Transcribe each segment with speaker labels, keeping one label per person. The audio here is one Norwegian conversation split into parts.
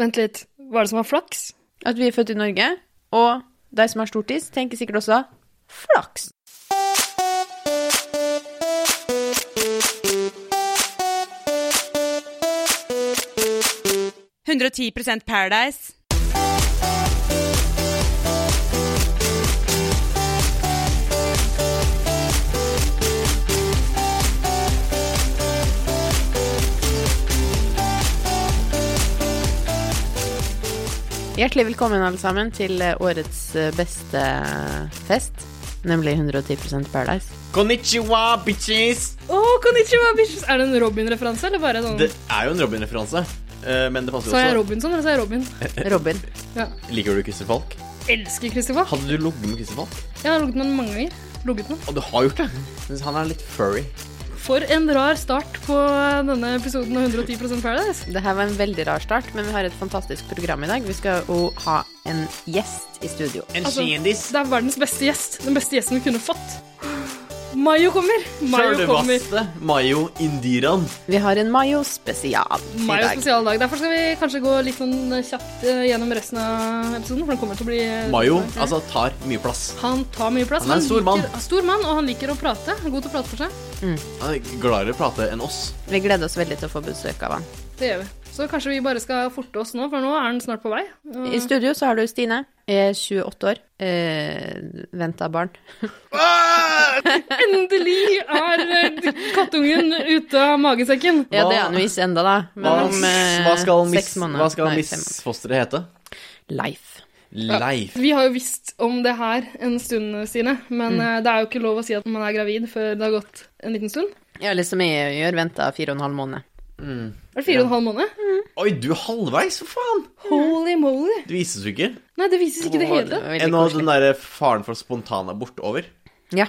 Speaker 1: Vent litt, hva er det som var flaks?
Speaker 2: At vi er født i Norge, og de som har stortiss, tenker sikkert også flaks.
Speaker 3: «110% Paradise».
Speaker 2: Hjertelig velkommen alle sammen til eh, årets eh, beste fest, nemlig 110 Paradise.
Speaker 4: Konnichiwa, bitches!
Speaker 1: Å, konnichiwa, bitches! Er det en Robin-referanse, eller bare sånn
Speaker 4: Det er jo en Robin-referanse. eh, Men det passer
Speaker 1: Sa jeg
Speaker 4: jo også.
Speaker 1: Robinson, eller sa jeg Robin?
Speaker 4: Eh.
Speaker 2: Robin.
Speaker 1: Ja.
Speaker 4: Liker du Christer Falk?
Speaker 1: Elsker Christer Falk.
Speaker 4: Hadde du ligget med Christer Falk?
Speaker 1: Jeg har ligget med ham mange ganger. Ligget med.
Speaker 4: Og du har gjort det. Men han er litt furry.
Speaker 1: han. For en rar start på denne episoden av 110 Paradise.
Speaker 2: Det her var en veldig rar start, men vi har et fantastisk program i dag. Vi skal jo ha en gjest i studio.
Speaker 4: En
Speaker 1: Altså,
Speaker 4: kjendis.
Speaker 1: Det er verdens beste gjest. Den beste gjesten vi kunne fått. Mayo kommer! Mayo kommer.
Speaker 4: Sjølvaste Mayo Indiran.
Speaker 2: Vi har en Mayo spesial i
Speaker 1: Mayo
Speaker 2: dag.
Speaker 1: spesialdag. Derfor skal vi kanskje gå litt sånn kjapt eh, gjennom resten av episoden, for den kommer til å bli
Speaker 4: Mayo
Speaker 1: Ok.
Speaker 4: altså tar mye plass.
Speaker 1: Han tar mye plass.
Speaker 4: Han er en stor mann.
Speaker 1: Liker, stor mann, og han liker å prate. Han er God til å prate for seg.
Speaker 4: Han er gladere å prate enn oss.
Speaker 2: Vi gleder oss veldig til å få besøk av han.
Speaker 1: Det gjør vi. Så kanskje vi bare skal forte oss nå, for nå er han snart på vei.
Speaker 4: Mm.
Speaker 1: Og-
Speaker 2: I studio så har du Stine, er 28 år, eh, venta barn.
Speaker 1: Endelig er eh, kattungen ute av magesekken.
Speaker 2: Ja, det er han jo ikke enda da.
Speaker 4: Hva,
Speaker 2: Men om eh,
Speaker 4: hva skal, miss,
Speaker 2: seks måneder.
Speaker 4: hva skal
Speaker 2: Nei, fem måneder.
Speaker 4: misfosteret hete?
Speaker 2: Leif.
Speaker 4: Leif.
Speaker 1: Vi har jo visst om det her en stund, Stine,
Speaker 2: Mm.
Speaker 1: men eh, det er jo ikke lov å si at man er gravid før det har gått en liten stund.
Speaker 2: Ja, eller som jeg gjør, venta fire og en halv måned.
Speaker 1: Er det fire og en halv måned?
Speaker 4: Oi, du er halvveis, for faen!
Speaker 1: Holy moly!
Speaker 4: Du vises jo ikke.
Speaker 1: Nei, det vises ikke i det hele
Speaker 2: Det
Speaker 1: tatt.
Speaker 2: var veldig
Speaker 4: Enn å ha
Speaker 2: koselig.
Speaker 4: den derre faren for spontanabort over.
Speaker 2: Ja.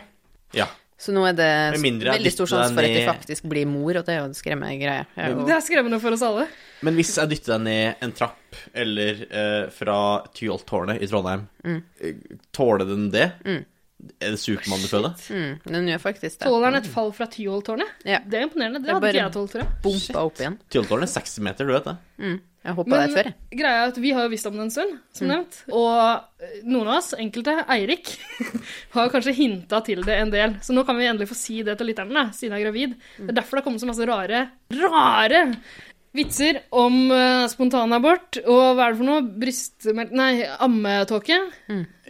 Speaker 4: Ja.
Speaker 2: Så nå er det
Speaker 4: Med mindre jeg
Speaker 2: veldig stor
Speaker 4: dytter deg
Speaker 2: sjanse for at jeg
Speaker 4: ned-
Speaker 2: faktisk blir mor, og det er jo en skremmegreie. Jeg er jo-
Speaker 1: Det er skremmende for oss alle.
Speaker 4: Men hvis jeg dytter deg ned en trapp eller eh, fra Tyholttårnet i Trondheim, eh, tåler den det? Er det Supermann du føder?
Speaker 2: Mm, den gjør faktisk det.
Speaker 1: Tåler han et fall fra Tyholttårnet?
Speaker 2: Ja.
Speaker 1: Det er imponerende.
Speaker 2: Det
Speaker 1: Det
Speaker 2: er
Speaker 1: hadde ikke
Speaker 2: bare-
Speaker 1: jeg tålt, tror jeg.
Speaker 2: Bompa opp igjen.
Speaker 4: Tyholttårnet er 60 meter, du vet det?
Speaker 2: Jeg hoppa
Speaker 1: Men
Speaker 2: der før, jeg. Mm.
Speaker 1: greia er at vi har jo visst om det en stund, som nevnt. Og eh, noen av oss, enkelte, Eirik, har kanskje hinta til det en del. Så nå kan vi endelig få si det til lytterne, da, siden jeg er gravid.
Speaker 2: Mm.
Speaker 1: Det er derfor det har kommet så masse rare, rare vitser om eh, spontanabort og hva er det for noe? Brystmelk Nei, ammetåke.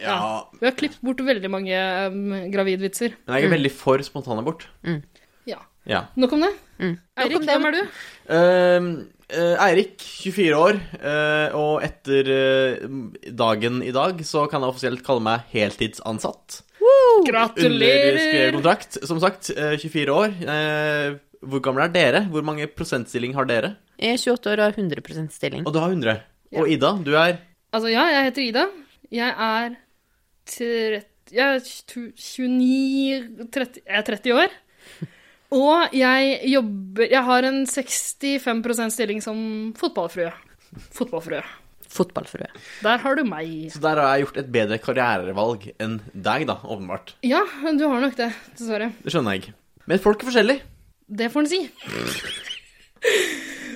Speaker 4: Ja.
Speaker 1: Vi har klippet bort veldig mange eh, gravidvitser.
Speaker 4: Men jeg er veldig for spontanabort.
Speaker 1: Ja.
Speaker 4: Ja.
Speaker 1: Nok om det.
Speaker 2: Mm. Nok om
Speaker 1: Eirik,
Speaker 2: det.
Speaker 1: hvem er du?
Speaker 4: Uh, Eirik, 24 år, eh, og etter eh, dagen i dag så kan jeg offisielt kalle meg heltidsansatt. Underskrevet
Speaker 1: Gratulerer!
Speaker 4: kontrakt, som sagt. eh, 24 år. Eh, hvor gamle er dere? Hvor mange prosentstilling har dere?
Speaker 2: Jeg er 28 år og har 100 stilling.
Speaker 4: Mm. Og du har 100. Og Ida, du er
Speaker 1: Altså, ja, jeg heter Ida. Jeg er 30, jeg er tju- 29 30, Jeg er 30 år. Og jeg jobber Jeg har en 65 stilling som fotballfrue. Fotballfrue.
Speaker 2: Fotballfrue.
Speaker 1: Der har du meg.
Speaker 4: Så der har jeg gjort et bedre karrierevalg enn deg, da, åpenbart.
Speaker 1: Ja, du har nok det, dessverre.
Speaker 4: Det skjønner jeg. Men folk er forskjellige.
Speaker 1: Det får en si.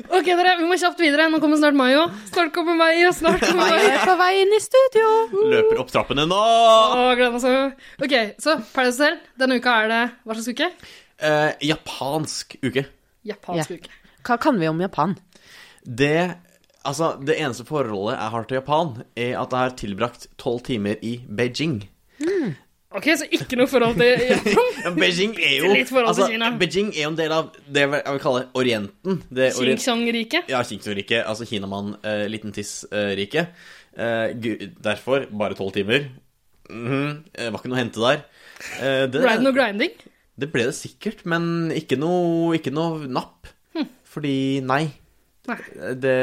Speaker 1: OK, dere, vi må kjapt videre. Nå kommer snart Mayo. Snart kommer Mayo, snart kommer
Speaker 2: Jeg
Speaker 1: Mayo.
Speaker 2: er på vei inn i studio!
Speaker 4: Løper opp trappene nå!
Speaker 1: Å, gleder meg så. OK, så Paradise Hotel. Denne uka er det hva slags uke?
Speaker 4: Eh, japansk uke.
Speaker 1: Japansk
Speaker 2: Ja.
Speaker 1: uke.
Speaker 2: Hva kan vi om Japan?
Speaker 4: Det Altså, det eneste forholdet jeg har til Japan, er at jeg har tilbrakt tolv timer i Beijing.
Speaker 1: Ok, så ikke noe forhold til Japan.
Speaker 4: Ja, Beijing er jo altså,
Speaker 1: Litt forhold til Kina.
Speaker 4: Beijing er jo en del av det jeg vil jeg vil kalle Orienten. Det orien-
Speaker 1: Xinjiang-riket.
Speaker 4: Ja, Kington-riket, altså Kinamann, eh, liten tiss-riket. derfor bare tolv timer. Mhm, eh, var ikke noe å hente der. Eh, det,
Speaker 1: Ble det noe grinding?
Speaker 4: det ble det sikkert, men ikke noe, ikke noe napp. Fordi nei.
Speaker 1: Hm.
Speaker 4: Eh,
Speaker 1: Nei.
Speaker 4: Det,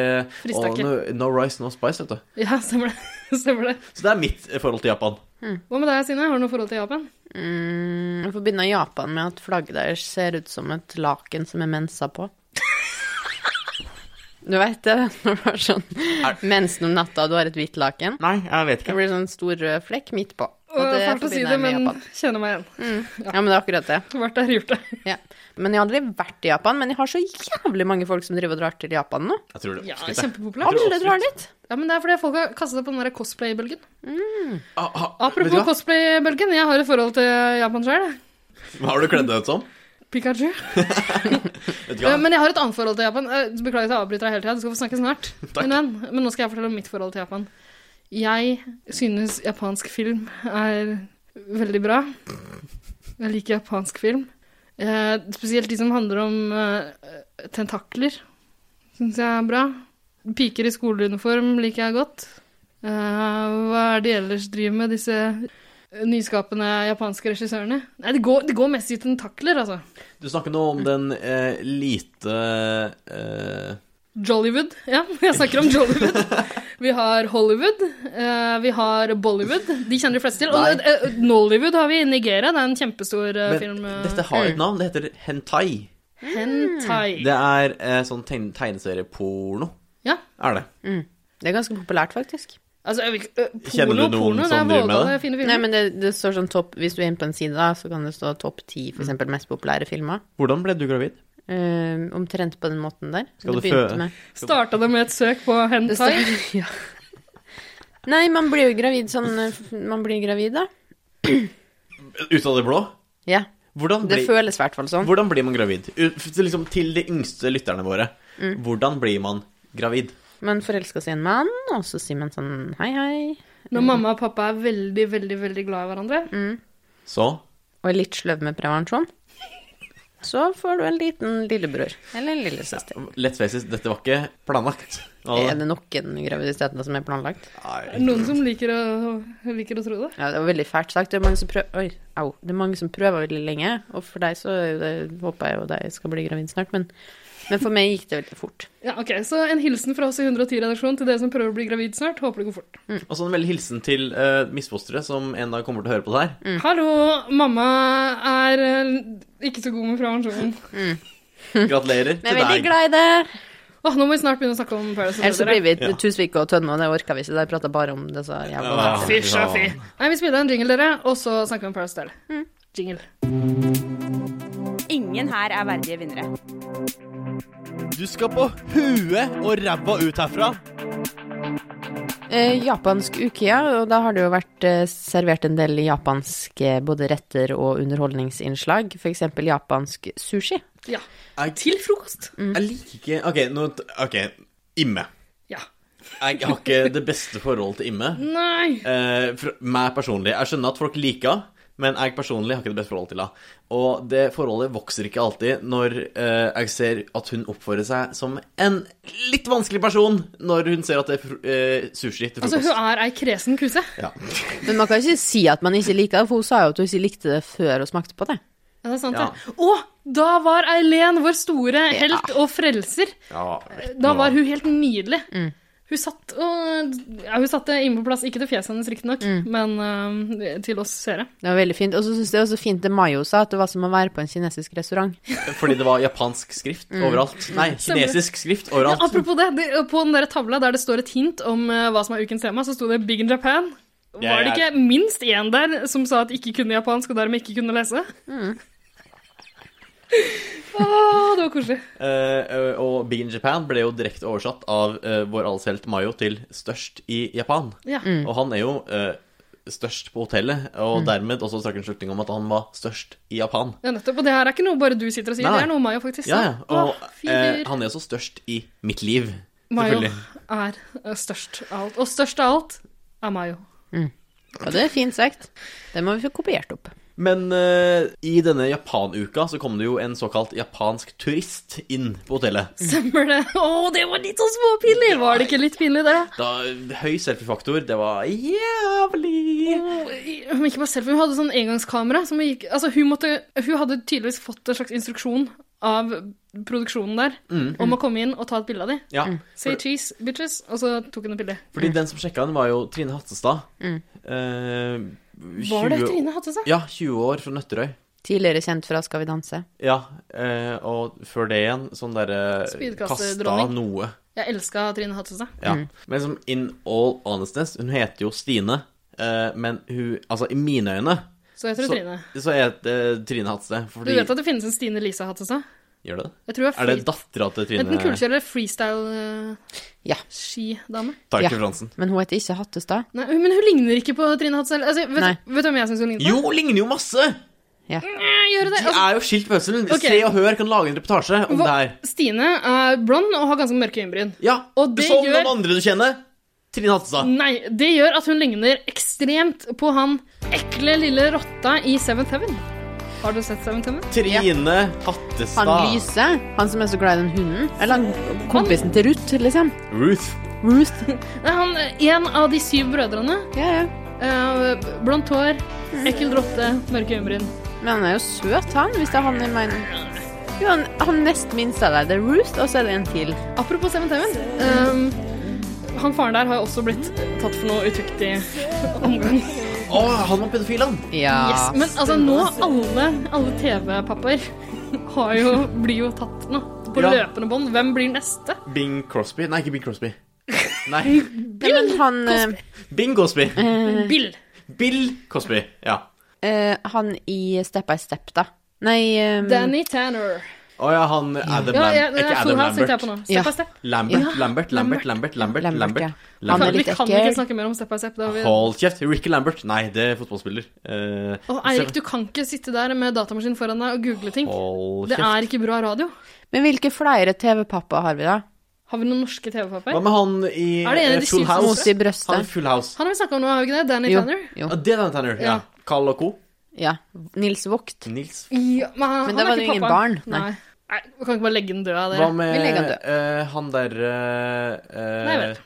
Speaker 1: Frista
Speaker 4: og
Speaker 1: ikke.
Speaker 4: No, no rice, no spice, vet du.
Speaker 1: Ja, stemmer det. stemmer det.
Speaker 4: Så det er mitt eh, forhold til Japan.
Speaker 1: Hva med deg, Sine? Har du noe forhold til Japan?
Speaker 2: Mm, jeg forbinder Japan med at flagget deres ser ut som et laken som er mensa på. Du veit det? Når du har sånn mensen om natta og du har et hvitt laken.
Speaker 4: Nei, jeg vet
Speaker 2: Det blir sånn stor rød flekk midt på.
Speaker 1: Og
Speaker 2: det
Speaker 1: fælt å si
Speaker 2: forbinder
Speaker 1: det,
Speaker 2: jeg med
Speaker 1: men
Speaker 2: Japan.
Speaker 1: kjenner meg igjen.
Speaker 2: Ja, men det er akkurat det.
Speaker 1: Vært der, gjort det.
Speaker 2: Ja. Men jeg har aldri vært i Japan, men jeg har så jævlig mange folk som driver og drar til Japan nå.
Speaker 4: Jeg tror det.
Speaker 1: Ja,
Speaker 4: absolutt, jeg.
Speaker 1: kjempepopulært.
Speaker 4: tror
Speaker 2: Alle drar dit.
Speaker 1: Ja, men det er fordi folk har kastet seg på den der cosplay-bølgen.
Speaker 4: Ah, ah, vet du
Speaker 1: Apropos
Speaker 4: hva?
Speaker 1: cosplay-bølgen, jeg har et forhold til Japan selv.
Speaker 4: Hva har du kledd deg ut som?
Speaker 1: Pikachu.
Speaker 4: Vet du hva?
Speaker 1: Eh, Men jeg har et annet forhold til Japan. Eh, Beklager at jeg avbryter deg hele tida, du skal få snakke snart.
Speaker 4: Takk.
Speaker 1: Min venn. Men nå skal jeg fortelle om mitt forhold til Japan. Jeg synes japansk film er veldig bra. Jeg liker japansk film. Eh, spesielt de som handler om eh, tentakler, syns jeg er bra. Piker i skoleuniform liker jeg godt. Eh, hva er det de ellers driver med, disse nyskapende japanske regissørene? Nei, det går, det går mest i tentakler, altså.
Speaker 4: Du snakker nå om den eh, lite eh,
Speaker 1: Jollywood. Ja, jeg snakker om Jollywood. Vi har Hollywood, eh, vi har Bollywood. De kjenner de fleste til. Og
Speaker 4: Nei.
Speaker 1: eh, Nollywood har vi i Nigeria. Det er en kjempestor eh, film.
Speaker 4: Men
Speaker 1: eh,
Speaker 4: dette har et navn. Det heter hentai.
Speaker 1: Hentai.
Speaker 4: Det er eh, sånn tegn tegneserieporno,
Speaker 1: Ja.
Speaker 4: er det.
Speaker 2: Det er ganske populært, faktisk.
Speaker 1: Altså, jeg vil ikke- eh,
Speaker 4: Kjenner du
Speaker 1: polo,
Speaker 4: noen
Speaker 1: porno, det er
Speaker 4: som driver med
Speaker 1: vågale,
Speaker 4: det?
Speaker 1: fine
Speaker 2: Nei,
Speaker 1: filmer.
Speaker 2: men det, det står sånn topp Hvis du er inne på en side, da, så kan det stå topp ti for
Speaker 4: Mhm.
Speaker 2: eksempel mest populære filmer.
Speaker 4: Hvordan ble du gravid?
Speaker 2: Eh, omtrent på den måten der.
Speaker 4: Skal
Speaker 2: Det
Speaker 4: du
Speaker 2: begynte
Speaker 4: fø-
Speaker 2: med.
Speaker 1: Starta det med et søk på
Speaker 2: Det
Speaker 1: hentai?
Speaker 2: står, ja. Nei, man blir jo gravid sånn eh, Man blir gravid, da.
Speaker 4: Ut av det blå?
Speaker 2: Ja.
Speaker 4: Hvordan
Speaker 2: Det
Speaker 4: blir,
Speaker 2: føles i hvert fall sånn.
Speaker 4: hvordan blir man gravid? U- f- Liksom til de yngste lytterne våre.
Speaker 2: Mm.
Speaker 4: Hvordan blir man gravid?
Speaker 2: Man forelsker seg i en mann, og så sier man sånn hei, hei.
Speaker 1: Når mamma og pappa er veldig, veldig veldig glad i hverandre.
Speaker 2: Mm.
Speaker 4: Så
Speaker 2: Og er litt sløv med prevensjon. Så får du en liten lillebror. Eller en lillesøster.
Speaker 4: Let's face it, dette var ikke planlagt.
Speaker 2: Er det noen graviditeter som er planlagt?
Speaker 1: Er det Noen som liker å, liker å tro det.
Speaker 2: Ja, det var veldig fælt sagt. Det er mange som prøver, oi, au, det er mange som prøver veldig lenge. Og for deg så er jo det, håper jeg jo deg skal bli gravid snart, men, men for meg gikk det veldig fort.
Speaker 1: Ja, ok, Så en hilsen fra oss i 110-redaksjonen til dere som prøver å bli gravid snart. Håper det går fort.
Speaker 4: Og så en veldig hilsen til uh, misfosteret, som en dag kommer til å høre på det her.
Speaker 2: Mm.
Speaker 1: Hallo, mamma er eh, ikke så god med prevensjonen.
Speaker 4: Gratulerer
Speaker 2: Men Mm. jeg er
Speaker 4: til
Speaker 2: veldig
Speaker 4: deg.
Speaker 2: glad i det!
Speaker 1: Åh, nå må vi snart begynne å snakke om Paradise
Speaker 2: Ellers så blir
Speaker 1: Hotel.
Speaker 2: vi
Speaker 4: Ja.
Speaker 2: Tusvik og Tønne, og det orker vi ikke. Der prater jeg bare om det, så jævla
Speaker 4: Ja.
Speaker 1: Fy Mm. sjafi. Nei, vi spiller en jingle, dere, og så snakker vi om Paradise Hotel. Jingle.
Speaker 3: Ingen her er verdige vinnere.
Speaker 4: Du skal på huet og ræva ut herfra.
Speaker 2: Eh, japansk uke, ja. Og da har det jo vært eh, servert en del japanske både retter og underholdningsinnslag. F.eks. japansk sushi.
Speaker 1: Ja.
Speaker 4: Jeg-
Speaker 1: Til frokost.
Speaker 2: Mm.
Speaker 4: Jeg liker ikke OK, nå OK. Imme.
Speaker 1: Ja.
Speaker 4: Jeg har ikke det beste forholdet til Imme.
Speaker 1: Nei.
Speaker 4: Eh, for meg personlig. Jeg skjønner at folk liker henne, men jeg personlig har ikke det beste forholdet til henne. Og det forholdet vokser ikke alltid når eh, jeg ser at hun oppfører seg som en litt vanskelig person når hun ser at det er fr eh, sushi til
Speaker 1: Altså,
Speaker 4: frokost.
Speaker 1: hun er ei kresen kuse.
Speaker 4: ja.
Speaker 2: Men man kan ikke si at man ikke liker det, for hun sa jo at hun ikke likte det før hun smakte på det.
Speaker 1: Ja, det er sant,
Speaker 4: Ja.
Speaker 1: det. Og da var Eileen vår store helt og frelser. Da var hun helt nydelig. Hun satt og ja, Hun satte inn på plass, ikke til fjeset hennes riktignok, men øhm, til oss seere.
Speaker 2: Det var veldig fint. Og så syns jeg også fint det Mayo sa, at det var som å være på en kinesisk restaurant.
Speaker 4: Fordi det var japansk skrift overalt. Nei, kinesisk skrift overalt.
Speaker 1: Mm. Apropos det, det, på den der tavla der det står et hint om eh, hva som er ukens tema, så sto det Big in Japan. Var det
Speaker 4: Jeg er-
Speaker 1: ikke minst én der som sa at ikke kunne japansk og dermed ikke kunne lese?
Speaker 4: Mm.
Speaker 1: Åh, det var koselig.
Speaker 4: Eh, og Big in Japan ble jo direkte oversatt av eh, vår allshelt Mayo til størst i Japan.
Speaker 1: Ja.
Speaker 4: Og han er jo eh, størst på hotellet,
Speaker 1: Mm.
Speaker 4: og dermed også trakk en slutning om at han var størst i Japan.
Speaker 1: ja, nettopp. Og det her er ikke noe bare du sitter og sier,
Speaker 4: Nei, nei.
Speaker 1: det er noe Mayo faktisk
Speaker 4: Ja, ja. Og
Speaker 1: Åh,
Speaker 4: eh,
Speaker 1: fyr.
Speaker 4: han er også størst i mitt liv.
Speaker 1: Mayo
Speaker 4: Selvfølgelig.
Speaker 1: er eh, størst av alt. Og størst av alt er Mayo.
Speaker 2: Og det er fint sagt. Det må vi få kopiert opp.
Speaker 4: Men eh, i denne Japanuka så kom det jo en såkalt japansk turist inn på hotellet.
Speaker 1: Stemmer det? Å, det var litt sånn småpinlig! Var det ikke litt pinlig der, da?
Speaker 4: Da, høy selfiefaktor. Det var jævlig
Speaker 1: Mm. Hun ikke bare selfie, hun hadde sånn engangskamera som hun gikk Altså, hun måtte Hun hadde tydeligvis fått en slags instruksjon av produksjonen der
Speaker 4: Mm.
Speaker 1: om å komme inn og ta et bilde av dem.
Speaker 4: Ja.
Speaker 1: Say cheese, bitches, og så tok hun et bilde.
Speaker 4: Fordi den som sjekka den, var jo Trine Hattestad. Eh,
Speaker 1: Mm. Var det
Speaker 4: 20
Speaker 1: Trine hadde seg?
Speaker 4: Ja, 20 år fra Nøtterøy.
Speaker 2: Tidligere kjent fra Skal vi danse.
Speaker 4: Ja, eh, og før det igjen sånn derre Kasta
Speaker 1: Spydkastedronning.
Speaker 4: noe.
Speaker 1: Jeg elska Trine Hattestad.
Speaker 4: Ja. Men som in all honestness, hun heter jo Stine Eh, men hun Altså, i mine øyne
Speaker 1: Så heter du Trine.
Speaker 4: så er det eh, Trine Hatse.
Speaker 1: Du
Speaker 4: Fordi
Speaker 1: vet at det finnes en Stine Lisa-hatt også?
Speaker 4: Gjør det det?
Speaker 1: Jeg tror jeg
Speaker 4: Er det eh? dattera til Trine
Speaker 1: Enten kulekjører eller freestyle
Speaker 2: Ja.
Speaker 1: uh, skidame.
Speaker 4: Takk,
Speaker 2: Ja.
Speaker 4: Fransen?
Speaker 2: Men hun heter ikke Hattestad.
Speaker 1: Nei, men hun ligner ikke på Trine Hadsel. Altså,
Speaker 2: Nei.
Speaker 1: vet, vet du hvem jeg syns hun ligner på?
Speaker 4: Jo, ligner jo masse!
Speaker 2: Ja.
Speaker 1: Nei, Gjør hun det?
Speaker 4: De
Speaker 1: Altså,
Speaker 4: er jo skilt på høsten.
Speaker 1: Ok.
Speaker 4: Se og Hør kan lage en reportasje om
Speaker 1: Hva-
Speaker 4: det her.
Speaker 1: Stine er blond og har ganske mørke øyenbryn.
Speaker 4: Ja,
Speaker 1: Og det
Speaker 4: Som
Speaker 1: gjør-
Speaker 4: noen andre du kjenner. Trine Hatstad.
Speaker 1: Nei, det gjør at hun ligner ekstremt på han ekle lille rotta i Seventh Heaven. Har du sett Seventh Heaven?
Speaker 4: Trine Hattestad.
Speaker 2: Han lyse, han som er så glad i den hunden. Eller han kompisen til Ruth, liksom.
Speaker 4: Ruth.
Speaker 2: Ruth.
Speaker 1: Nei, han eh, en av de syv brødrene.
Speaker 2: Ja, ja.
Speaker 1: Eh, blondt hår, ekkel rotte, mørke øyenbryn.
Speaker 2: Men han er jo søt, han, hvis det er han i min Jo, han, han nest minste av deg. Det er Ruth, og så er det en til.
Speaker 1: Apropos Seventh Heaven. ehm, han faren der har jo også blitt tatt for noe utuktig omgang.
Speaker 4: Å, han var pedofil, han.
Speaker 2: Ja.
Speaker 1: Yes, men altså nå alle, alle TV-papper har jo, blir jo tatt nå. På
Speaker 4: Ja.
Speaker 1: løpende bånd. Hvem blir neste?
Speaker 4: Bing Crosby. Nei, ikke Bing Crosby. Nei,
Speaker 2: Nei, men han eh,
Speaker 4: Bing Cosby.
Speaker 1: Bill.
Speaker 4: Bill Cosby. Ja.
Speaker 2: eh, Han i Step by Step, da. Nei eh,
Speaker 1: Danny Tanner.
Speaker 4: Å ja, han Adam
Speaker 1: Ja,
Speaker 4: Lam-
Speaker 1: ja, det
Speaker 4: Ikke
Speaker 1: er Full
Speaker 4: Adam
Speaker 1: House tenkte jeg
Speaker 4: Lambert.
Speaker 1: på nå. Step
Speaker 2: Ja.
Speaker 1: by step.
Speaker 4: Lambert, Lambert, Lambert, Lambert, Lambert,
Speaker 2: Lambert,
Speaker 4: Lambert.
Speaker 2: ja. Han
Speaker 1: Vi
Speaker 2: er
Speaker 1: kan,
Speaker 2: litt
Speaker 1: vi kan
Speaker 2: ekkel.
Speaker 1: ikke snakke mer om step by step. Da. har Vi...
Speaker 4: Hold kjeft. Ricky Lambert. Nei, det er fotballspiller. Eh,
Speaker 1: Og Eirik, du kan ikke sitte der med datamaskinen foran deg og google ting.
Speaker 4: Hold
Speaker 1: Det
Speaker 4: kjeft.
Speaker 1: er ikke bra radio.
Speaker 2: Men hvilke flere TV-pappa har vi, da?
Speaker 1: Har vi noen norske
Speaker 4: Hva
Speaker 1: TV-papper?
Speaker 4: med han i
Speaker 1: Er det en av de
Speaker 4: eh, Full
Speaker 1: syv som
Speaker 2: Mos
Speaker 4: House?
Speaker 2: i
Speaker 4: Han i
Speaker 2: brøstet.
Speaker 4: Full House.
Speaker 1: Han har vi snakka om nå, har vi ikke det? Danny
Speaker 2: Jo,
Speaker 1: Tanner?
Speaker 2: jo.
Speaker 4: Ja, det er den Tanner. Ja.
Speaker 1: Ja.
Speaker 4: Carl og co.
Speaker 2: Ja. Nils Vogt.
Speaker 4: Nils.
Speaker 1: Ja, men han, han
Speaker 2: Men da
Speaker 1: er ikke
Speaker 2: var det jo ingen
Speaker 1: pappaen.
Speaker 2: barn, nei.
Speaker 1: Nei. Nei, Vi kan ikke bare legge den død av
Speaker 4: Hva
Speaker 1: dere.
Speaker 4: med
Speaker 2: Vi legger han død.
Speaker 4: eh, han der eh, eh,
Speaker 1: Nei, jeg vet.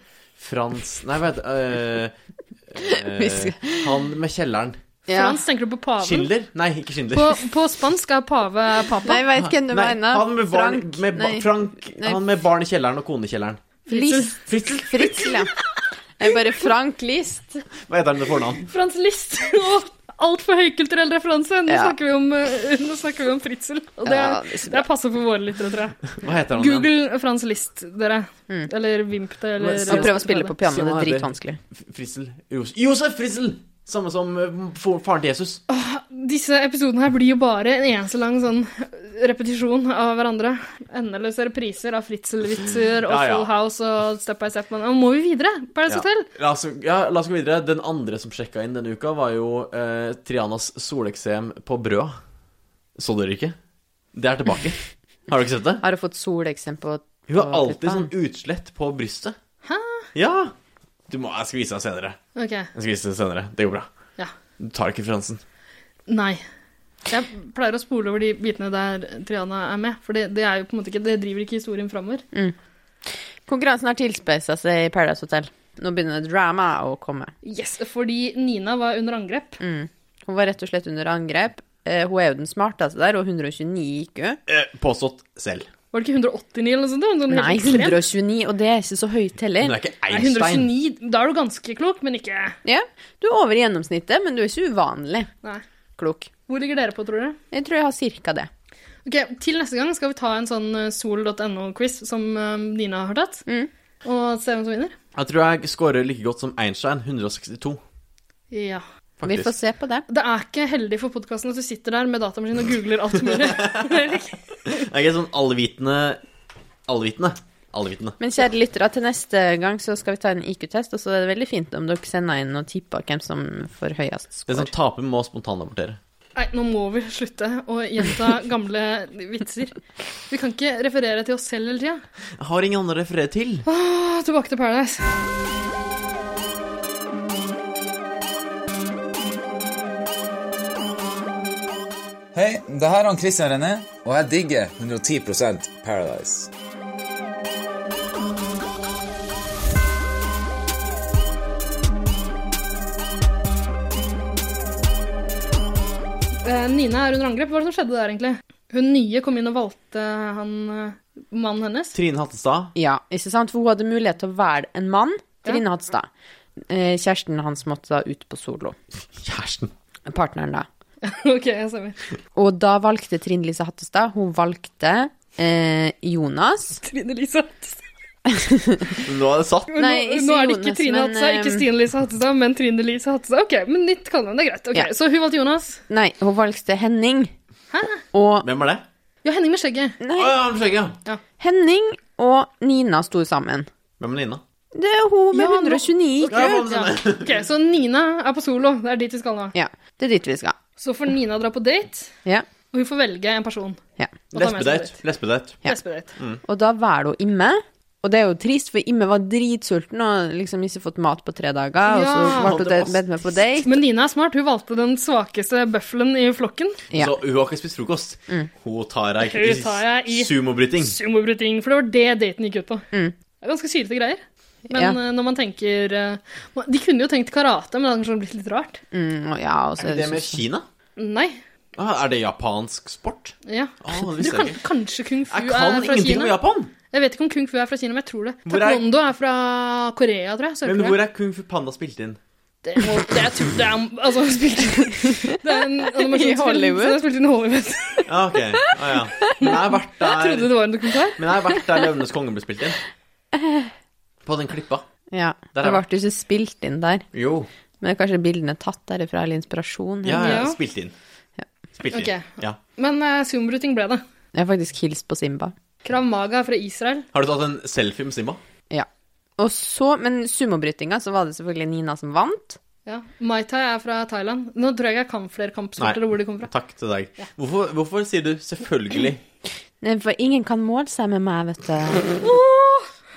Speaker 4: Frans Nei, vet eh, eh,
Speaker 2: Vi skal-
Speaker 4: Han med kjelleren.
Speaker 2: Ja.
Speaker 1: Frans, tenker du på paven?
Speaker 4: Schindler? Nei, ikke Schindler.
Speaker 1: På, på spansk er pave papa.
Speaker 2: Nei, jeg veit hvem du
Speaker 4: Nei,
Speaker 2: mener.
Speaker 4: han med barn,
Speaker 2: Frank.
Speaker 4: med ba
Speaker 2: Nei.
Speaker 4: Frank
Speaker 2: Nei.
Speaker 4: Han med barn i kjelleren og kone i kjelleren.
Speaker 2: List.
Speaker 4: Fritzel?
Speaker 2: Fritzel, ja. Nei, bare Frank List.
Speaker 4: Hva heter han med fornavn?
Speaker 1: Frans List og altfor høykulturell referanse. Nå,
Speaker 2: Ja.
Speaker 1: snakker vi om, eh, nå snakker vi om Fritzel. Og det,
Speaker 2: Ja, det er så bra.
Speaker 1: det passer for våre lyttere, tror jeg.
Speaker 4: Hva heter han? igjen?
Speaker 1: Google Frans List, dere. Eller Vimp det, eller
Speaker 4: Men så-
Speaker 2: Og prøv Mm. å spille på piano, det
Speaker 4: Sian
Speaker 2: er
Speaker 4: heter-
Speaker 2: dritvanskelig.
Speaker 4: F- Fritzel. Jos- Josef Fritzel! Samme som eh, for- faren til Jesus.
Speaker 1: Disse episodene her blir jo bare en eneste lang sånn repetisjon av hverandre. Endeløse repriser av Fritzel-vitser og
Speaker 4: Ja, ja.
Speaker 1: Full House og Step by Step. Men nå må vi videre! Paradise
Speaker 4: Ja.
Speaker 1: Hotel.
Speaker 4: La oss, ja, la oss gå videre. Den andre som sjekka inn denne uka, var jo eh, Trianas soleksem på brød. Så dere ikke? Det er tilbake. Har du ikke sett det?
Speaker 2: Har du fått soleksempel?
Speaker 4: Hun har
Speaker 2: på
Speaker 4: alltid
Speaker 2: puppa?
Speaker 4: sånn utslett på brystet.
Speaker 1: Hæ?
Speaker 4: Ja. Du må, jeg skal vise deg senere.
Speaker 1: Ok.
Speaker 4: Jeg skal vise deg senere. Det går bra.
Speaker 1: Ja.
Speaker 4: Du tar ikke referansen.
Speaker 1: Nei. Jeg pleier å spole over de bitene der Triana er med, for det, det er jo på en måte ikke Det driver ikke historien framover.
Speaker 2: Konkurransen har tilspeisa seg i Paradise Hotel. Nå begynner drama å komme.
Speaker 1: Yes, fordi Nina var under angrep.
Speaker 2: Hun var rett og slett under angrep. Eh, hun er jo den smarteste der, og 129 gikk hun.
Speaker 4: Eh, påstått selv.
Speaker 1: Var det ikke 189 eller noe sånt? da? Sånn helt
Speaker 2: Nei,
Speaker 1: ekstremt.
Speaker 2: 129, og det er ikke så høyt
Speaker 4: Hun
Speaker 2: heller.
Speaker 4: er ikke
Speaker 1: Nei,
Speaker 4: Einstein.
Speaker 1: 129, da er du ganske klok, men ikke
Speaker 2: Ja, du er over gjennomsnittet, men du er ikke uvanlig
Speaker 1: Nei.
Speaker 2: klok.
Speaker 1: Hvor ligger dere på, tror dere?
Speaker 2: Jeg tror jeg har cirka det.
Speaker 1: Ok, Til neste gang skal vi ta en sånn eh, sol.no-quiz som eh, Nina har tatt,
Speaker 2: Mm.
Speaker 1: og se hvem som vinner.
Speaker 4: Jeg tror jeg scorer like godt som Einstein. 162,
Speaker 1: Ja.
Speaker 2: Vi får
Speaker 4: faktisk.
Speaker 2: se på det.
Speaker 1: Det er ikke heldig for podkasten at du sitter der med datamaskinen og googler alt mulig. Erik.
Speaker 4: Jeg er ikke sånn allvitende Allvitende. Allvitende.
Speaker 2: Men kjære lyttere, til neste gang så skal vi ta en IQ-test, og så er det veldig fint om dere sender inn og tipper hvem som får høyest
Speaker 4: Den som
Speaker 2: score.
Speaker 4: sånn taper, må spontanrapportere.
Speaker 1: Nei, nå må vi slutte å gjenta gamle vitser. Vi kan ikke referere til oss selv hele tida.
Speaker 4: Jeg har ingen andre å referere til.
Speaker 1: Åh, Tilbake til Paradise.
Speaker 5: Hei, det her er han Christian René, og jeg digger 110 Paradise.
Speaker 1: Eh, Nina er under angrep. Hva er det som skjedde der, egentlig? Hun nye kom inn og valgte han eh, mannen hennes.
Speaker 4: Trine Hattestad.
Speaker 2: Ja, ikke sant? For hun hadde mulighet til å være en mann. Trine Hadstad. Eh, Kjæresten hans måtte da ut på solo.
Speaker 4: Kjæresten.
Speaker 2: Partneren, da.
Speaker 1: ok, jeg stemmer.
Speaker 2: Og da valgte Trine Lise Hattestad Hun valgte eh, Jonas.
Speaker 1: Trine Lise.
Speaker 4: Nå er det satt.
Speaker 2: Nei,
Speaker 1: nå,
Speaker 2: ikke
Speaker 1: nå er det ikke
Speaker 2: Jonas,
Speaker 1: Trine
Speaker 2: men,
Speaker 1: Hattestad, ikke
Speaker 2: ehm,
Speaker 1: Stine Lise Hattestad, men Trine Lise Hattestad. Ok, men nytt kallenavn, det er greit. Ok,
Speaker 2: Ja.
Speaker 1: Så hun valgte Jonas.
Speaker 2: Nei, hun valgte Henning.
Speaker 1: Hæ?
Speaker 2: Og
Speaker 4: Hvem er det?
Speaker 1: Ja, Henning med skjegget.
Speaker 4: Å,
Speaker 2: Nei,
Speaker 4: ja, han med skjegget. ja.
Speaker 2: Henning og Nina sto sammen.
Speaker 4: Hvem er Nina?
Speaker 2: Det er hun med
Speaker 1: Ja, nå-
Speaker 2: 129
Speaker 4: Ja,
Speaker 2: IQ.
Speaker 4: faen, stemmer.
Speaker 1: Ok, Så Nina er på solo. Det er dit vi skal nå.
Speaker 2: Ja, det er dit vi skal.
Speaker 1: Så får Nina dra på date,
Speaker 2: Ja,
Speaker 1: og hun får velge en person.
Speaker 2: ja.
Speaker 1: Og ta med seg
Speaker 4: Lesbedate. Mm. Lesbedate.
Speaker 2: Ja.
Speaker 1: Lesbedate.
Speaker 2: Og da var det jo Imme. Og det er jo trist, for Imme var dritsulten og liksom ikke fått mat på tre dager. Og
Speaker 1: Ja.
Speaker 2: så ble hun
Speaker 4: Det var
Speaker 2: bedt med på date.
Speaker 1: Men Nina er smart. Hun valgte den svakeste bøffelen i flokken.
Speaker 2: Ja.
Speaker 4: Så hun har ikke spist frokost.
Speaker 1: Mm.
Speaker 4: Hun tar deg
Speaker 1: Hun tar deg i-
Speaker 4: i sumobryting.
Speaker 1: Sumobryting. For det var det daten gikk ut på. Det er ganske sylete greier. Men
Speaker 2: Mm. Ja.
Speaker 1: eh, når man tenker eh, man- De kunne jo tenkt karate, men det hadde kanskje blitt litt rart.
Speaker 2: Mm, og ja, og så
Speaker 4: Er
Speaker 2: er
Speaker 4: det med
Speaker 2: det så...
Speaker 4: Kina?
Speaker 1: Nei.
Speaker 4: Ah, er det japansk sport?
Speaker 1: Ja.
Speaker 4: Ah, det
Speaker 1: Du
Speaker 4: visste
Speaker 1: kan,
Speaker 4: jeg ikke.
Speaker 1: kanskje kung fu
Speaker 4: Jeg
Speaker 1: er
Speaker 4: kan
Speaker 1: fra
Speaker 4: ingenting om
Speaker 1: Kina?
Speaker 4: Japan!
Speaker 1: Jeg vet ikke om kung fu er fra Kina, men jeg tror det.
Speaker 4: Hvor er-
Speaker 1: Taekwondo er fra Korea, tror jeg.
Speaker 4: Men
Speaker 1: Sør-Korea.
Speaker 4: hvor er Kung Fu Panda spilt inn?
Speaker 1: Det, må, det, er, tur- det, er, altså, han spilte, det er en animasjonsfilm.
Speaker 2: Hollywood?
Speaker 1: så han spilte inn i Hollywood.
Speaker 4: Ja, ok. Ah, ja. Men jeg har vært
Speaker 1: Jeg trodde
Speaker 4: der
Speaker 1: det var en dokumentar.
Speaker 4: Men jeg har vært der Løvenes konge ble spilt inn. På den klippa.
Speaker 2: Ja.
Speaker 4: Der
Speaker 2: Det
Speaker 4: er
Speaker 2: ble jo ikke spilt inn der.
Speaker 4: Jo.
Speaker 2: Men det er kanskje bildene tatt derifra, eller inspirasjon.
Speaker 4: Ja, ja.
Speaker 1: Ja.
Speaker 4: Spilt inn. Spilt inn.
Speaker 1: Ok.
Speaker 4: Ja.
Speaker 1: Men uh, zoombryting ble det.
Speaker 2: Jeg har faktisk hilst på Simba.
Speaker 1: Krav Maga er fra Israel.
Speaker 4: Har du tatt en selfie med Simba?
Speaker 2: Ja. Og så, men sumobrytinga, så var det selvfølgelig Nina som vant.
Speaker 1: Ja. Mai Tai er fra Thailand. Nå tror jeg ikke jeg kan flere kampsporter og hvor de kommer fra.
Speaker 4: Takk til deg. Hvorfor, hvorfor sier du 'selvfølgelig'?
Speaker 2: Nei, For ingen kan måle seg med meg, vet du.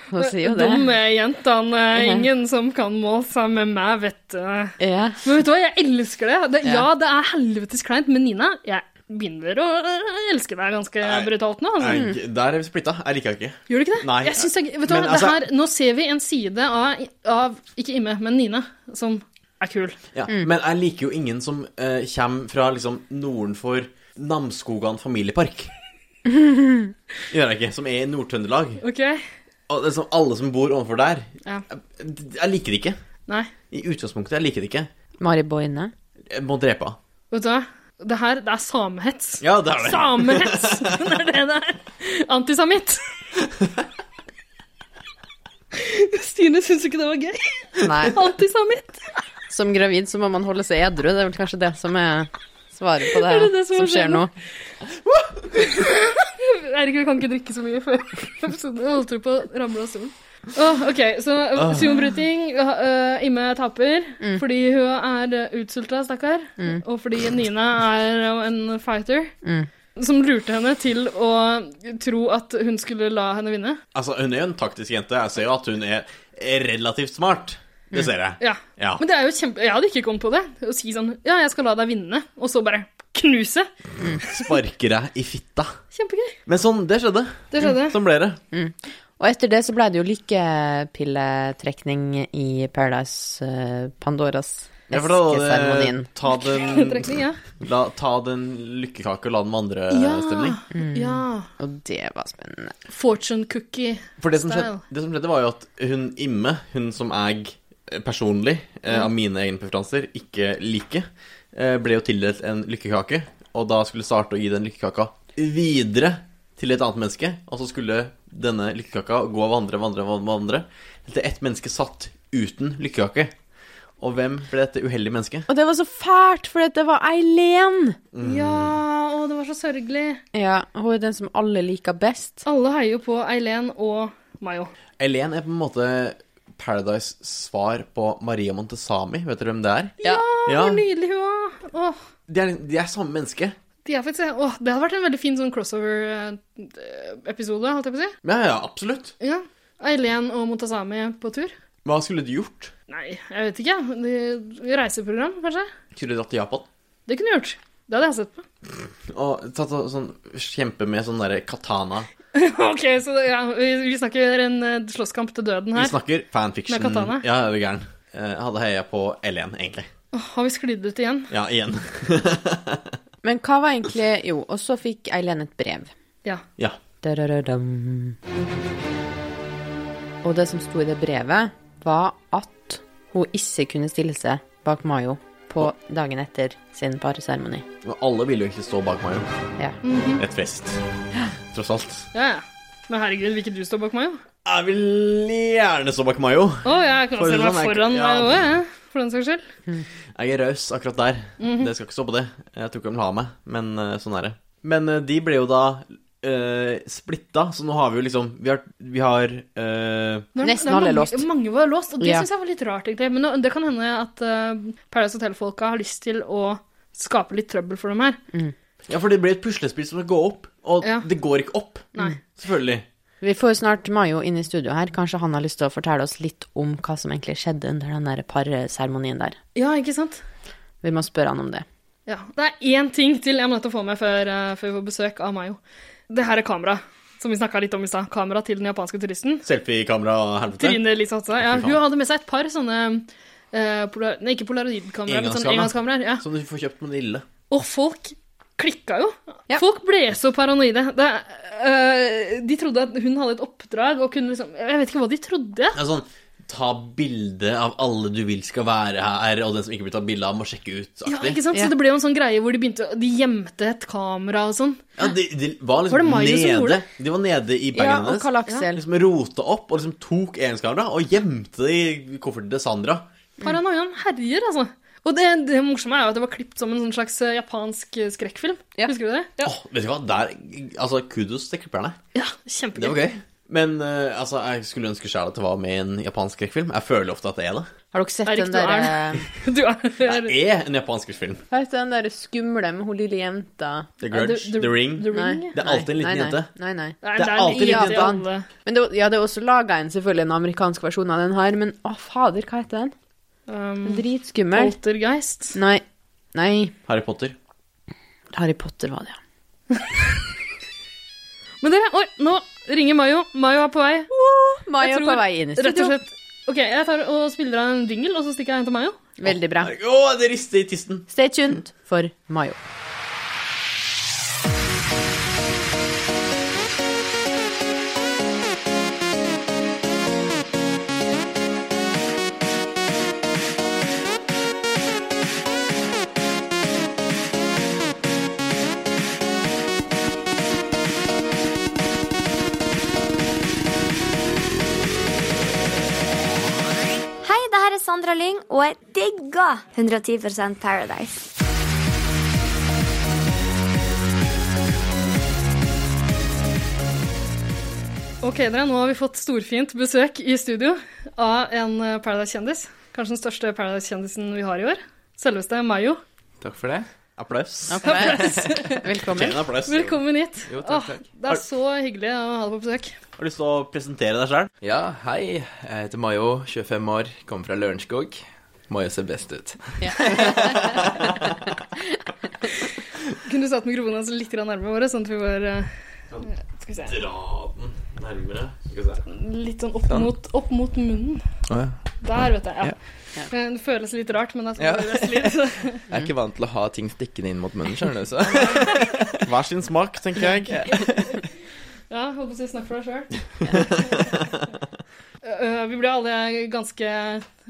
Speaker 2: Hun sier jo det.
Speaker 1: Dumme jentene. eh, Ingen som kan måle seg med meg, vet du.
Speaker 2: Ja.
Speaker 1: Men vet du hva, jeg elsker det. det
Speaker 2: Ja.
Speaker 1: ja, det er helvetes kleint, men Nina, jeg begynner å øh, elske deg ganske
Speaker 4: Nei.
Speaker 1: brutalt nå. Altså.
Speaker 4: Jeg, der er vi splitta. Jeg liker det ikke.
Speaker 1: Gjør du ikke det?
Speaker 4: Nei.
Speaker 1: jeg synes det, er- vet du hva,
Speaker 4: Men
Speaker 1: det
Speaker 4: altså-
Speaker 1: her, Nå ser vi en side av, av ikke Imme, men Nina, som er kul.
Speaker 4: Ja. Men jeg liker jo ingen som eh, kommer fra liksom nordenfor Namsskogan familiepark. Gjør jeg ikke. Som er i Nord-Trøndelag.
Speaker 1: Ok?
Speaker 4: Og det er som alle som bor ovenfor der.
Speaker 1: Ja.
Speaker 4: Jeg, jeg liker det ikke.
Speaker 1: Nei.
Speaker 4: I utgangspunktet, jeg liker det ikke.
Speaker 2: Mari Boine.
Speaker 4: Jeg må drepe henne.
Speaker 1: Vet du hva? Det her, det er samehets.
Speaker 4: Ja, det er det.
Speaker 1: Samehets! Det er det det er. Antisamitt. Stine syns ikke det var gøy.
Speaker 2: Nei.
Speaker 1: Antisamitt.
Speaker 2: Som gravid så må man holde seg edru. Det er vel kanskje det som er svaret på det,
Speaker 1: Er det det som
Speaker 2: som,
Speaker 1: skjer
Speaker 2: skjer nå.
Speaker 1: nå? Eirik, vi kan ikke drikke så mye før episoden. Jeg holdt på å ramle av stolen. Åh, ok, så uh, sumobryting. øh, Imme taper fordi hun er øh, utsulta, stakkar. Og fordi Nina er jo en fighter.
Speaker 2: Mm.
Speaker 1: Som lurte henne til å tro at hun skulle la henne vinne.
Speaker 4: Altså, hun er jo en taktisk jente. Jeg ser jo at hun er er relativt smart. Det ser jeg.
Speaker 1: Ja.
Speaker 4: Ja.
Speaker 1: Mm. Men det er jo kjempe... jeg hadde ikke kommet på det. Å si sånn Ja, jeg skal la deg vinne, og så bare knuse.
Speaker 4: Sparker deg i fitta.
Speaker 1: Kjempegøy.
Speaker 4: Men sånn, det skjedde.
Speaker 1: Det skjedde.
Speaker 4: Sånn ble det.
Speaker 2: Og etter det så ble det jo lykkepilletrekning i Paradise eh, Pandoras
Speaker 4: Ja, for da var det
Speaker 2: eskeseremonien.
Speaker 4: ta den,
Speaker 1: Trekning, ja.
Speaker 4: la, ta den lykkekake og la den vandre
Speaker 1: Ja.
Speaker 4: Eh, stemning.
Speaker 1: ja.
Speaker 2: Og det var spennende.
Speaker 1: Fortune cookie.
Speaker 4: For det som,
Speaker 1: Style.
Speaker 4: skjedde, det som skjedde, var jo at hun Imme, hun som jeg eh, personlig, eh,
Speaker 1: Mm.
Speaker 4: av mine egne preferanser, ikke liker, eh, ble jo tildelt en lykkekake. Og da skulle starte å gi den lykkekaka videre til et annet menneske. Og så skulle denne lykkekaka gå og vandre, vandre, vandre, vandre helt til ett menneske satt uten lykkekake. Og hvem ble dette uheldige mennesket?
Speaker 2: Og det var så fælt, for det var Eileen.
Speaker 1: Ja, å, det var så sørgelig.
Speaker 2: Ja, hun er den som alle liker best.
Speaker 1: Alle heier jo på Eileen og Mayo.
Speaker 4: Elen er på en måte Paradise svar på Maria Montesami. Vet dere hvem det er?
Speaker 2: Ja.
Speaker 4: Ja,
Speaker 1: Hvor nydelig hun var. Åh,
Speaker 4: de er, de er samme menneske.
Speaker 1: de er faktisk, åh, det hadde vært en veldig fin sånn crossover-episode, holdt jeg på å si.
Speaker 4: Ja, ja, absolutt.
Speaker 1: Ja. Eileen og Montazami på tur.
Speaker 4: Hva skulle du gjort?
Speaker 1: Nei, jeg vet ikke. De- Reiseprogram, kanskje?
Speaker 4: Skulle du dratt til Japan?
Speaker 1: Det kunne jeg gjort. Det hadde jeg sett på.
Speaker 4: Og tatt og sånn, kjempe med sånn derre katana.
Speaker 1: Ok, så det- ja, vi, vi snakker en eh, slåsskamp til døden
Speaker 4: Vi
Speaker 1: her.
Speaker 4: snakker fanfiction.
Speaker 1: Med katana?
Speaker 4: Ja, er du gæren. Eh, Jeg hadde heia på L1, egentlig.
Speaker 1: Åh, har vi sklidd ut igjen?
Speaker 4: Ja, igjen.
Speaker 2: Men hva var egentlig Jo, og så fikk Eileen et brev.
Speaker 1: Ja.
Speaker 4: Ja.
Speaker 2: Da-da-da-dam. Og det som sto i det brevet, var at hun ikke kunne stille seg bak Mayo på dagen etter sin parseremoni.
Speaker 4: Men alle ville jo egentlig stå bak meg, jo.
Speaker 2: Ja.
Speaker 4: Et fest. Tross alt.
Speaker 1: ja, ja. Men herregud, vil ikke du stå bak meg, jo?
Speaker 4: Jeg vil gjerne stå bak Mayo.
Speaker 1: Å, jeg kan
Speaker 4: For
Speaker 1: også
Speaker 4: det
Speaker 1: stille
Speaker 4: sånn
Speaker 1: meg
Speaker 4: er-
Speaker 1: foran
Speaker 4: ja.
Speaker 1: deg òg, jeg. For den saks skyld.
Speaker 4: Jeg er raus akkurat der.
Speaker 1: Mhm.
Speaker 4: Det skal ikke stå på det. Jeg tror ikke de vil ha meg, men eh, sånn er det. Men eh, de ble jo da eh, splitta, så nå har vi jo liksom Vi har, vi har eh,
Speaker 1: Det er-
Speaker 2: Nesten
Speaker 1: det er
Speaker 2: alle er
Speaker 1: mange-
Speaker 2: låst.
Speaker 1: Mange var låst, og det
Speaker 2: Ja.
Speaker 1: synes syns jeg var litt rart, egentlig. Men nå- det kan hende at eh, Paradise Hotel-folka har lyst til å skape litt trøbbel for dem her.
Speaker 2: Mm.
Speaker 4: Ja, for det blir et puslespill som skal gå opp, og
Speaker 1: Ja.
Speaker 4: det går ikke opp.
Speaker 1: Nei.
Speaker 4: Selvfølgelig.
Speaker 2: Vi får snart Mayo inn i studio her. Kanskje han har lyst til å fortelle oss litt om hva som egentlig skjedde under den der parseremonien der.
Speaker 1: Ja, ikke sant?
Speaker 2: Vi må spørre han om det.
Speaker 1: Ja. Det er én ting til jeg må nødt til å få med før, eh, før vi får besøk av Mayo. Det her er kamera, som vi snakka litt om i stad. Kamera til den japanske turisten.
Speaker 4: Selfie-kamera-helvete.
Speaker 1: Trine Lise Hatsa. Ja,
Speaker 4: fy faen.
Speaker 1: hun hadde med seg et par sånne eh, polar, Nei, ikke polaroidkameraer, men sånne
Speaker 4: Engangskamera.
Speaker 1: engangskameraer. Ja.
Speaker 4: Som du får kjøpt på Nille.
Speaker 1: Og folk klikka jo.
Speaker 2: Ja.
Speaker 1: Folk ble så paranoide. Det, øh, de trodde at hun hadde et oppdrag og kunne liksom Jeg vet ikke hva de trodde.
Speaker 4: Det er sånn Ta bilde av alle du vil skal være her, og den som ikke blir tatt bilde av, må sjekke ut.
Speaker 1: Ja,
Speaker 4: aktig.
Speaker 1: ikke sant?
Speaker 2: Ja.
Speaker 1: Så det ble jo en sånn greie hvor de begynte å- De gjemte et kamera og sånn.
Speaker 4: Ja, de, de var
Speaker 1: Var det
Speaker 4: liksom
Speaker 1: Mayo som gjorde
Speaker 4: nede.
Speaker 1: det?
Speaker 4: De var nede i bagen
Speaker 2: Ja, og
Speaker 4: hennes.
Speaker 2: Karl Aksel.
Speaker 4: Liksom rota opp og liksom tok engangskamera og gjemte det i kofferten til Sandra.
Speaker 2: Mm.
Speaker 1: Paranoiaen herjer, altså. Og det, det morsomme er jo at det var klippet som en sånn slags øh, japansk øh, skrekkfilm.
Speaker 2: Ja.
Speaker 1: Husker du det?
Speaker 4: Åh, vet du hva, der Altså, kudos til klipperne.
Speaker 1: Ja,
Speaker 4: Det
Speaker 1: Kjempegøy.
Speaker 4: var gøy. Men eh, altså, jeg skulle ønske sjæl at det var med i en japansk skrekkfilm. Jeg føler ofte at det er det.
Speaker 2: Har dere sett
Speaker 1: Erik,
Speaker 2: den
Speaker 1: du er
Speaker 2: der, eh,
Speaker 1: Du er,
Speaker 4: Det er en japansk skrekkfilm.
Speaker 2: Hva heter den der skumle med hun lille jenta?
Speaker 4: The Grudge,
Speaker 1: Ja,
Speaker 4: The, Ring.
Speaker 1: The Ring. ja.
Speaker 4: Det er alltid en liten
Speaker 2: nei, nei,
Speaker 4: jente.
Speaker 2: Nei, nei.
Speaker 1: Nei,
Speaker 4: det er alltid
Speaker 1: litt
Speaker 2: litt
Speaker 1: i
Speaker 2: Japan.
Speaker 1: alle-
Speaker 2: Men det, ja, det er også laga en selvfølgelig en amerikansk versjon av den her, men å fader, hva heter den?
Speaker 1: Um,
Speaker 2: Dritskummel.
Speaker 1: Poltergeist.
Speaker 2: Nei. Nei.
Speaker 4: Harry Potter.
Speaker 2: Harry Potter var det, ja.
Speaker 1: Men dere, oi, nå ringer Mayo. Mayo er på vei.
Speaker 2: Mayo
Speaker 1: Jeg tror
Speaker 2: på vei inn i
Speaker 1: Rett og
Speaker 2: studio.
Speaker 1: slett. Ok, jeg tar og spiller av en jingle, og så stikker jeg hen til Mayo.
Speaker 2: Veldig bra.
Speaker 4: Å, det rister i tissen.
Speaker 2: Stay tuned for Mayo.
Speaker 6: Hei, det her er Sandra Lyng, og jeg digger 110 Paradise.
Speaker 1: Ok, dere, nå har vi fått storfint besøk i studio av en eh, Paradise-kjendis. Kanskje den største Paradise-kjendisen vi har i år. Selveste Mayo.
Speaker 7: Takk for det.
Speaker 4: Applaus.
Speaker 2: Velkommen.
Speaker 4: En applaus.
Speaker 1: Velkommen hit.
Speaker 7: Jo, takk, takk.
Speaker 1: Åh, det er så hyggelig å ha deg på besøk.
Speaker 4: Har du lyst til å presentere deg sjøl?
Speaker 7: Ja, hei. Jeg heter Mayo, 25 år, kommer fra Lørenskog. Mayo ser best ut.
Speaker 1: Kunne du satt mikrofonen hans litt grann nærmere våre, sånn at vi var eh, skal vi se,
Speaker 4: Dra den nærmere. Skal vi se.
Speaker 1: litt sånn opp mot, opp mot munnen?
Speaker 7: Å, ja.
Speaker 1: Der, vet jeg. Ja. Eh, Det føles litt rart, men det er sånn
Speaker 7: Ja.
Speaker 1: det føles litt. så-
Speaker 7: Jeg er ikke vant til å ha ting stikkende inn mot munnen, skjønner du. Så.
Speaker 4: Hver sin smak, tenker jeg.
Speaker 1: Ja, holdt på å si snakk for deg sjøl. vi ble alle ganske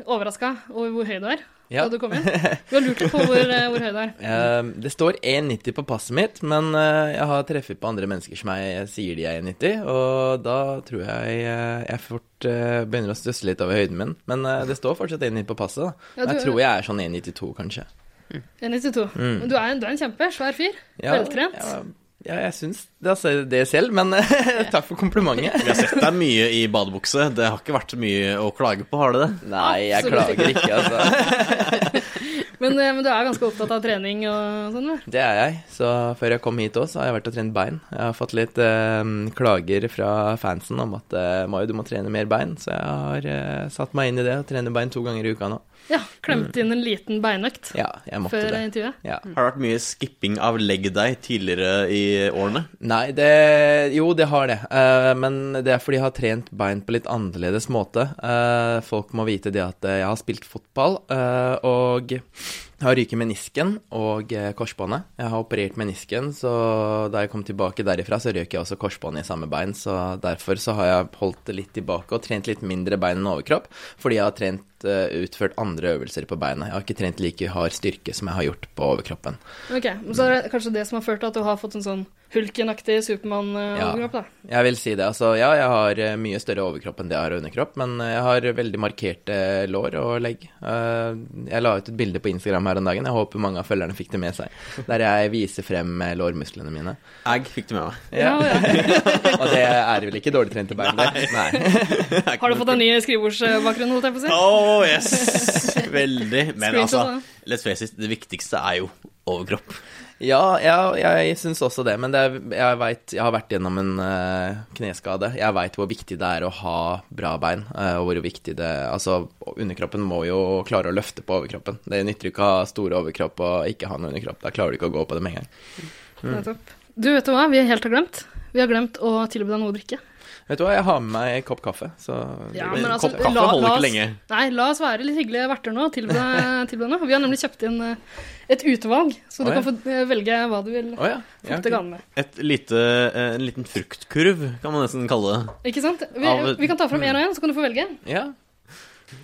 Speaker 1: overraska over hvor høy du er
Speaker 7: Ja.
Speaker 1: da du kom inn. Vi har lurt litt på hvor, eh, hvor høy du er.
Speaker 7: Eh, det står 1,90 på passet mitt, men eh, jeg har treffet på andre mennesker som jeg sier de er 1,90, og da tror jeg eh, jeg fort eh, begynner å stusse litt over høyden min. Men eh, det står fortsatt 1,90 på passet, da.
Speaker 1: Ja,
Speaker 7: Jeg
Speaker 1: du-
Speaker 7: tror jeg er sånn 1,92, kanskje.
Speaker 1: 1,92. Men Du, er en- du er en kjempe, svær fyr. Veltrent.
Speaker 7: Ja, ja, jeg syns det, altså, det selv, men takk for komplimentet.
Speaker 4: Vi har sett deg mye i badebukse. Det har ikke vært mye å klage på, har det det?
Speaker 7: Nei, jeg
Speaker 1: Absolutt
Speaker 7: klager ikke, altså.
Speaker 1: Men, eh, men du er ganske opptatt av trening og sånn? eller?
Speaker 7: Det er jeg. Så før jeg kom hit òg, så har jeg vært og trent bein. Jeg har fått litt eh, klager fra fansen om at eh, Mayo, du må trene mer bein. Så jeg har eh, satt meg inn i det og trener bein to ganger i uka nå.
Speaker 1: Ja. Klemte inn en liten beinøkt
Speaker 7: Mm. Ja, jeg måtte
Speaker 1: før
Speaker 7: det.
Speaker 1: eh, intervjuet.
Speaker 7: Ja.
Speaker 4: Har det vært mye skipping av leg day tidligere i årene?
Speaker 7: Nei, det Jo, det har det. Eh, men det er fordi jeg har trent bein på litt annerledes måte. Eh, folk må vite det at eh, jeg har spilt fotball, eh, og har ryket menisken og eh, korsbåndet. Jeg har operert menisken, så da jeg kom tilbake derifra, så røk jeg også korsbåndet i samme bein. Så derfor så har jeg holdt det litt tilbake og trent litt mindre bein enn overkropp, fordi jeg har trent, eh, utført andre øvelser på beina. Jeg har ikke trent like hard styrke som jeg har gjort på overkroppen.
Speaker 1: Ok, men Så er det kanskje det som har ført til at du har fått en sånn Hulken-aktig Supermann-overkropp, da.
Speaker 7: Jeg vil si det. Altså, ja, jeg har eh, mye større overkropp enn det jeg har underkropp, men eh, jeg har veldig markerte lår og legg. Eh, Jeg la ut et bilde på Instagram her om dagen, jeg håper mange av følgerne fikk det med seg, der jeg viser frem eh, lårmusklene mine.
Speaker 4: Jeg fikk det med meg.
Speaker 1: Ja, ja.
Speaker 7: Og det er vel ikke dårlig trente bein, det. Nei.
Speaker 1: Har du fått en ny skrivebordsbakgrunn, holdt jeg på å si?
Speaker 4: Oh, yes! Veldig. Men
Speaker 1: Screenshot,
Speaker 4: altså,
Speaker 1: da.
Speaker 4: let's face it, det viktigste er jo overkropp.
Speaker 7: Ja, ja jeg syns også det, men det er, jeg, vet, jeg har vært gjennom en eh, kneskade. Jeg veit hvor viktig det er å ha bra bein, eh, og hvor viktig det Altså, underkroppen må jo klare å løfte på overkroppen. Det nytter ikke å ha stor overkropp og ikke ha noe underkropp. Da klarer du ikke å gå på det med en gang.
Speaker 1: Nettopp. Du, vet du hva vi helt har glemt? Vi har glemt å tilby deg noe å drikke.
Speaker 7: Vet du hva, jeg har med meg en kopp kaffe, så
Speaker 1: Ja,
Speaker 4: Men
Speaker 1: men
Speaker 4: kopp
Speaker 1: altså,
Speaker 4: kaffe
Speaker 1: la-
Speaker 4: holder
Speaker 1: la
Speaker 4: ikke
Speaker 1: oss-
Speaker 4: lenge.
Speaker 1: Nei, la oss være litt hyggelige verter nå. og Tilby deg tilby deg noe. Vi har nemlig kjøpt inn eh, et utvalg, så du
Speaker 7: Å, ja.
Speaker 1: kan få eh, velge hva du vil
Speaker 7: Å ja. ja
Speaker 1: fukte
Speaker 7: ok.
Speaker 1: ganen med.
Speaker 4: Et lite, eh, en liten fruktkurv, kan man nesten kalle det.
Speaker 1: Ikke sant? Vi,
Speaker 4: Av-
Speaker 1: vi kan ta fram én og én, så kan du få velge.
Speaker 7: ja.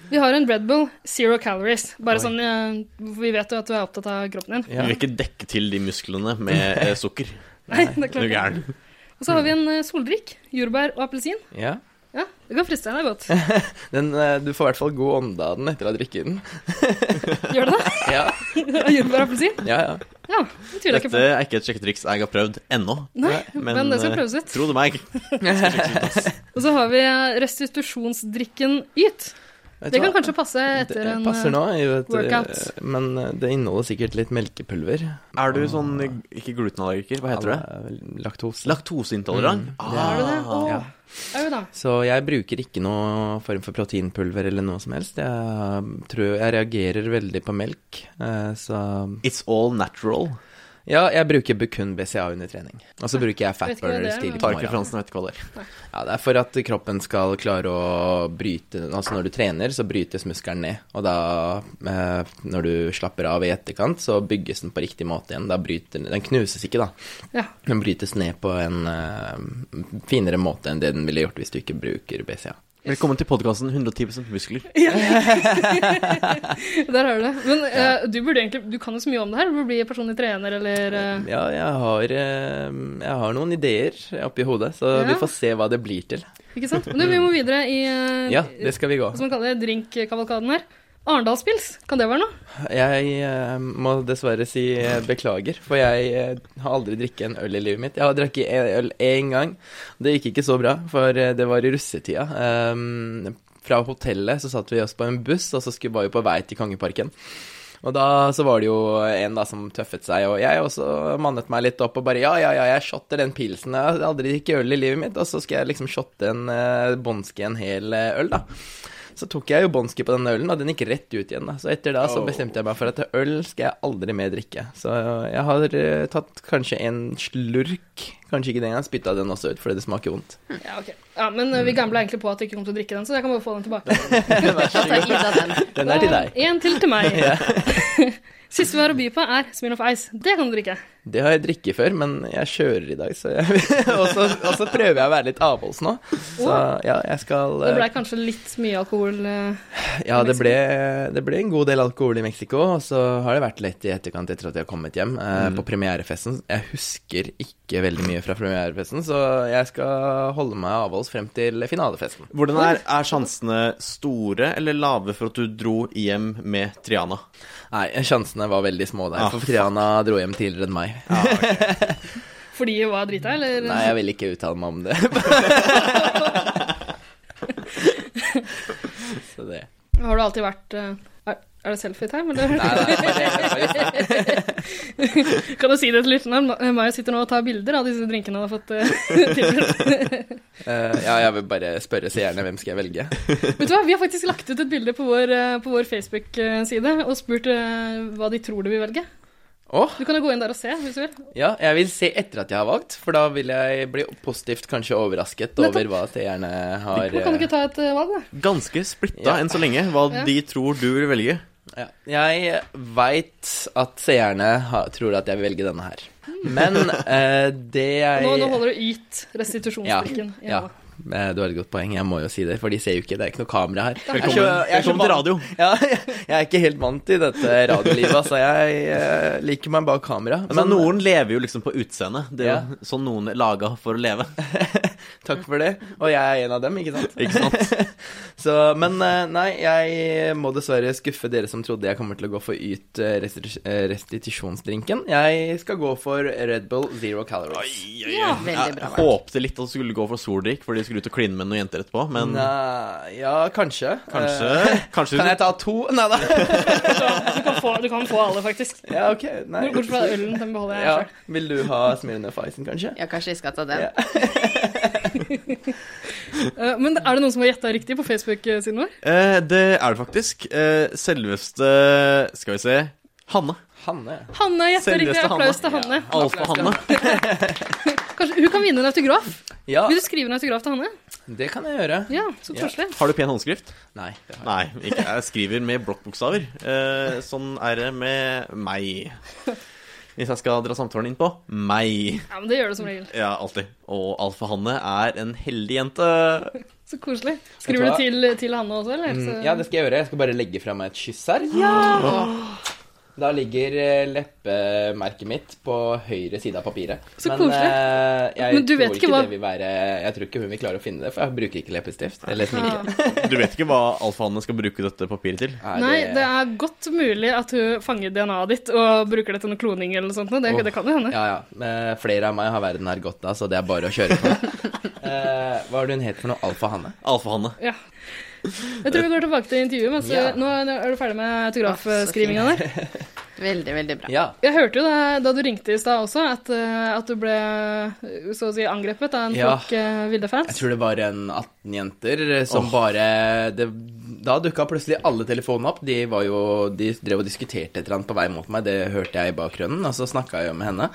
Speaker 1: Vi har en Red Bull Zero Calories. Bare
Speaker 7: Oi.
Speaker 1: sånn eh, Vi vet jo at du er opptatt av kroppen din.
Speaker 4: Vi
Speaker 7: ja.
Speaker 4: vil ikke dekke til de musklene med eh, sukker.
Speaker 1: Nei, det er
Speaker 4: Er du
Speaker 1: klart.
Speaker 4: gæren?
Speaker 1: Og så har vi en eh, soldrikk. Jordbær og appelsin.
Speaker 7: ja.
Speaker 1: Ja, det kan friste deg godt.
Speaker 7: Den, eh, du får i hvert fall god ånde av den etter å ha drukket den.
Speaker 1: Gjør det det?
Speaker 7: Ja,
Speaker 1: Jordbær og appelsin?
Speaker 7: ja. ja.
Speaker 1: Ja, det tviler jeg ikke
Speaker 4: Dette
Speaker 1: på.
Speaker 4: er ikke et sjekketriks jeg har prøvd ennå.
Speaker 1: Nei, men, det skal
Speaker 4: eh,
Speaker 1: prøves ut.
Speaker 4: Tro det meg.
Speaker 1: Og så har vi eh, restitusjonsdrikken Yt.
Speaker 7: Vet du
Speaker 1: Det kan
Speaker 7: hva?
Speaker 1: kanskje passe
Speaker 7: Det eh,
Speaker 1: etter en eh,
Speaker 7: passer nå, i et,
Speaker 1: workout.
Speaker 7: men eh, det inneholder sikkert litt melkepulver.
Speaker 4: Er du sånn ikke glutenallergiker? Hva heter det?
Speaker 7: Laktose.
Speaker 4: Laktoseintolerant?
Speaker 1: Er eh, det det?
Speaker 4: Ah.
Speaker 1: Åh,
Speaker 7: ja.
Speaker 1: er jo da.
Speaker 7: Så jeg bruker ikke noe form for proteinpulver eller noe som helst. Jeg, tror, jeg reagerer veldig på melk, eh, så
Speaker 4: It's all natural.
Speaker 7: Ja, jeg bruker bu- kun BCA under trening. Og så bruker jeg
Speaker 1: vet
Speaker 7: fat
Speaker 1: ikke hva det
Speaker 7: burners
Speaker 1: er,
Speaker 7: tidlig
Speaker 1: men-
Speaker 7: på
Speaker 4: Tar ikke
Speaker 7: morgenen.
Speaker 4: referansen, vet ikke hva det er.
Speaker 7: Ja, det er for at kroppen skal klare å bryte Altså når du trener, så brytes muskelen ned. Og da, eh, når du slapper av i etterkant, så bygges den på riktig måte igjen. Da bryter den Den knuses ikke, da.
Speaker 1: Ja.
Speaker 7: Den brytes ned på en eh, finere måte enn det den ville gjort hvis du ikke bruker BCA.
Speaker 4: Velkommen til podkasten 110 muskler.
Speaker 1: Der har du det. Men eh, du burde egentlig, du kan jo så mye om det her. Du burde bli personlig trener eller eh,
Speaker 7: Ja, jeg har, eh, jeg har noen ideer oppi hodet, så
Speaker 1: Ja.
Speaker 7: vi får se hva det blir til.
Speaker 1: Ikke sant? Men du, vi må videre i eh,
Speaker 7: Ja, det skal vi gå.
Speaker 1: hva skal man kalle det, drinkkavalkaden her. Arendalspils, kan det være noe?
Speaker 7: Jeg eh, må dessverre si eh, beklager, for jeg eh, har aldri drikket en øl i livet mitt. Jeg har drukket en øl én gang. Det gikk ikke så bra, for eh, det var i russetida. Eh, fra hotellet så satt vi oss på en buss, og så skulle, var vi på vei til Kongeparken. Og da så var det jo en da som tøffet seg, og jeg også mannet meg litt opp og bare ja, ja, ja, jeg shotter den pilsen. Jeg har aldri drukket øl i livet mitt, og så skal jeg liksom shotte en eh, Bonske en hel eh, øl, da. Så tok jeg jo Bonski på den ølen, og den gikk rett ut igjen. da. Så etter da så bestemte jeg meg for at øl skal jeg aldri mer drikke. Så jeg har eh, tatt kanskje en slurk, kanskje ikke den engang, spytta den også ut fordi det smaker vondt.
Speaker 1: Ja, ok. Ja, men eh,
Speaker 7: Mm.
Speaker 1: vi gambla egentlig på at du ikke kom til å drikke den, så jeg kan bare få den tilbake.
Speaker 2: Altså, Ida, den.
Speaker 7: Den er til deg.
Speaker 1: En til til meg. Siste vi har å by på, er Smirnoff Ice. Det kan du drikke.
Speaker 7: Det har jeg drikket før, men jeg kjører i dag, så jeg og, så, og så prøver jeg å være litt avholds nå. Så ja, jeg skal
Speaker 1: Det
Speaker 7: eh,
Speaker 1: blei kanskje litt mye alkohol. eh,
Speaker 7: Ja, det ble, det ble en god del alkohol i Mexico, og så har det vært lett i etterkant etter at jeg har kommet hjem. Eh,
Speaker 1: Mm.
Speaker 7: På premierefesten Jeg husker ikke veldig mye fra premierefesten, så jeg skal holde meg avholds frem til finalefesten.
Speaker 4: Hvordan er, er sjansene store eller lave for at du dro hjem med Triana?
Speaker 7: Nei, sjansene var veldig små der,
Speaker 4: Ah,
Speaker 7: for Triana dro hjem tidligere enn meg.
Speaker 1: Ah, Fordi hun var drita, eller?
Speaker 7: Nei, jeg vil ikke uttale meg om det. så det
Speaker 1: Har du alltid vært eh, Er, er det selfie-time, eller? kan du si det til lytterne? Ma- eh, Maja sitter nå og tar bilder av disse drinkene han har fått eh, tilbudt.
Speaker 7: Eh, Ja, jeg vil bare spørre seerne hvem skal jeg velge.
Speaker 1: Vet du hva, vi har faktisk lagt ut et bilde på vår, eh, på vår Facebook-side og spurt eh, hva de tror du vil velge.
Speaker 7: Åh,
Speaker 1: Du kan jo gå inn der og se, hvis du vil.
Speaker 7: Ja, jeg vil se etter at jeg har valgt, for da vil jeg bli positivt kanskje overrasket over hva seerne har
Speaker 1: Nå kan du ikke ta et eh, valg, da.
Speaker 4: Ganske splitta
Speaker 7: Ja.
Speaker 4: enn så lenge hva
Speaker 1: Ja.
Speaker 4: de tror du vil velge.
Speaker 7: ja. Jeg veit at seerne ha- tror at jeg vil velge denne her. Men eh, det jeg
Speaker 1: Nå, nå holder du yt restitusjonsdrikken.
Speaker 7: ja, ja. eh, du har et godt poeng. Jeg må jo si det, for de ser jo ikke. Det er ikke noe kamera her. Jeg er
Speaker 4: Velkommen,
Speaker 7: ikke- jeg er ikke
Speaker 4: velkommen til
Speaker 7: vant-
Speaker 4: radio.
Speaker 7: Ja, jeg, jeg er ikke helt vant til dette radiolivet, altså. Jeg eh, liker meg bak kamera. eh,
Speaker 4: Altså, noen lever jo liksom på utseendet. Det er jo
Speaker 7: Ja.
Speaker 4: sånn noen er laga for å leve.
Speaker 7: Takk for det. Og jeg er en av dem, ikke sant?
Speaker 4: Ikke sant?
Speaker 7: Så, men eh, nei, jeg må dessverre skuffe dere som trodde jeg kommer til å gå for Yt eh, restitus- eh, restitusjonsdrinken. Jeg skal gå for Red Bull Zero Calories.
Speaker 1: Ja,
Speaker 4: Jeg
Speaker 2: Veldig bra. valgt.
Speaker 4: håpte litt at du skulle gå for soldrikk, for de skulle ut og kline med noen jenter etterpå, men
Speaker 7: Nei, ja, kanskje.
Speaker 4: kanskje,
Speaker 7: Eh,
Speaker 4: kanskje
Speaker 7: kan jeg ta to? Nei da.
Speaker 1: Du kan få, du kan få alle, faktisk.
Speaker 7: Ja, ok. Nei.
Speaker 1: Bortsett fra ølen, den beholder jeg
Speaker 7: Ja.
Speaker 1: selv.
Speaker 7: Vil du ha Smirnoff Icen, kanskje?
Speaker 2: Ja, kanskje jeg skal ta den.
Speaker 7: Ja.
Speaker 1: Eh, Men er det noen som har gjetta riktig på Facebook-siden vår?
Speaker 4: Eh, Det er det faktisk. Eh, Selveste Skal vi se Hanne.
Speaker 7: Hanne.
Speaker 1: Hanne gjetta riktig.
Speaker 4: Selveste
Speaker 1: Applaus til
Speaker 4: Hanne.
Speaker 1: Hanne.
Speaker 4: Alfa-Hanne.
Speaker 1: Kanskje hun kan vinne en autograf?
Speaker 7: Ja,
Speaker 1: Vil du skrive en autograf til Hanne?
Speaker 7: det kan jeg gjøre.
Speaker 1: Ja, så koselig.
Speaker 4: Har du pen håndskrift?
Speaker 7: Nei. det har jeg.
Speaker 4: Nei, ikke. jeg skriver med blokkbokstaver. Eh, sånn er det med meg. Hvis jeg skal dra samtalen inn på meg.
Speaker 1: Ja, men Det gjør du som regel.
Speaker 4: Ja, alltid. Og Alfa-Hanne er en heldig jente.
Speaker 1: Så koselig.
Speaker 7: Vet
Speaker 1: Skriver
Speaker 7: du
Speaker 1: du
Speaker 7: Mm,
Speaker 1: til, til Hanne også, eller? Så...
Speaker 7: Ja, det skal jeg gjøre. Jeg skal bare legge fra meg et kyss her. Da ligger eh, leppemerket mitt på høyre side av papiret.
Speaker 1: Så
Speaker 7: Men,
Speaker 1: koselig.
Speaker 7: eh, jeg
Speaker 1: Men du vet
Speaker 7: tror
Speaker 1: ikke
Speaker 7: ikke
Speaker 1: hva-
Speaker 7: det vil være Jeg tror ikke hun vil klare å finne det, for jeg bruker ikke leppestift. Eller sminke.
Speaker 1: Ja.
Speaker 4: Du vet ikke hva Alfa-Hanne skal bruke dette papiret til?
Speaker 1: Nei, det er godt mulig at hun fanger DNA-et ditt og bruker det til noe kloning eller noe sånt. Det, det kan jo hende.
Speaker 7: Ja, ja. Eh, flere av meg har verden her godt av, så det er bare å kjøre på. Eh, hva var det hun het for noe? Alfa-Hanne?
Speaker 4: Alfa-Hanne.
Speaker 1: Ja. Jeg tror vi går tilbake til intervjuet. Men så,
Speaker 7: Ja.
Speaker 1: nå, nå er du ferdig med
Speaker 2: Ah, så
Speaker 1: autografskrivinga der.
Speaker 2: Veldig, veldig bra.
Speaker 7: Ja.
Speaker 1: Jeg hørte jo da, da du ringte i stad også, at, eh, at du ble eh, så å si angrepet av en
Speaker 7: Ja.
Speaker 1: flokk eh, ville
Speaker 7: Jeg
Speaker 1: fans.
Speaker 7: tror det var en 18 jenter som bare det, Da dukka plutselig alle telefonene opp. De, var jo, de drev og diskuterte et eller annet på vei mot meg, det hørte jeg i bakgrunnen. Og så snakka jeg jo med henne.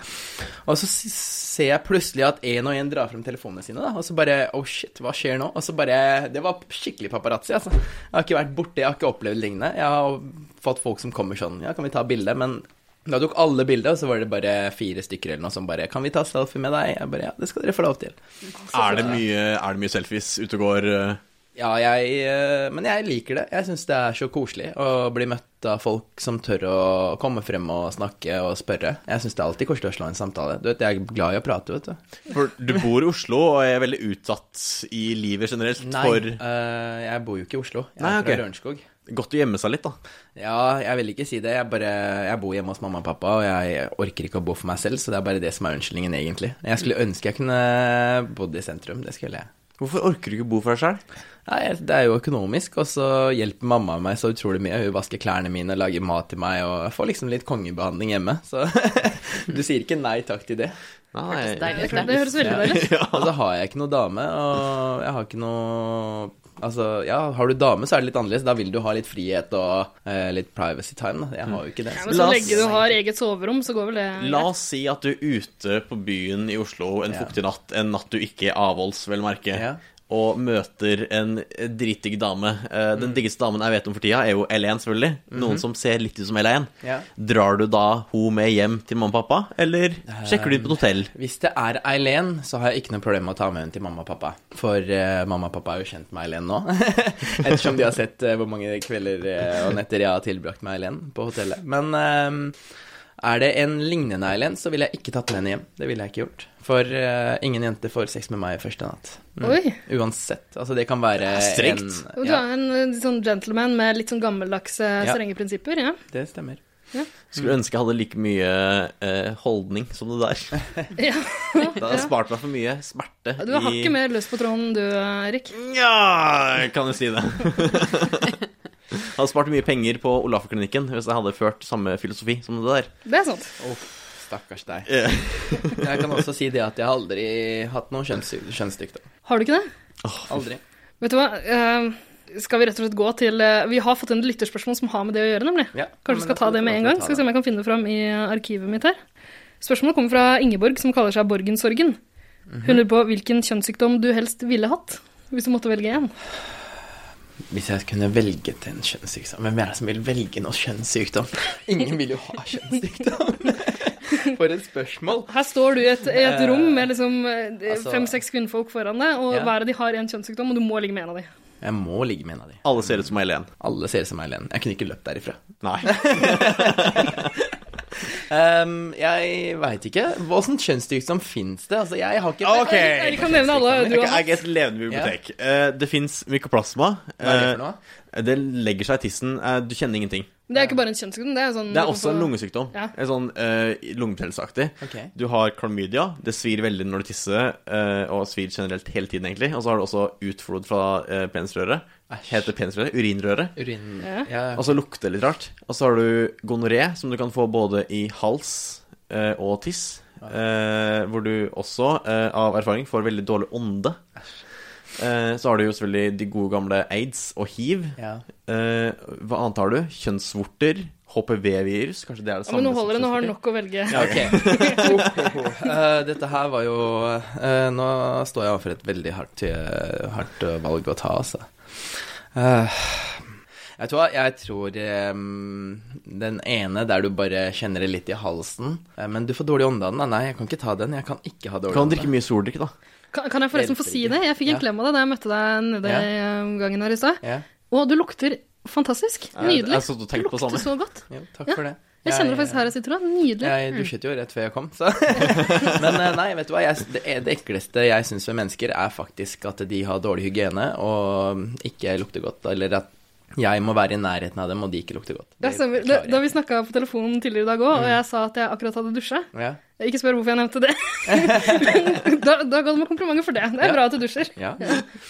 Speaker 7: Og så s- ser jeg plutselig at én og én drar frem telefonene sine, da. Og så bare Oh shit, hva skjer nå? Og så bare Det var skikkelig paparazzi, altså. Jeg har ikke vært borti, jeg har ikke opplevd lignende. Jeg har fått folk som kommer sånn Ja, kan vi ta bilde? Men da tok alle bildet, og så var det bare fire stykker eller noe som bare Kan vi ta selfie med deg? Jeg bare Ja, det skal dere få lov til.
Speaker 4: Er det mye, er det mye selfies ute og går? eh?
Speaker 7: Ja, jeg, eh, men jeg liker det. Jeg syns det er så koselig å bli møtt av folk som tør å komme frem og snakke og spørre. Jeg syns det er alltid koselig å slå en samtale. Du vet, Jeg er glad i å prate, vet du.
Speaker 4: For du bor i Oslo og er veldig utsatt i livet generelt for
Speaker 7: eh, jeg bor jo ikke i Oslo. Jeg er
Speaker 4: Nei, ok.
Speaker 7: fra Lørenskog.
Speaker 4: Godt å gjemme seg litt, da.
Speaker 7: Ja, jeg vil ikke si det. Jeg, bare, jeg bor hjemme hos mamma og pappa, og jeg orker ikke å bo for meg selv, så det er bare det som er unnskyldningen, egentlig. Jeg skulle ønske jeg kunne bodd i sentrum. Det skulle jeg.
Speaker 4: Hvorfor orker du ikke bo for deg sjøl?
Speaker 7: Nei, det er jo økonomisk, og så hjelper mamma meg så utrolig mye. Hun vasker klærne mine, lager mat til meg, og jeg får liksom litt kongebehandling hjemme. Så du sier ikke nei takk til det.
Speaker 4: Nei.
Speaker 2: Deilig.
Speaker 1: Det høres veldig deilig ut.
Speaker 7: Og så har jeg ikke noe dame, og jeg har ikke noe Altså, ja, har du dame, så er det litt annerledes. Da vil du ha litt frihet og eh, litt privacy time, da. Jeg har jo ikke det.
Speaker 1: Ja,
Speaker 7: Så.
Speaker 1: men
Speaker 4: La
Speaker 1: så
Speaker 4: oss-
Speaker 1: lenge du har eget soverom, så går vel det
Speaker 4: La oss si at du er ute på byen i Oslo en
Speaker 7: Ja.
Speaker 4: fuktig natt, en natt du ikke er avholds, vel merke,
Speaker 7: Ja.
Speaker 4: og møter en dritdigg dame. Eh, Den diggeste damen jeg vet om for tida, er jo L1, selvfølgelig. Noen som ser litt ut som L1.
Speaker 7: Ja.
Speaker 4: Drar du da hun med hjem til mamma og pappa, eller sjekker du ut på et hotell?
Speaker 7: Hvis det er Eileen, så har jeg ikke noe problem med å ta med henne til mamma og pappa. For eh, mamma og pappa er jo kjent med Eileen nå. Ettersom de har sett eh, hvor mange kvelder eh, og netter jeg har tilbrakt med Eileen på hotellet. Men eh, er det en lignende Eileen, så ville jeg ikke tatt med henne hjem. Det ville jeg ikke gjort. For eh, ingen jente får sex med meg første natt.
Speaker 1: Oi.
Speaker 7: Uansett. Altså, det kan være
Speaker 4: Det er strengt.
Speaker 1: Jo, Du
Speaker 7: en Mm. Ja,
Speaker 1: er en eh, sånn gentleman med litt sånn gammeldagse,
Speaker 7: Ja.
Speaker 1: strenge prinsipper. Ja.
Speaker 7: det stemmer.
Speaker 4: Skulle ønske jeg hadde like mye eh, holdning som det der.
Speaker 1: Ja.
Speaker 4: Det hadde spart meg for mye smerte.
Speaker 1: Du har hakket mer løs på tråden du, Erik.
Speaker 4: Nja, kan jo si det. Jeg hadde spart mye penger på Olafklinikken hvis jeg hadde ført samme filosofi som det der.
Speaker 1: Det er sant.
Speaker 7: Stakkars deg.
Speaker 4: Ja.
Speaker 7: Jeg kan også si det at jeg har aldri hatt noen kjønnssyk- kjønnssykdom.
Speaker 1: Har du ikke det?
Speaker 7: Aldri.
Speaker 1: Vet du hva? Eh, skal vi rett og slett gå til eh, Vi har fått en lytterspørsmål som har med det å gjøre, nemlig.
Speaker 7: Ja. Ja,
Speaker 1: Kanskje vi
Speaker 7: men da
Speaker 1: skal ta
Speaker 7: får
Speaker 1: det
Speaker 7: vi
Speaker 1: med en
Speaker 7: lov til å
Speaker 1: gang.
Speaker 7: ta
Speaker 1: Skal vi
Speaker 7: det.
Speaker 1: se om jeg kan finne det fram i arkivet mitt her. Spørsmålet kommer fra Ingeborg, som kaller seg Borgensorgen.
Speaker 7: Mhm.
Speaker 1: Hun lurer på hvilken kjønnssykdom du helst ville hatt, hvis du måtte velge én.
Speaker 7: Hvis jeg kunne velget en kjønnssykdom Hvem er det som vil velge noe kjønnssykdom? Ingen vil jo ha kjønnssykdom. For et spørsmål.
Speaker 1: Her står du i et, i et
Speaker 7: Eh,
Speaker 1: rom med liksom
Speaker 4: Eh,
Speaker 7: altså-
Speaker 1: fem-seks kvinnfolk foran deg, og
Speaker 7: Ja.
Speaker 1: hver av de har en kjønnssykdom, og du må ligge med en av de.
Speaker 7: Jeg må ligge med en av de.
Speaker 4: Alle ser ut som Eileen.
Speaker 7: Alle ser ut som Eileen. Jeg kunne ikke løpt derifra.
Speaker 4: Nei.
Speaker 7: Ehm, jeg veit ikke. Åssen kjønnssykdom fins det? Altså, jeg har ikke
Speaker 4: Ok.
Speaker 1: Jeg kan nevne alle du
Speaker 4: Jeg
Speaker 1: har
Speaker 4: er
Speaker 1: hatt.
Speaker 4: ikke et levende bibliotek. Eh, Det fins mykoplasma.
Speaker 7: Hva er det for noe?
Speaker 4: Eh, Det legger seg i tissen. Eh, Du kjenner ingenting.
Speaker 1: Men Det er ikke bare en kjønnssykdom, det er
Speaker 7: Mm,
Speaker 1: sånn
Speaker 4: Det er også en lungesykdom.
Speaker 1: Ja.
Speaker 4: En sånn uh, lungebetennelsesaktig.
Speaker 7: Ok.
Speaker 4: Du har klamydia. Det svir veldig når du tisser, eh, og svir generelt hele tiden, egentlig. Og så har du også utflod fra uh, penisrøret. Heter penisrøret urinrøret.
Speaker 7: Urin
Speaker 1: Ja.
Speaker 7: ja.
Speaker 4: Og så lukter det litt rart. Og så har du gonoré, som du kan få både i hals eh, og tiss. Eh, hvor du også, eh, av erfaring, får veldig dårlig ånde. Eh, så har du jo selvfølgelig de gode gamle aids og hiv.
Speaker 7: Ja.
Speaker 4: Eh, hva annet har du? Kjønnsvorter. HPV-virus. Kanskje det er det
Speaker 1: Ja,
Speaker 4: samme
Speaker 1: men nå
Speaker 4: som
Speaker 1: holder det, nå har
Speaker 4: kjønnsvorter?
Speaker 1: nok å velge.
Speaker 7: Ja, ok. Oh, Eh, dette her var jo eh, Nå står jeg overfor et veldig hardt, eh, hardt eh, valg å ta, altså. Eh, jeg tror, jeg tror eh, den ene der du bare kjenner det litt i halsen eh, Men du får dårlig ånde av den. da. Nei, jeg kan ikke ta den. Jeg kan ikke ha
Speaker 4: Du
Speaker 7: dårlig
Speaker 4: kan drikke mye soldrikk, da.
Speaker 1: Kan, kan jeg forresten få si det? Jeg fikk en
Speaker 7: Ja.
Speaker 1: klem av deg da jeg møtte deg nede
Speaker 7: Ja.
Speaker 1: i eh, gangen her i stad.
Speaker 7: Ja.
Speaker 1: Og du lukter fantastisk.
Speaker 4: jeg
Speaker 1: Nydelig.
Speaker 4: har stått og tenkt på
Speaker 1: Du lukter så
Speaker 4: samme.
Speaker 1: godt.
Speaker 7: Jo, takk
Speaker 1: Ja.
Speaker 7: for det.
Speaker 1: Jeg kjenner det faktisk her jeg sitter nå. Nydelig.
Speaker 7: Jeg dusjet jo rett før jeg kom, så Men eh, nei, vet du hva. Jeg, det, det ekleste jeg syns ved mennesker, er faktisk at de har dårlig hygiene og ikke lukter godt. Eller at jeg må være i nærheten av dem, og de ikke lukter godt.
Speaker 1: Det stemmer. Da, da vi snakka på telefonen tidligere i dag òg,
Speaker 4: Mm.
Speaker 1: og jeg sa at jeg akkurat hadde dusja
Speaker 7: Ja.
Speaker 1: Ikke spør hvorfor jeg nevnte det. Men da, da ga du meg komplimenter for det. Det er
Speaker 7: Ja.
Speaker 1: bra at du dusjer.
Speaker 7: Ja.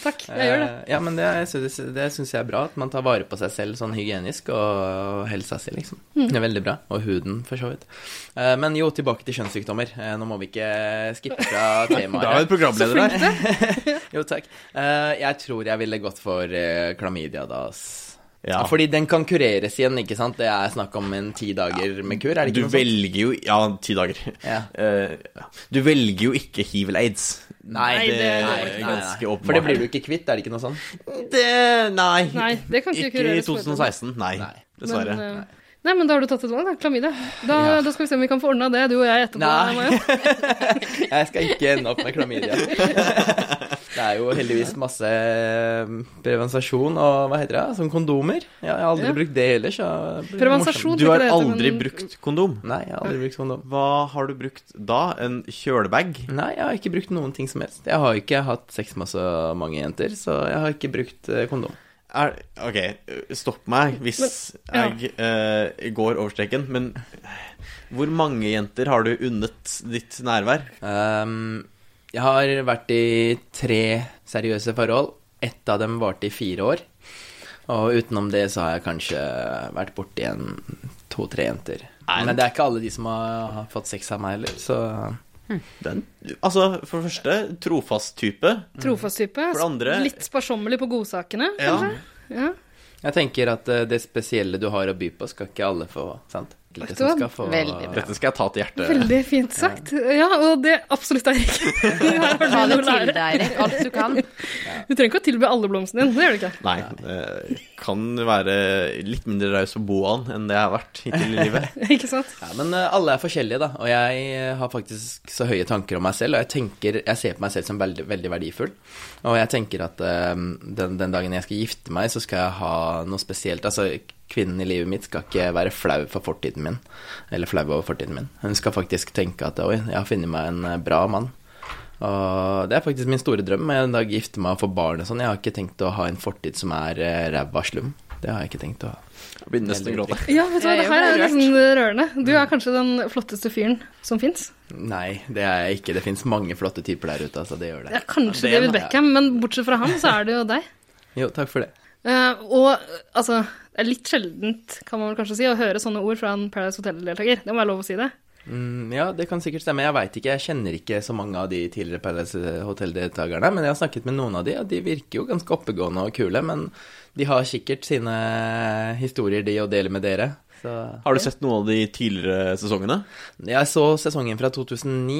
Speaker 1: Takk. Jeg gjør det.
Speaker 7: Eh, Ja, men det jeg synes, det syns jeg er bra. At man tar vare på seg selv sånn hygienisk, og helsa si, liksom.
Speaker 1: Mm.
Speaker 7: Det er veldig bra. Og huden, for så vidt. Eh, Men jo, tilbake til kjønnssykdommer. Eh, Nå må vi ikke skippe fra temaet.
Speaker 4: Da er vi programleder der.
Speaker 7: Jo, takk. Eh, jeg tror jeg ville gått for eh, klamydia, da. ass.
Speaker 4: Ja.
Speaker 7: Ja, Fordi den kan kureres igjen, ikke sant? Det er snakk om en ti dager med kur, er det
Speaker 4: Du
Speaker 7: ikke noe sånt?
Speaker 4: velger jo Ja, ti dager.
Speaker 7: Ja.
Speaker 4: Eh, ja. du velger jo ikke hiv eller aids.
Speaker 7: Nei,
Speaker 1: Nei, det- det
Speaker 4: er ganske åpenbart.
Speaker 7: For det blir du ikke kvitt, er det ikke noe sånt?
Speaker 4: Det Nei.
Speaker 1: Nei, det kan ikke
Speaker 4: ikke i
Speaker 1: kureres på-
Speaker 4: 2016. Nei,
Speaker 7: Nei.
Speaker 4: dessverre.
Speaker 1: Men, eh, Nei, men da har du tatt et valg, da. Klamydia. Da,
Speaker 7: Ja.
Speaker 1: da skal vi se om vi kan få ordna det, du og jeg etterpå.
Speaker 7: Nei.
Speaker 1: Maja.
Speaker 7: Jeg skal ikke ende opp med klamydia. Det er jo heldigvis masse prevensasjon og hva heter det, som kondomer. Ja, Jeg har aldri
Speaker 1: Ja. brukt
Speaker 7: brukt det heller, så det blir
Speaker 1: Prevensasjon.
Speaker 4: du
Speaker 1: tror jeg
Speaker 4: har
Speaker 1: det heter,
Speaker 4: aldri
Speaker 1: men-
Speaker 4: brukt kondom.
Speaker 7: morsomt. Nei, jeg har aldri brukt kondom.
Speaker 4: Hva har du brukt da? En kjølebag?
Speaker 7: Nei, jeg har ikke brukt noen ting som helst. Jeg har ikke hatt sex med så mange jenter, så jeg har ikke brukt eh, kondom.
Speaker 4: Er, ok, stopp meg hvis
Speaker 1: Men-
Speaker 4: jeg eh, går over streken, men hvor mange jenter har du unnet ditt nærvær?
Speaker 7: Ehm, jeg har vært i tre seriøse forhold. Ett av dem varte i fire år. Og utenom det så har jeg kanskje vært borti en to-tre jenter.
Speaker 4: Nei.
Speaker 7: Men det er ikke alle de som har, har fått sex av meg heller, så
Speaker 4: Den, altså, for det første, trofast type.
Speaker 1: Trofast type.
Speaker 4: For det andre-
Speaker 1: Litt sparsommelig på godsakene,
Speaker 4: Ja.
Speaker 1: kanskje. Ja.
Speaker 7: jeg tenker at eh, det spesielle du har å by på, skal ikke alle få, sant?
Speaker 1: Vet
Speaker 7: Enkelte
Speaker 1: du hva?
Speaker 7: som skal få
Speaker 2: Veldig bra.
Speaker 4: Dette skal jeg ta til hjertet.
Speaker 1: Veldig fint sagt. Ja, og det absolutt er ikke. Her har du
Speaker 2: Ta det
Speaker 1: noe å
Speaker 2: til
Speaker 1: lære.
Speaker 2: deg, Erik. Alt du kan.
Speaker 1: Du trenger ikke å tilby alle blomstene dine. Det gjør du ikke.
Speaker 4: Nei, eh, kan være litt mindre raus på boaen enn det jeg har vært hittil i livet.
Speaker 1: Ikke sant?
Speaker 7: Ja, men eh, alle er forskjellige, da. Og jeg eh, har faktisk så høye tanker om meg selv, og jeg tenker, jeg ser på meg selv som veldig, veldig verdifull. Og jeg tenker at eh, den, den dagen jeg skal gifte meg, så skal jeg ha noe spesielt. Altså, kvinnen i livet mitt skal ikke være flau for fortiden min, eller flau over fortiden min. Hun skal faktisk tenke at oi, jeg har funnet meg en eh, bra mann. Og det er faktisk min store drøm, jeg en dag gifte meg og få barn og sånn. Jeg har ikke tenkt å ha en fortid som er eh, ræva slum. Det har jeg ikke tenkt å ha.
Speaker 4: Jeg begynner nesten å gråte.
Speaker 1: Ja, vet du hva,
Speaker 2: Jeg
Speaker 1: det
Speaker 2: er
Speaker 1: her er
Speaker 2: jo
Speaker 1: nesten rørende. Du er kanskje den flotteste fyren som fins.
Speaker 7: Nei, det er jeg ikke. Det fins mange flotte typer der ute, altså. Det gjør
Speaker 1: Ja,
Speaker 7: det.
Speaker 1: kanskje
Speaker 7: Ja, det er
Speaker 1: David
Speaker 7: meg.
Speaker 1: Beckham, men bortsett fra han, så er det jo deg.
Speaker 7: Jo, takk for det.
Speaker 1: Eh, og eh, altså, det er litt sjeldent, kan man vel kanskje si, å høre sånne ord fra en Paradise Hotel-deltaker. Det må være lov å si det.
Speaker 7: Mm, ja, det kan sikkert stemme. Jeg veit ikke. Jeg kjenner ikke så mange av de tidligere Paradise Hotel-deltakerne, men jeg har snakket med noen av de, og de virker jo ganske oppegående og kule. Men de har sikkert sine historier, de, å dele med dere. Så
Speaker 4: Har du sett noen av de tidligere sesongene?
Speaker 7: Jeg så sesongen fra 2009,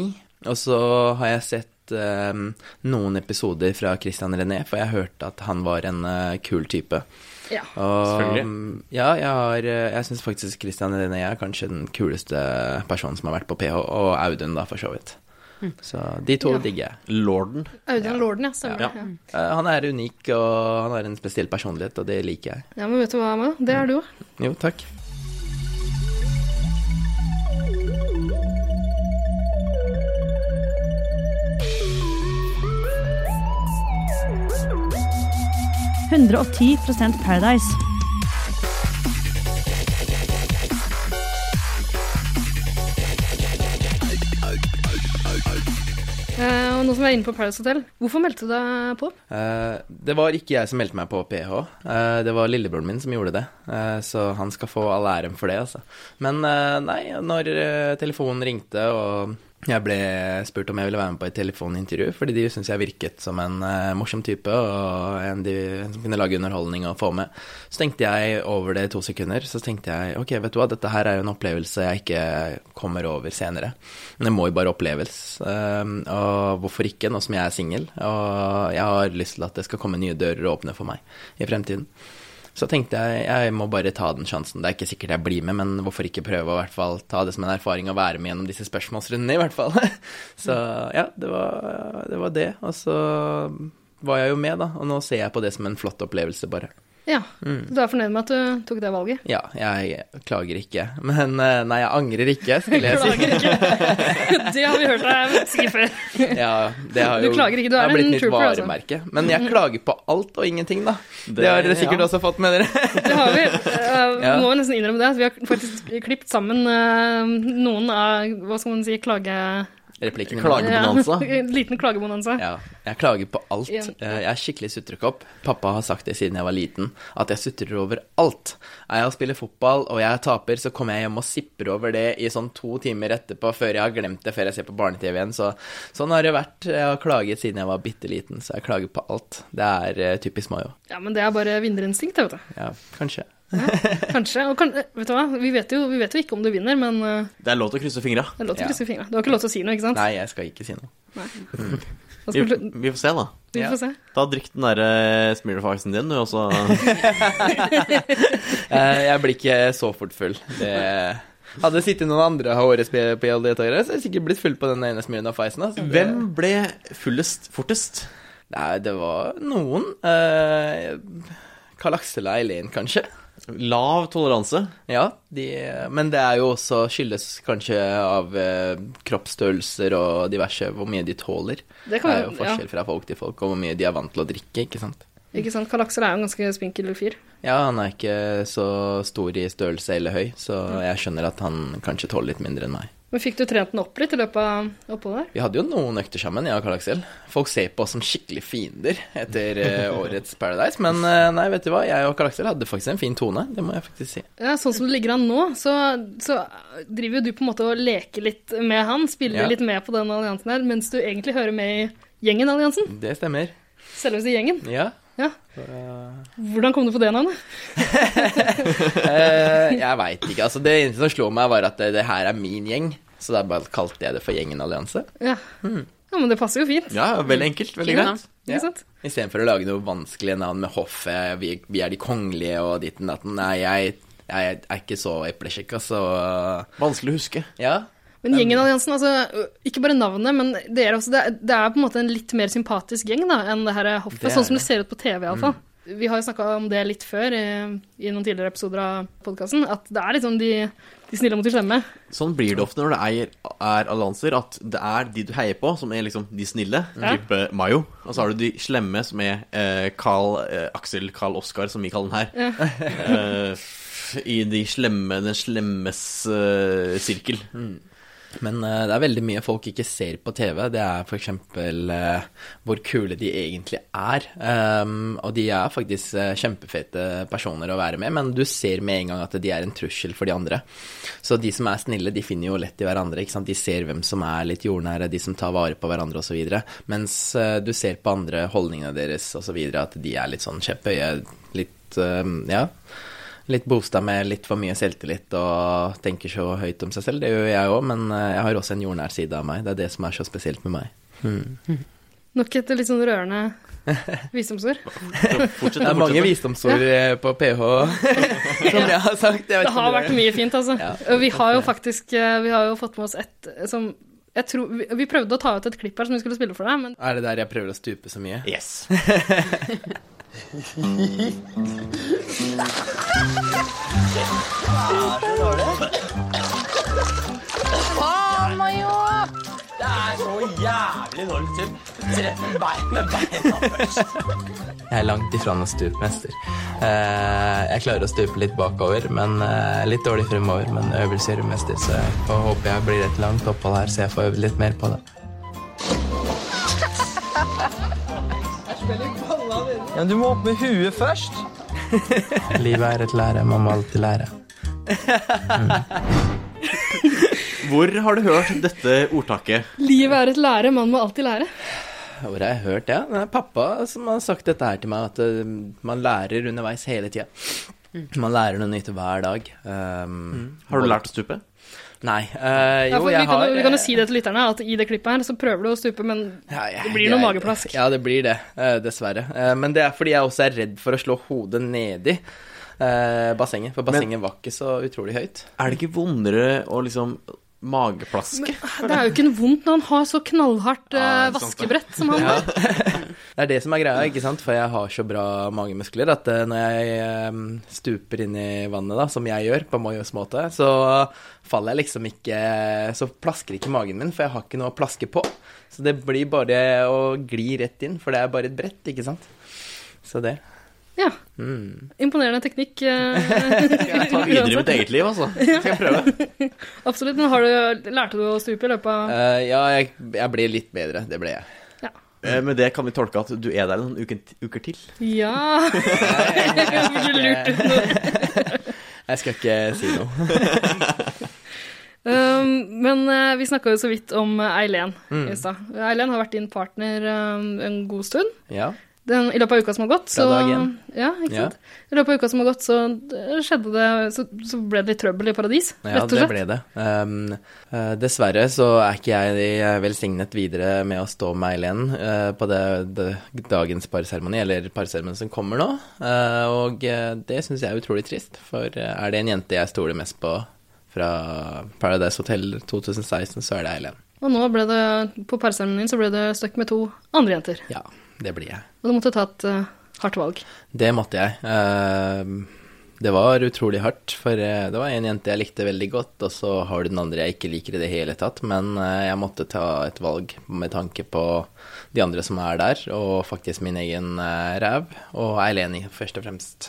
Speaker 7: og så har jeg sett eh, noen episoder fra Christian René, for jeg hørte at han var en eh, kul type.
Speaker 1: Ja.
Speaker 7: Og,
Speaker 4: Selvfølgelig.
Speaker 7: mm, Ja, jeg, har, eh, jeg syns faktisk Christian René er kanskje den kuleste personen som har vært på PH, og Audun, da, for så vidt. Så de to
Speaker 1: Ja.
Speaker 7: digger jeg.
Speaker 4: Lorden.
Speaker 1: Audun Lorden, ja. Stemmer.
Speaker 4: Ja.
Speaker 1: det, Ja.
Speaker 7: Eh, Han er unik, og han har en spesiell personlighet, og det liker jeg.
Speaker 1: ja, men vet du hva, Emma? Det er du òg.
Speaker 7: Jo, takk.
Speaker 8: Paradise.
Speaker 1: Eh, og nå som vi er inne på Paradise Hotel, hvorfor meldte du deg på?
Speaker 7: Eh, det var ikke jeg som meldte meg på PH, eh, det var lillebroren min som gjorde det. eh, så han skal få all æren for det, altså. Men eh, nei, når eh, telefonen ringte og jeg ble spurt om jeg ville være med på et telefonintervju, fordi de syntes jeg virket som en eh, morsom type og en, de, en som kunne lage underholdning og få med. Så tenkte jeg over det i to sekunder, så tenkte jeg ok, vet du hva, dette her er jo en opplevelse jeg ikke kommer over senere. Men det må jo bare oppleves. Um, og hvorfor ikke, nå som jeg er singel, og jeg har lyst til at det skal komme nye dører å åpne for meg i fremtiden. Så tenkte jeg jeg må bare ta den sjansen. Det er ikke sikkert jeg blir med, men hvorfor ikke prøve å i hvert fall ta det som en erfaring å være med gjennom disse spørsmålsrundene, i hvert fall. Så ja, det var det. Var det. Og så var jeg jo med, da. Og nå ser jeg på det som en flott opplevelse, bare.
Speaker 1: Ja, Du er fornøyd med at du tok det valget?
Speaker 7: Ja, jeg klager ikke. Men eh, nei, jeg angrer ikke, skulle jeg si.
Speaker 1: Klager ikke. det har vi hørt deg si før.
Speaker 7: Ja, det har
Speaker 1: Du
Speaker 7: jo
Speaker 1: klager ikke, du
Speaker 7: det har
Speaker 1: er
Speaker 7: blitt
Speaker 1: en
Speaker 7: mitt
Speaker 1: trooper, altså.
Speaker 7: varemerke. Men jeg klager på alt og ingenting, da. Det, har dere sikkert
Speaker 4: ja.
Speaker 7: også fått med dere.
Speaker 1: Det har vi. Eh,
Speaker 7: Ja.
Speaker 1: Må vi nesten innrømme det. at Vi har faktisk klippet sammen eh, noen av hva skal man si, klage...
Speaker 7: Replikken
Speaker 4: Klager. Klagebonanza.
Speaker 1: Ja, en liten klagebonanza.
Speaker 7: Ja, jeg klager på alt.
Speaker 1: Ja.
Speaker 7: Eh, Jeg er skikkelig sutrekopp. Pappa har sagt det siden jeg var liten, at jeg sutrer over alt. Er jeg og spiller fotball og jeg taper, så kommer jeg hjem og sipper over det i sånn to timer etterpå, før jeg har glemt det, før jeg ser på barne-TV igjen. Så sånn har det vært. Jeg har klaget siden jeg var bitte liten, så jeg klager på alt. Det er eh, typisk Mayo.
Speaker 1: Ja, men det er bare vinnerinstinkt, det, vet du.
Speaker 7: Ja, kanskje.
Speaker 1: Kanskje. Og kan, eh, vet du hva? Vi vet, jo, vi vet jo ikke om du vinner, men eh,
Speaker 4: Det er lov til å krysse fingra.
Speaker 1: det er lov til
Speaker 7: Ja.
Speaker 1: å krysse fingra. Du har ikke lov til å si noe, ikke sant?
Speaker 7: Nei, jeg skal ikke si noe.
Speaker 1: Da
Speaker 4: Vi,
Speaker 1: skal du,
Speaker 4: vi får se, da.
Speaker 1: vi
Speaker 7: Ja.
Speaker 1: får se.
Speaker 4: Da drikk den derre smearfaxen din, du, og så
Speaker 7: Eh, jeg blir ikke så fort full. Det... Hadde det sittet noen andre HRSPL-deltakere, så hadde jeg sikkert blitt full på den ene smyren av feisen. Altså. Det-
Speaker 4: Hvem ble fullest fortest?
Speaker 7: Nei, det var noen. Eh, Karl Aksel og Eileen, kanskje.
Speaker 4: Lav toleranse.
Speaker 7: Ja, de, men det er jo også skyldes kanskje av eh, kroppsstørrelser og diverse, hvor mye de tåler.
Speaker 1: Det
Speaker 7: Det
Speaker 1: kan
Speaker 7: er jo
Speaker 1: jo ja.
Speaker 7: forskjell fra folk til folk, og hvor mye de er vant til å drikke, ikke sant.
Speaker 1: Ikke sant? Karl Aksel er jo en ganske spinkel fyr.
Speaker 7: Ja, han er ikke så stor i størrelse eller høy, så
Speaker 1: Mm.
Speaker 7: jeg skjønner at han kanskje tåler litt mindre enn meg.
Speaker 1: Men fikk du trent den opp litt i løpet av oppholdet der?
Speaker 7: Vi hadde jo noen økter sammen, jeg og Karl Aksel. Folk ser på oss som skikkelig fiender etter eh, årets Paradise, men eh, nei, vet du hva, jeg og Karl Aksel hadde faktisk en fin tone, det må jeg faktisk si.
Speaker 1: Ja, sånn som det ligger an nå, så, så driver jo du på en måte og leker litt med han, spiller
Speaker 7: Ja.
Speaker 1: litt med på den alliansen her, mens du egentlig hører med i gjengen-alliansen.
Speaker 7: Det stemmer.
Speaker 1: Selveste gjengen.
Speaker 7: Ja.
Speaker 1: Ja. Hvordan kom du på det navnet?
Speaker 7: Eh, jeg veit ikke, altså det eneste som slo meg, var at eh, det, det her er min gjeng, så da bare kalte jeg det for Gjengen allianse.
Speaker 1: Ja.
Speaker 7: Hmm.
Speaker 1: ja, men det passer jo fint,
Speaker 4: Ja, veldig enkelt. Veldig
Speaker 2: Fin,
Speaker 4: greit.
Speaker 1: ikke sant?
Speaker 7: Istedenfor å lage noe vanskelige navn med hoffet, vi, vi er de kongelige og ditten datten. Nei, jeg, jeg er ikke så eplekjekk, altså.
Speaker 4: Vanskelig å huske.
Speaker 7: Ja.
Speaker 1: Men gjengen-alliansen, altså, ikke bare navnet, men dere også, det er, det er på en måte en litt mer sympatisk gjeng da, enn det her hoffet,
Speaker 7: Det er
Speaker 1: sånn som
Speaker 7: det. Mm.
Speaker 1: det ser ut på TV iallfall. Vi har jo snakka om det litt før i, i noen tidligere episoder av podkasten, at det er liksom de, de snille mot de slemme.
Speaker 4: Sånn blir det ofte når det er, er allianser, at det er de du heier på, som er liksom de snille,
Speaker 1: Ja.
Speaker 4: type Mayo. Og så har du de slemme, som er eh, Carl, eh, Aksel Carl Oskar, som vi kaller den her. eh, I de slemme, den slemmes eh, sirkel.
Speaker 7: Men eh, det er veldig mye folk ikke ser på TV. Det er f.eks. Uh, hvor kule de egentlig er. Um, og de er faktisk eh, kjempefete personer å være med, men du ser med en gang at de er en trussel for de andre. Så de som er snille, de finner jo lett i hverandre. Ikke sant? De ser hvem som er litt jordnære, de som tar vare på hverandre osv. Mens eh, du ser på andre holdningene deres osv. at de er litt sånn kjepphøye, litt eh, ja. Litt boosta med litt for mye selvtillit og tenker så høyt om seg selv. Det gjør jeg òg, men eh, jeg har også en jordnær side av meg. Det er det som er så spesielt med meg.
Speaker 1: Nok et litt sånn rørende visdomsord.
Speaker 4: Fortsett å
Speaker 7: Det er mange
Speaker 4: fortsette.
Speaker 7: visdomsord eh, på PH, som jeg har sagt. Jeg vet
Speaker 1: Det
Speaker 7: ikke om
Speaker 1: har
Speaker 7: dere-
Speaker 1: vært mye fint, altså.
Speaker 7: Ja.
Speaker 1: Og Vi har jo faktisk eh, vi har jo fått med oss et eh, som jeg tror, vi, vi prøvde å ta ut et klipp her som vi skulle spille for deg, men
Speaker 7: Er det der jeg prøver å stupe så mye?
Speaker 4: Yes.
Speaker 7: Jeg er langt ifra noen stupmester. Eh, Jeg klarer å stupe litt bakover, men eh, litt dårlig fremover. Men øvelse gjør mester, så jeg får håpe jeg blir et langt opphold her, så jeg får øvd litt mer på det.
Speaker 8: Ja, men du må opp med huet først.
Speaker 7: Livet er et lære, man må alltid lære.
Speaker 4: Hvor har du hørt dette ordtaket?
Speaker 1: livet er et lære, man må alltid lære.
Speaker 7: Hvor har jeg hørt det? Det er pappa som har sagt dette her til meg, at eh, man lærer underveis hele tida. Man lærer noe nytt hver dag. Um,
Speaker 4: Har du lært å stupe?
Speaker 7: Nei. eh,
Speaker 1: Ja,
Speaker 7: jo,
Speaker 1: for vi,
Speaker 7: jeg
Speaker 1: kan,
Speaker 7: har
Speaker 1: jo- vi kan
Speaker 7: eh,
Speaker 1: jo si det til lytterne, at i det klippet her så prøver du å stupe, men
Speaker 7: Ja, jeg-
Speaker 1: Det blir noe mageplask.
Speaker 7: Ja, det blir det, eh, dessverre. Eh, Men det er fordi jeg også er redd for å slå hodet nedi eh, bassenget, for bassenget var ikke så utrolig høyt.
Speaker 4: Er det ikke vondere å liksom mageplaske?
Speaker 1: Ah, det er jo ikke vondt når han har så knallhardt eh,
Speaker 4: Ja, Ah, det er sant det.
Speaker 1: vaskebrett som han har.
Speaker 7: Det er det som er greia, ikke sant, for jeg har så bra magemuskler at eh, når jeg eh, stuper inn i vannet, da, som jeg gjør på Moyos måte, så faller jeg liksom ikke Så plasker ikke magen min, for jeg har ikke noe å plaske på. Så det blir bare å gli rett inn, for det er bare et brett, ikke sant. Så det.
Speaker 1: Ja.
Speaker 7: Mm.
Speaker 1: Imponerende teknikk. eh,
Speaker 4: Jeg tar videre i mitt eget liv, altså. Skal jeg prøve?
Speaker 1: Absolutt. Men har du, lærte du å stupe i løpet av
Speaker 7: Eh, ja, jeg, jeg ble litt bedre. Det ble jeg.
Speaker 4: Eh, Med det kan vi tolke at du er der noen uker, uker til.
Speaker 1: Ja! Du lurte ut noe.
Speaker 7: Jeg skal ikke si noe.
Speaker 1: Um, men eh, vi snakka jo så vidt om eh, Eileen
Speaker 4: Mm.
Speaker 1: i stad. Eileen har vært din partner um, en god stund.
Speaker 7: Ja.
Speaker 1: Den, I løpet av uka som har gått, så
Speaker 7: Fra dag én.
Speaker 1: Ja, ikke
Speaker 7: Ja.
Speaker 1: sant? I løpet av uka som har gått, så eh, skjedde det Så, så ble det litt trøbbel i paradis,
Speaker 7: Ja,
Speaker 1: rett og
Speaker 7: det
Speaker 1: slett.
Speaker 7: ble det. Um, eh, dessverre så er ikke jeg eh, velsignet videre med å stå med Eileen eh, på det, det dagens parseremoni, eller parseremonien som kommer nå. Eh, og eh, det syns jeg er utrolig trist, for eh, er det en jente jeg stoler mest på fra Paradise Hotel 2016, så er det Eileen.
Speaker 1: Og nå ble det, på parseremonien, så ble det stuck med to andre jenter.
Speaker 7: Ja, det blir jeg.
Speaker 1: Og du måtte ta et eh, hardt valg.
Speaker 7: Det måtte jeg. Ehm, Det var utrolig hardt, for eh, det var en jente jeg likte veldig godt, og så har du den andre jeg ikke liker i det hele tatt, men eh, jeg måtte ta et valg med tanke på de andre som er der, og faktisk min egen eh, ræv, og Eileen i- først og fremst.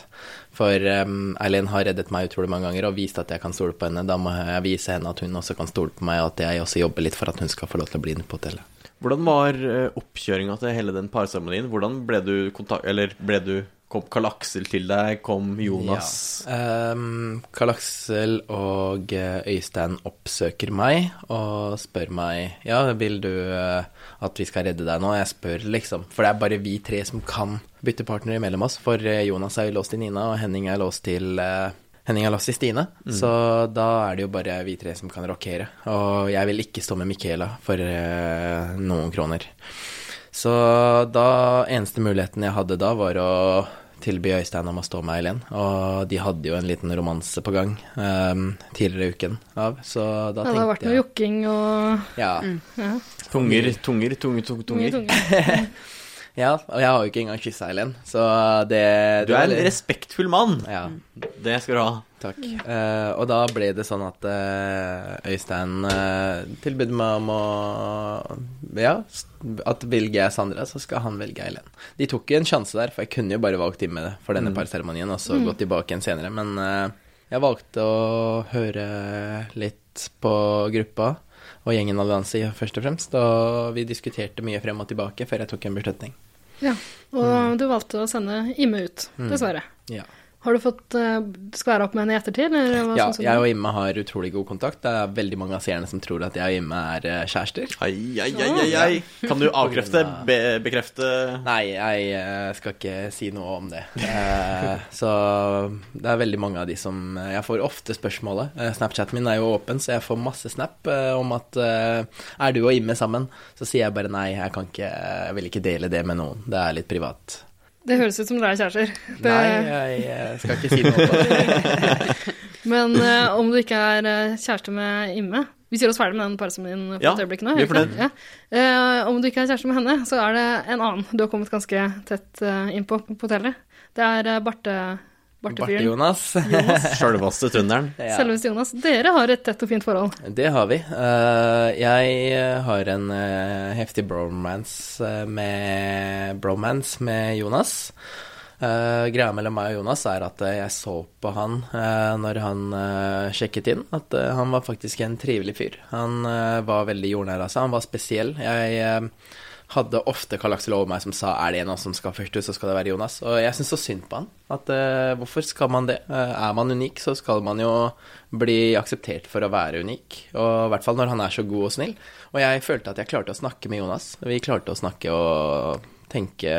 Speaker 7: For ehm, Eileen har reddet meg utrolig mange ganger og vist at jeg kan stole på henne. Da må jeg vise henne at hun også kan stole på meg, og at jeg også jobber litt for at hun skal få lov til å bli inne på hotellet.
Speaker 4: Hvordan var oppkjøringa til hele den parseremonien? Hvordan ble du kontakt... Eller ble du Kom Karl Aksel til deg? Kom Jonas?
Speaker 7: Ja. Ehm, Karl Aksel og eh, Øystein oppsøker meg og spør meg Ja, vil du eh, at vi skal redde deg nå? Jeg spør, liksom. For det er bare vi tre som kan bytte partner mellom oss. For eh, Jonas er jo låst til Nina, og Henning er låst til eh, Henning er låst til Stine, så da er det jo bare vi tre som kan rokere. Og jeg vil ikke stå med Michaela for eh, noen kroner. Så da eneste muligheten jeg hadde da, var å tilby Øystein om å stå med Eileen. Og de hadde jo en liten romanse på gang ehm, tidligere i uken av, så da
Speaker 1: Ja, det har vært noe Mm.
Speaker 7: tenkte jeg
Speaker 1: jokking og
Speaker 7: ja,
Speaker 4: Tunger, tunger, tunger, tunger.
Speaker 1: mye
Speaker 4: tunger.
Speaker 1: tunge.
Speaker 7: ja, og jeg har jo ikke engang kyssa Eileen, så det
Speaker 4: Du er en
Speaker 7: det-
Speaker 4: respektfull mann.
Speaker 7: Ja.
Speaker 1: Mm.
Speaker 4: Det skal du ha.
Speaker 7: Takk. Eh, og da ble det sånn at eh, Øystein eh, tilbød meg om å Ja, s- at velger jeg Sandra, så skal han velge Eileen. De tok jo en sjanse der, for jeg kunne jo bare valgt inn med det for denne parseremonien, og
Speaker 1: Mm.
Speaker 7: så gått tilbake igjen senere, men eh, jeg valgte å høre litt på gruppa og gjengen Allianse i- først og fremst, og vi diskuterte mye frem og tilbake før jeg tok en beslutning. Mm.
Speaker 1: Ja. Og du valgte å sende Imme ut, dessverre.
Speaker 7: Ja.
Speaker 1: Har du fått uh, skværa opp med henne i ettertid? Eller hva sånn
Speaker 7: Ja,
Speaker 1: syns du?
Speaker 7: jeg og Imme har utrolig god kontakt. Det er veldig mange av seerne som tror at jeg og Imme er eh, kjærester.
Speaker 4: Ai, ai, ai, ai, ai. Kan du avkrefte? Be bekrefte?
Speaker 7: Nei, jeg eh, skal ikke si noe om det. Eh, Så det er veldig mange av de som eh, Jeg får ofte spørsmålet. Eh, Snapchaten min er jo åpen, så jeg får masse snap eh, om at eh, Er du og Imme sammen? Så sier jeg bare nei, jeg kan ikke Jeg vil ikke dele det med noen. Det er litt privat.
Speaker 1: Det høres ut som dere er kjærester. Det,
Speaker 7: Nei, jeg eh, skal ikke si noe om det.
Speaker 1: Men eh, om du ikke er eh, kjæreste med Imme Vi sier oss ferdig med den parsemonien for
Speaker 4: Ja,
Speaker 1: et øyeblikk nå.
Speaker 4: vi er
Speaker 1: gjør vi
Speaker 4: fornøyd.
Speaker 1: ikke? Ja. Eh, om du ikke er kjæreste med henne, så er det en annen du har kommet ganske tett eh, innpå på hotellet. Det er eh, Barte,
Speaker 7: Barte
Speaker 1: Bartefyren.
Speaker 7: Jonas.
Speaker 4: Sjølveste trønderen.
Speaker 7: Ja.
Speaker 1: Selveste Jonas. Dere har et tett og fint forhold.
Speaker 7: Det har vi. Eh, jeg eh, har en eh, heftig bromance eh, med, bromance med Jonas. Eh, greia mellom meg og Jonas er at eh, jeg så på han eh, når han eh, sjekket inn, at eh, han var faktisk en trivelig fyr. Han eh, var veldig jordnær av seg, han var spesiell. Jeg eh, hadde ofte Karl Aksel over meg som sa er det en av oss som skal først ut, så skal det være Jonas. Og jeg syns så synd på han. At eh, hvorfor skal man det? Eh, er man unik, så skal man jo bli akseptert for å være unik. Og i hvert fall når han er så god og snill. Og jeg følte at jeg klarte å snakke med Jonas. Vi klarte å snakke og tenke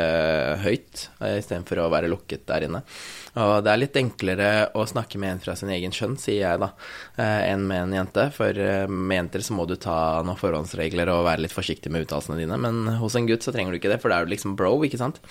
Speaker 7: høyt eh, istedenfor å være lukket der inne. Og det er litt enklere å snakke med en fra sin egen kjønn, sier jeg da, eh, enn med en jente. For eh, med jenter så må du ta noen forhåndsregler og være litt forsiktig med uttalelsene dine. Men hos en gutt så trenger du ikke det, for da er du liksom bro, ikke sant.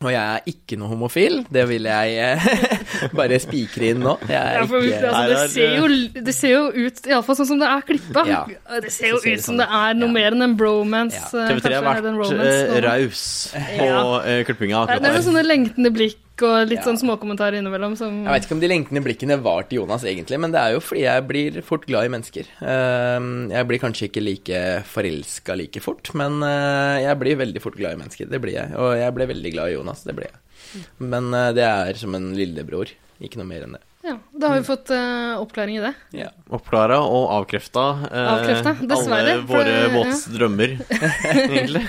Speaker 7: Og jeg er ikke noe homofil, det vil jeg eh, bare spikre inn nå. Jeg er
Speaker 1: Ja, for, altså,
Speaker 7: ikke
Speaker 4: Nei,
Speaker 1: det,
Speaker 4: det er-
Speaker 1: ser jo, det ser jo ut, iallfall sånn som det er klippa,
Speaker 7: Ja.
Speaker 1: det ser jo
Speaker 7: Så ser det
Speaker 1: ut som
Speaker 7: sånn
Speaker 1: det
Speaker 7: ut.
Speaker 1: er noe
Speaker 7: Ja.
Speaker 1: mer enn en bromance.
Speaker 7: Ja.
Speaker 1: eh,
Speaker 4: TV3
Speaker 1: kanskje
Speaker 4: har
Speaker 1: er det en
Speaker 4: vært
Speaker 1: romance
Speaker 4: eh,
Speaker 1: nå.
Speaker 4: raus på
Speaker 1: Ja.
Speaker 4: eh, klippinga
Speaker 1: Nei,
Speaker 4: akkurat
Speaker 1: Det er liksom- noen
Speaker 4: der.
Speaker 1: sånne lengtende blikk og litt
Speaker 7: Ja.
Speaker 1: sånn småkommentarer innimellom som
Speaker 7: Jeg vet ikke om de lengtende blikkene var til Jonas egentlig, men det er jo fordi jeg blir fort glad i mennesker. Ehm, Jeg blir kanskje ikke like forelska like fort, men eh, jeg blir veldig fort glad i mennesker. Det blir jeg. Og jeg ble veldig glad i Jonas, det ble jeg. Men eh, det er som en lillebror. Ikke noe mer enn det.
Speaker 1: Ja, da har vi fått eh, oppklaring i det.
Speaker 7: Ja.
Speaker 4: Oppklara og avkrefta eh,
Speaker 1: Avkrefta,
Speaker 4: alle
Speaker 1: dessverre, for-
Speaker 4: våre
Speaker 1: ja.
Speaker 4: våte drømmer, egentlig.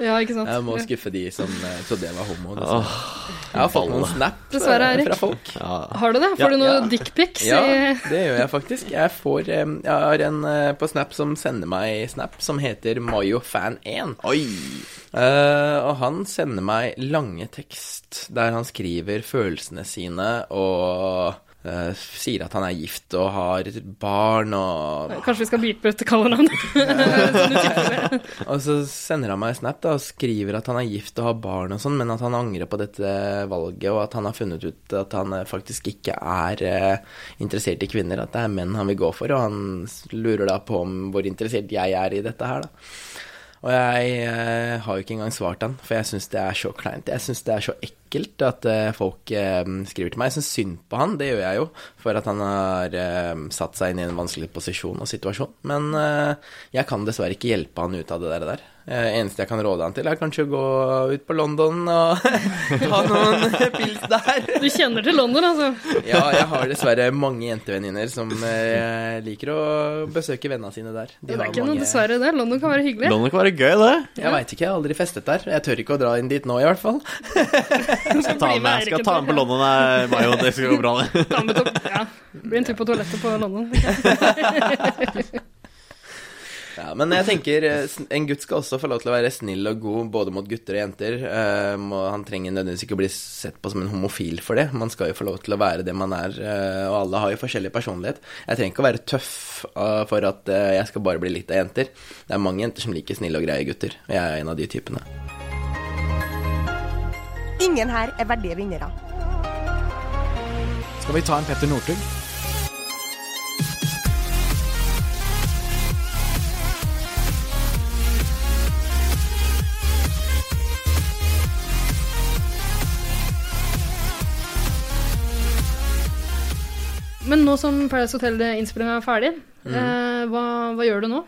Speaker 1: Ja, ikke sant?
Speaker 7: Jeg må
Speaker 1: Ja.
Speaker 7: skuffe de som eh, trodde jeg var homo. dessverre.
Speaker 4: Åh,
Speaker 7: Jeg har fått noen snap eh,
Speaker 1: Dessverre, Erik.
Speaker 7: fra folk.
Speaker 4: ja.
Speaker 1: Har du det? Får
Speaker 4: Ja,
Speaker 1: du noen
Speaker 7: ja.
Speaker 1: dickpics?
Speaker 7: Ja,
Speaker 1: i-
Speaker 7: det gjør jeg faktisk. Jeg, får, eh, jeg har en eh, på Snap som sender meg Snap, som heter MayoFan1.
Speaker 4: Oi.
Speaker 7: Eh, og han sender meg lange tekst der han skriver følelsene sine og eh, sier at han er gift og har barn og
Speaker 1: Kanskje vi skal beepe ut kallenavn? Sånn du tipper det.
Speaker 7: Og så sender han meg snap da, og skriver at han er gift og har barn og sånn, men at han angrer på dette valget, og at han har funnet ut at han eh, faktisk ikke er eh, interessert i kvinner, at det er menn han vil gå for, og han s- lurer da på om hvor interessert jeg er i dette her, da. Og jeg eh, har jo ikke engang svart han, for jeg syns det er så kleint. Jeg syns det er så ekkelt at eh, folk eh, skriver til meg. Jeg syns synd på han, det gjør jeg jo, for at han har eh, satt seg inn i en vanskelig posisjon og situasjon. Men eh, jeg kan dessverre ikke hjelpe han ut av det der. der. Eh, eneste jeg kan råde han til, er kanskje å gå ut på London og ta noen pils der.
Speaker 1: Du kjenner til London, altså.
Speaker 7: Ja, jeg har dessverre mange jentevenninner som eh, liker å besøke vennene sine der. De
Speaker 1: Det er
Speaker 7: har
Speaker 1: ikke noe
Speaker 7: mange-
Speaker 1: dessverre det. London kan være hyggelig.
Speaker 4: London kan være gøy, det.
Speaker 7: Jeg veit ikke, jeg har aldri festet der. Jeg tør ikke å dra inn dit nå, i hvert fall.
Speaker 1: Jeg skal
Speaker 4: Ta med, jeg skal ta med på London, jeg, Mayo. Det skal gå bra, det.
Speaker 1: Ta med to- ja. Det Blir en tur på toalettet på London. ikke?
Speaker 7: Ja, men jeg tenker eh, sn- en gutt skal også få lov til å være snill og god både mot gutter og jenter. Eh, må- han trenger nødvendigvis ikke å bli sett på som en homofil for det. Man skal jo få lov til å være det man er, eh, og alle har jo forskjellig personlighet. Jeg trenger ikke å være tøff eh, for at eh, jeg skal bare bli likt av jenter. Det er mange jenter som liker snille og greie gutter, og jeg er en av de typene.
Speaker 9: Ingen her er verdige vinnere.
Speaker 10: Skal vi ta en Petter Northug?
Speaker 1: Men nå som Paradise Hotel-innspillinga er ferdig, eh, hva, hva gjør du nå?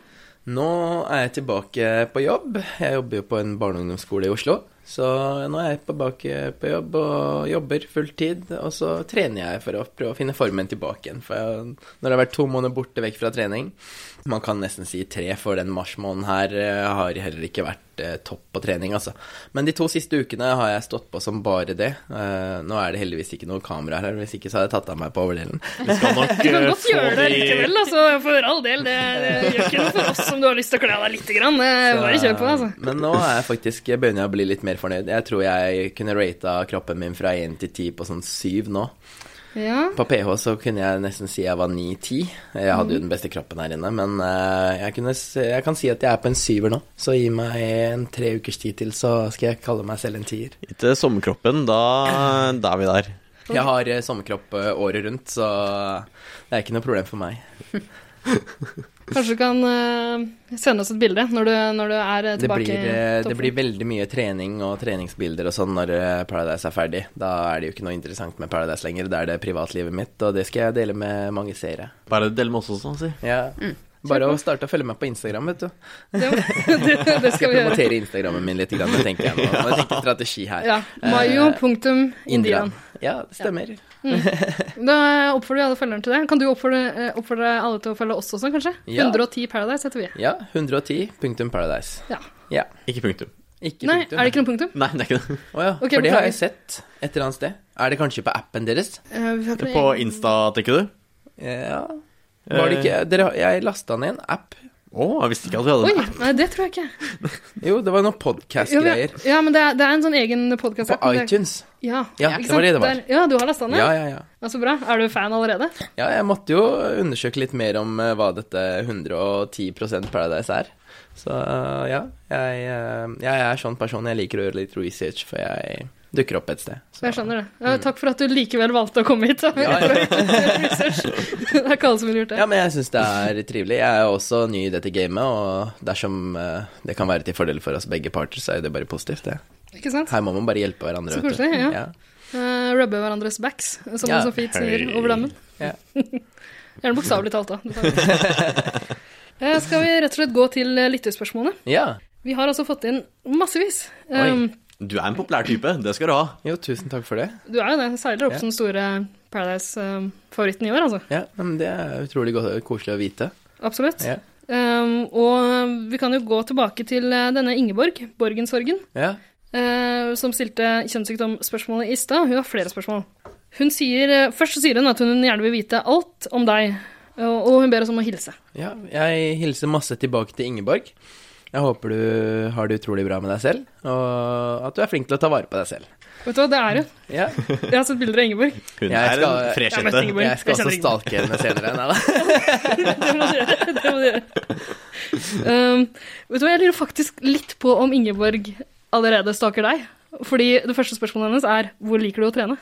Speaker 7: Nå er jeg tilbake på jobb. Jeg jobber jo på en barne- og ungdomsskole i Oslo. Så nå er jeg på bak på jobb og jobber fulltid, og så trener jeg for å prøve å finne formen tilbake igjen. For jeg, når jeg har vært to måneder borte vekk fra trening, man kan nesten si tre, for den marsmåneden her eh, har heller ikke vært eh, topp på trening, altså. Men de to siste ukene har jeg stått på som bare det. Eh, nå er det heldigvis ikke noe kamera her, hvis ikke så hadde jeg tatt av meg på overdelen.
Speaker 4: Skal nok
Speaker 1: Du kan
Speaker 4: eh,
Speaker 1: godt gjøre det likevel, altså, for all del. Det, det gjør ikke noe for oss om du har lyst til å kle av deg lite grann. Det er Bare kjør på, altså.
Speaker 7: Eh, Men nå er jeg faktisk, jeg begynner jeg å bli litt mer fornøyd. Jeg tror jeg kunne rata kroppen min fra 1 til 10 på sånn 7 nå.
Speaker 1: Ja.
Speaker 7: På PH så kunne jeg nesten si jeg var 9-10. Jeg hadde jo den beste kroppen her inne, men eh, jeg, kunne, s- jeg kan si at jeg er på en syver nå. Så gi meg en tre ukers tid til, så skal jeg kalle meg selv en tier.
Speaker 4: Ikke sommerkroppen, da, da er vi der.
Speaker 7: Jeg har eh, sommerkropp eh, året rundt, så det er ikke noe problem for meg.
Speaker 1: Kanskje du kan eh, sende oss et bilde når du, når du er eh,
Speaker 7: Det
Speaker 1: tilbake.
Speaker 7: blir, eh,
Speaker 1: i
Speaker 7: det blir veldig mye trening og treningsbilder og sånn når eh, Paradise er ferdig. Da er det jo ikke noe interessant med Paradise lenger. Da er det privatlivet mitt, og det skal jeg dele med mange seere.
Speaker 4: Bare del med oss også, si.
Speaker 7: Ja.
Speaker 1: Mm.
Speaker 7: Bare å starte å følge meg på Instagram, vet du.
Speaker 1: toppen. Det, det, det skal vi gjøre.
Speaker 7: Promotere Instagrammen min litt, grann, tenker jeg nå. Nå tenker jeg strategi her.
Speaker 1: Ja. Mayo.indian.
Speaker 7: Indian. Ja, det stemmer.
Speaker 1: Da oppfordrer vi alle følgerne til det. Kan du oppfordre, eh, oppfordre alle til å følge oss også, kanskje?
Speaker 7: Ja.
Speaker 1: 110 Paradise heter vi.
Speaker 7: Ja, 110 punktum Paradise.
Speaker 1: Ja.
Speaker 7: Ja.
Speaker 4: Ikke punktum.
Speaker 7: Ikke
Speaker 1: Nei,
Speaker 7: punktum.
Speaker 1: er det ikke noe punktum?
Speaker 4: Nei, det er ikke det.
Speaker 7: Å ja,
Speaker 1: Ok,
Speaker 7: for det har
Speaker 1: beklager.
Speaker 7: jeg sett et eller annet sted. Er det kanskje på appen deres?
Speaker 1: Eh, vi har ikke
Speaker 4: På
Speaker 1: noe-
Speaker 4: Insta, tenker du?
Speaker 7: Ja. Var det ikke Dere, har- jeg lasta ned en app.
Speaker 4: Å, jeg visste ikke at vi hadde
Speaker 1: Oi,
Speaker 4: det.
Speaker 1: nei, det tror jeg ikke.
Speaker 7: Jo, det var
Speaker 1: Jo,
Speaker 7: noen
Speaker 1: vi-
Speaker 7: podcast-greier.
Speaker 1: ja, men det er, det er en sånn egen podkast.
Speaker 7: På iTunes.
Speaker 1: Ja,
Speaker 7: Ja,
Speaker 1: ikke
Speaker 7: det
Speaker 1: sant?
Speaker 7: var det det var.
Speaker 1: Der- sånn, ja, du har lasta ned?
Speaker 7: Ja, ja, ja.
Speaker 1: Ja, Så bra. Er du fan allerede?
Speaker 7: Ja, jeg måtte jo undersøke litt mer om eh, hva dette 110 Paradise er. Så eh, ja, jeg, eh, jeg er sånn person. Jeg liker å gjøre litt research før jeg dukker opp et sted. Så. Mm.
Speaker 1: Jeg skjønner det. Ja, takk for at du likevel valgte å komme hit. da. Research. det er ikke alle som ville gjort det.
Speaker 7: Ja, men jeg syns det er trivelig. Jeg er også ny i dette gamet, og dersom eh, det kan være til fordel for oss begge parter, så er det bare positivt, det.
Speaker 1: Ikke sant?
Speaker 7: Her må man bare hjelpe hverandre.
Speaker 1: Så
Speaker 7: vet du.
Speaker 1: koselig, ja. Eh, rubbe hverandres backs, som
Speaker 7: Ja.
Speaker 1: man så fint sier
Speaker 4: Hei.
Speaker 1: over dammen.
Speaker 7: Ja.
Speaker 1: Gjerne bokstavelig talt, da. Det tar vi. Eh, Skal vi rett og slett gå til eh, lyttespørsmålene?
Speaker 7: ja.
Speaker 1: Vi har altså fått inn massevis.
Speaker 4: Oi.
Speaker 1: Um,
Speaker 4: Du er en populær type, det skal du ha.
Speaker 7: Jo, tusen takk for det.
Speaker 1: du er jo det. Seiler opp
Speaker 7: Ja.
Speaker 1: som store Paradise-favoritten i år, altså.
Speaker 7: Ja, men Det er utrolig godt, koselig å vite.
Speaker 1: Absolutt.
Speaker 7: Ja.
Speaker 1: Um, og vi kan jo gå tilbake til eh, denne Ingeborg, Borgensorgen,
Speaker 7: ja.
Speaker 1: eh, som stilte kjønnssykdomsspørsmålet i stad. Hun har flere spørsmål. Hun sier, eh, først så sier hun at hun gjerne vil vite alt om deg, og og hun ber oss om å hilse.
Speaker 7: Ja, jeg hilser masse tilbake til Ingeborg. Jeg håper du har det utrolig bra med deg selv, og at du er flink til å ta vare på deg selv.
Speaker 1: Vet du hva, det er hun.
Speaker 7: Ja,
Speaker 1: Jeg har sett bilder av Ingeborg.
Speaker 4: Hun
Speaker 7: Jeg
Speaker 4: er
Speaker 7: skal-
Speaker 4: en fresh
Speaker 1: Jeg møtte
Speaker 4: jente.
Speaker 1: Ingeborg.
Speaker 7: jeg
Speaker 1: Jeg
Speaker 7: skal også
Speaker 1: kjenner
Speaker 7: stalke henne senere. Nei da.
Speaker 1: Det må du gjøre. Det må du gjøre. Um, vet du hva, jeg lurer faktisk litt på om Ingeborg allerede staker deg. Fordi det første spørsmålet hennes er hvor liker du å trene?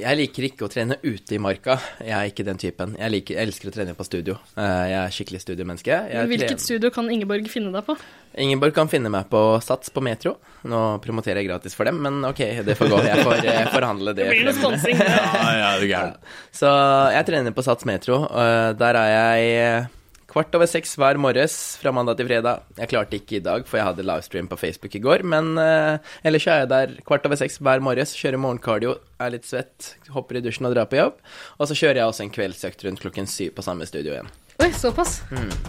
Speaker 7: Jeg liker ikke å trene ute i marka. Jeg er ikke den typen. Jeg, liker, jeg elsker å trene på studio. Eh, Jeg er skikkelig studiomenneske. Jeg
Speaker 1: Hvilket
Speaker 7: trener-
Speaker 1: studio kan Ingeborg finne deg på?
Speaker 7: Ingeborg kan finne meg på Sats på Metro. Nå promoterer jeg gratis for dem, men ok, det får gå. Jeg får eh, forhandle det.
Speaker 1: Det blir noe
Speaker 7: frem.
Speaker 1: sponsing. det.
Speaker 4: Ja, ja, du er gæren.
Speaker 7: Så jeg trener på Sats Metro. og Der er jeg eh, kvart over seks hver morges fra mandag til fredag. Jeg klarte ikke i dag, for jeg hadde livestream på Facebook i går. Men eh, ellers er jeg der kvart over seks hver morges, kjører morgenkardio, er litt svett, hopper i dusjen og drar på jobb. Og så kjører jeg også en kveldsøkt rundt klokken syv på samme studio igjen.
Speaker 1: Oi, såpass.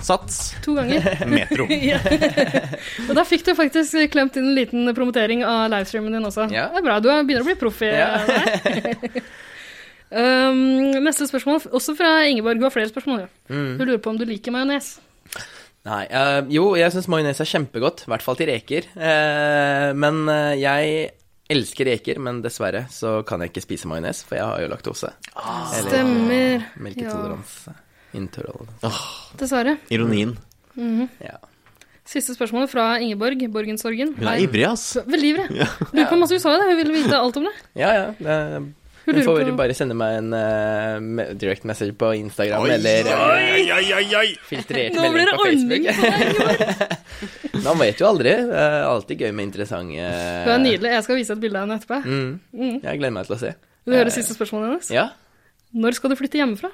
Speaker 4: Sats,
Speaker 1: To ganger.
Speaker 4: metro.
Speaker 1: Ja. Og da fikk du faktisk klemt inn en liten promotering av livestreamen din også.
Speaker 7: Ja.
Speaker 1: Det er bra, du er- begynner å bli proff i
Speaker 7: Ja.
Speaker 1: det her. um, neste spørsmål, også fra Ingeborg. Hun har flere spørsmål. Ja.
Speaker 7: Mm.
Speaker 1: Hun lurer på om du liker majones.
Speaker 7: Nei, eh, jo, jeg syns majones er kjempegodt, i hvert fall til reker. Eh, men eh, jeg elsker reker, men dessverre så kan jeg ikke spise majones, for jeg har jo laktose. Eller-
Speaker 1: Stemmer.
Speaker 7: Melketoleranse. Intoleranse.
Speaker 1: Dessverre.
Speaker 4: Ironien.
Speaker 7: Ja.
Speaker 1: Siste spørsmål fra Ingeborg Borgensorgen.
Speaker 4: Hun er ivrig, ass.
Speaker 1: Veldig ivrig. Lurer på masse hun sa jo det. Hun ville vite alt om det.
Speaker 7: ja, ja. det-
Speaker 1: Hun
Speaker 7: Du
Speaker 1: lurer
Speaker 7: får
Speaker 1: på
Speaker 7: bare sende meg en eh, me- direct message på Instagram eller eh,
Speaker 4: oi, oi, oi, oi.
Speaker 7: filtrert
Speaker 1: Nå blir
Speaker 7: melding
Speaker 1: det
Speaker 7: på
Speaker 1: ordning
Speaker 7: Facebook.
Speaker 1: på deg! Ingeborg.
Speaker 7: Man vet jo aldri. Det er alltid gøy med interessante
Speaker 1: Hun er nydelig. Jeg skal vise et bilde av henne etterpå.
Speaker 7: Mm. Jeg gleder meg til å se.
Speaker 1: Vil du høre siste spørsmålet hennes?
Speaker 7: Ja.
Speaker 1: Når skal du flytte hjemmefra?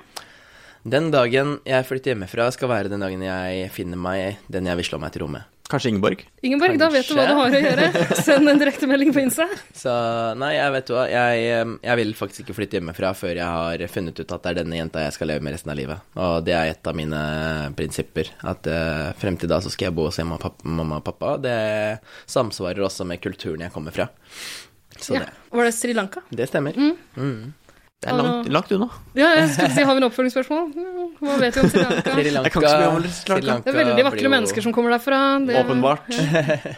Speaker 7: Den dagen jeg flytter hjemmefra, skal være den dagen jeg finner meg den jeg vil slå meg til ro med.
Speaker 4: Kanskje Ingeborg?
Speaker 1: Ingeborg, da vet du hva du har å gjøre. Send en direktemelding på Insta.
Speaker 7: Så nei, jeg vet hva, jeg, eh, jeg vil faktisk ikke flytte hjemmefra før jeg har funnet ut at det er denne jenta jeg skal leve med resten av livet. Og det er et av mine prinsipper. At eh, frem til da så skal jeg bo hos hjemme og pappa, mamma og pappa. Det samsvarer også med kulturen jeg kommer fra. Så
Speaker 1: Ja. Var det Sri Lanka?
Speaker 7: det, det stemmer. Mm.
Speaker 4: Det er langt, langt unna.
Speaker 1: Ja, jeg skulle si, har vi en oppfølgingsspørsmål? Mm, Hva vet vi om Sri Lanka?
Speaker 7: Sri
Speaker 4: Jeg kan ikke så mye om Sri Lanka.
Speaker 1: Det er veldig vakre mennesker som kommer derfra. Det,
Speaker 4: Åpenbart.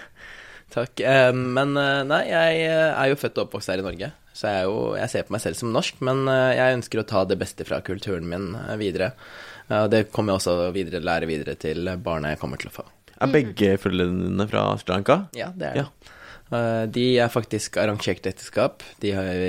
Speaker 7: Takk. Eh, Men eh, nei, jeg eh, er jo født og oppvokst her i Norge, så jeg, er jo, jeg ser på meg selv som norsk, men eh, jeg ønsker å ta det beste fra kulturen min eh, videre. Eh, Og det kommer jeg også videre, lære videre til barna jeg kommer til å få.
Speaker 4: Er begge foreldrene dine fra Sri Lanka?
Speaker 7: Ja, det er det. Eh, De er faktisk arrangert ekteskap. De har-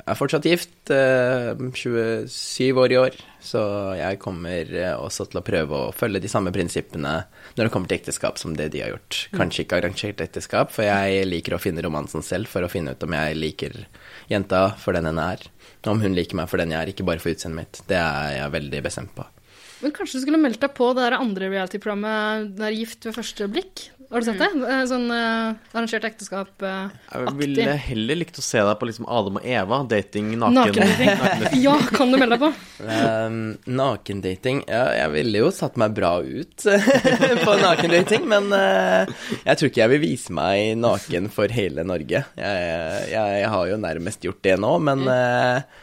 Speaker 7: er fortsatt gift, eh, 27 år i år. Så jeg kommer eh, også til å prøve å følge de samme prinsippene når det kommer til ekteskap som det de har gjort. Kanskje ikke arrangert ekteskap, for jeg liker å finne romansen selv for å finne ut om jeg liker jenta for den henne er. Om hun liker meg for den jeg er, ikke bare for utseendet mitt. Det er jeg veldig bestemt på.
Speaker 1: Men kanskje du skulle meldt deg på det der andre reality-programmet der Gift ved første blikk? Har du sett det? Eh, Sånn eh, arrangert eh.
Speaker 4: Jeg
Speaker 1: ekteskap-aktig.
Speaker 4: ville heller likt å se deg på liksom Adam og Eva, dating naken.
Speaker 1: Nakendating. Ja, kan du melde deg på?
Speaker 7: Um, nakendating Ja, jeg ville jo satt meg bra ut på nakendating, men eh, jeg tror ikke jeg vil vise meg naken for hele Norge. Jeg, jeg, jeg har jo nærmest gjort det nå, men eh,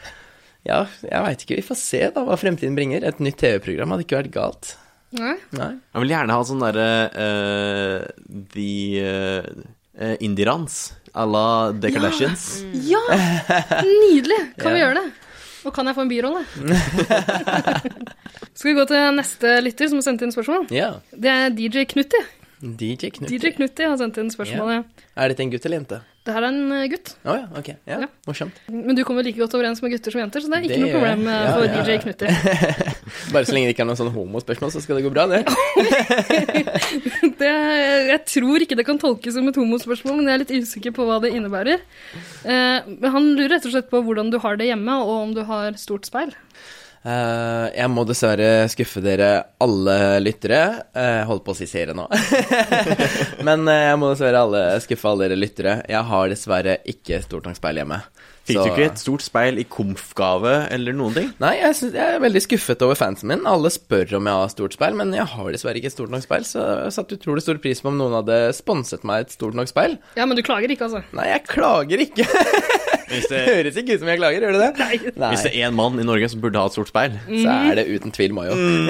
Speaker 7: ja, jeg veit ikke. Vi får se da hva fremtiden bringer. Et nytt TV-program hadde ikke vært galt.
Speaker 1: Nei.
Speaker 7: Nei.
Speaker 4: Jeg vil gjerne ha sånn derre eh, The uh, Indirans à la The Kardashians.
Speaker 1: Ja! Nydelig! Kan vi gjøre det? Og kan jeg få en birolle? Skal vi gå til neste lytter som har sendt inn spørsmål?
Speaker 7: Ja.
Speaker 1: Det er DJ Knutti.
Speaker 7: DJ Knut.
Speaker 1: DJ Knutti har sendt inn spørsmålet.
Speaker 7: Er dette en gutt eller jente?
Speaker 1: Det her er en eh, gutt,
Speaker 7: Å ja, ok. Ja,
Speaker 1: Ja.
Speaker 7: Morsomt.
Speaker 1: men du kommer like godt overens med gutter som jenter, så det er ikke
Speaker 7: Det
Speaker 1: noe
Speaker 7: gjør jeg.
Speaker 1: problem eh,
Speaker 7: Ja,
Speaker 1: for
Speaker 7: ja,
Speaker 1: DJ
Speaker 7: ja.
Speaker 1: Knutti.
Speaker 7: Bare så lenge det ikke er noe sånn homospørsmål, så skal det gå bra, det.
Speaker 1: Det, jeg tror ikke det kan tolkes som et homospørsmål, men jeg er litt usikker på hva det innebærer. Eh, men han lurer rett og slett på hvordan du har det hjemme, og om du har stort speil.
Speaker 7: Eh, jeg må dessverre skuffe dere alle lyttere. Eh, holdt på å si seere nå. Men eh, jeg må dessverre alle, skuffe alle dere lyttere. Jeg har dessverre ikke stortangspeil hjemme.
Speaker 4: Fikk du
Speaker 7: Så-
Speaker 4: ikke et stort speil i komfgave eller noen ting?
Speaker 7: Nei, jeg, synes, jeg er veldig skuffet over fansen min. Alle spør om jeg har stort speil, men jeg har dessverre ikke et stort nok speil, så jeg satte utrolig stor pris på om noen hadde sponset meg et stort nok speil.
Speaker 1: Ja, men du klager ikke, altså.
Speaker 7: Nei, jeg klager ikke.
Speaker 4: Hvis det,
Speaker 7: Høres ikke ut som jeg klager, gjør det det? Nei.
Speaker 4: hvis det er én mann i Norge som burde ha et stort speil
Speaker 1: Mm.
Speaker 7: Så er det uten tvil Mayo.
Speaker 4: Mm.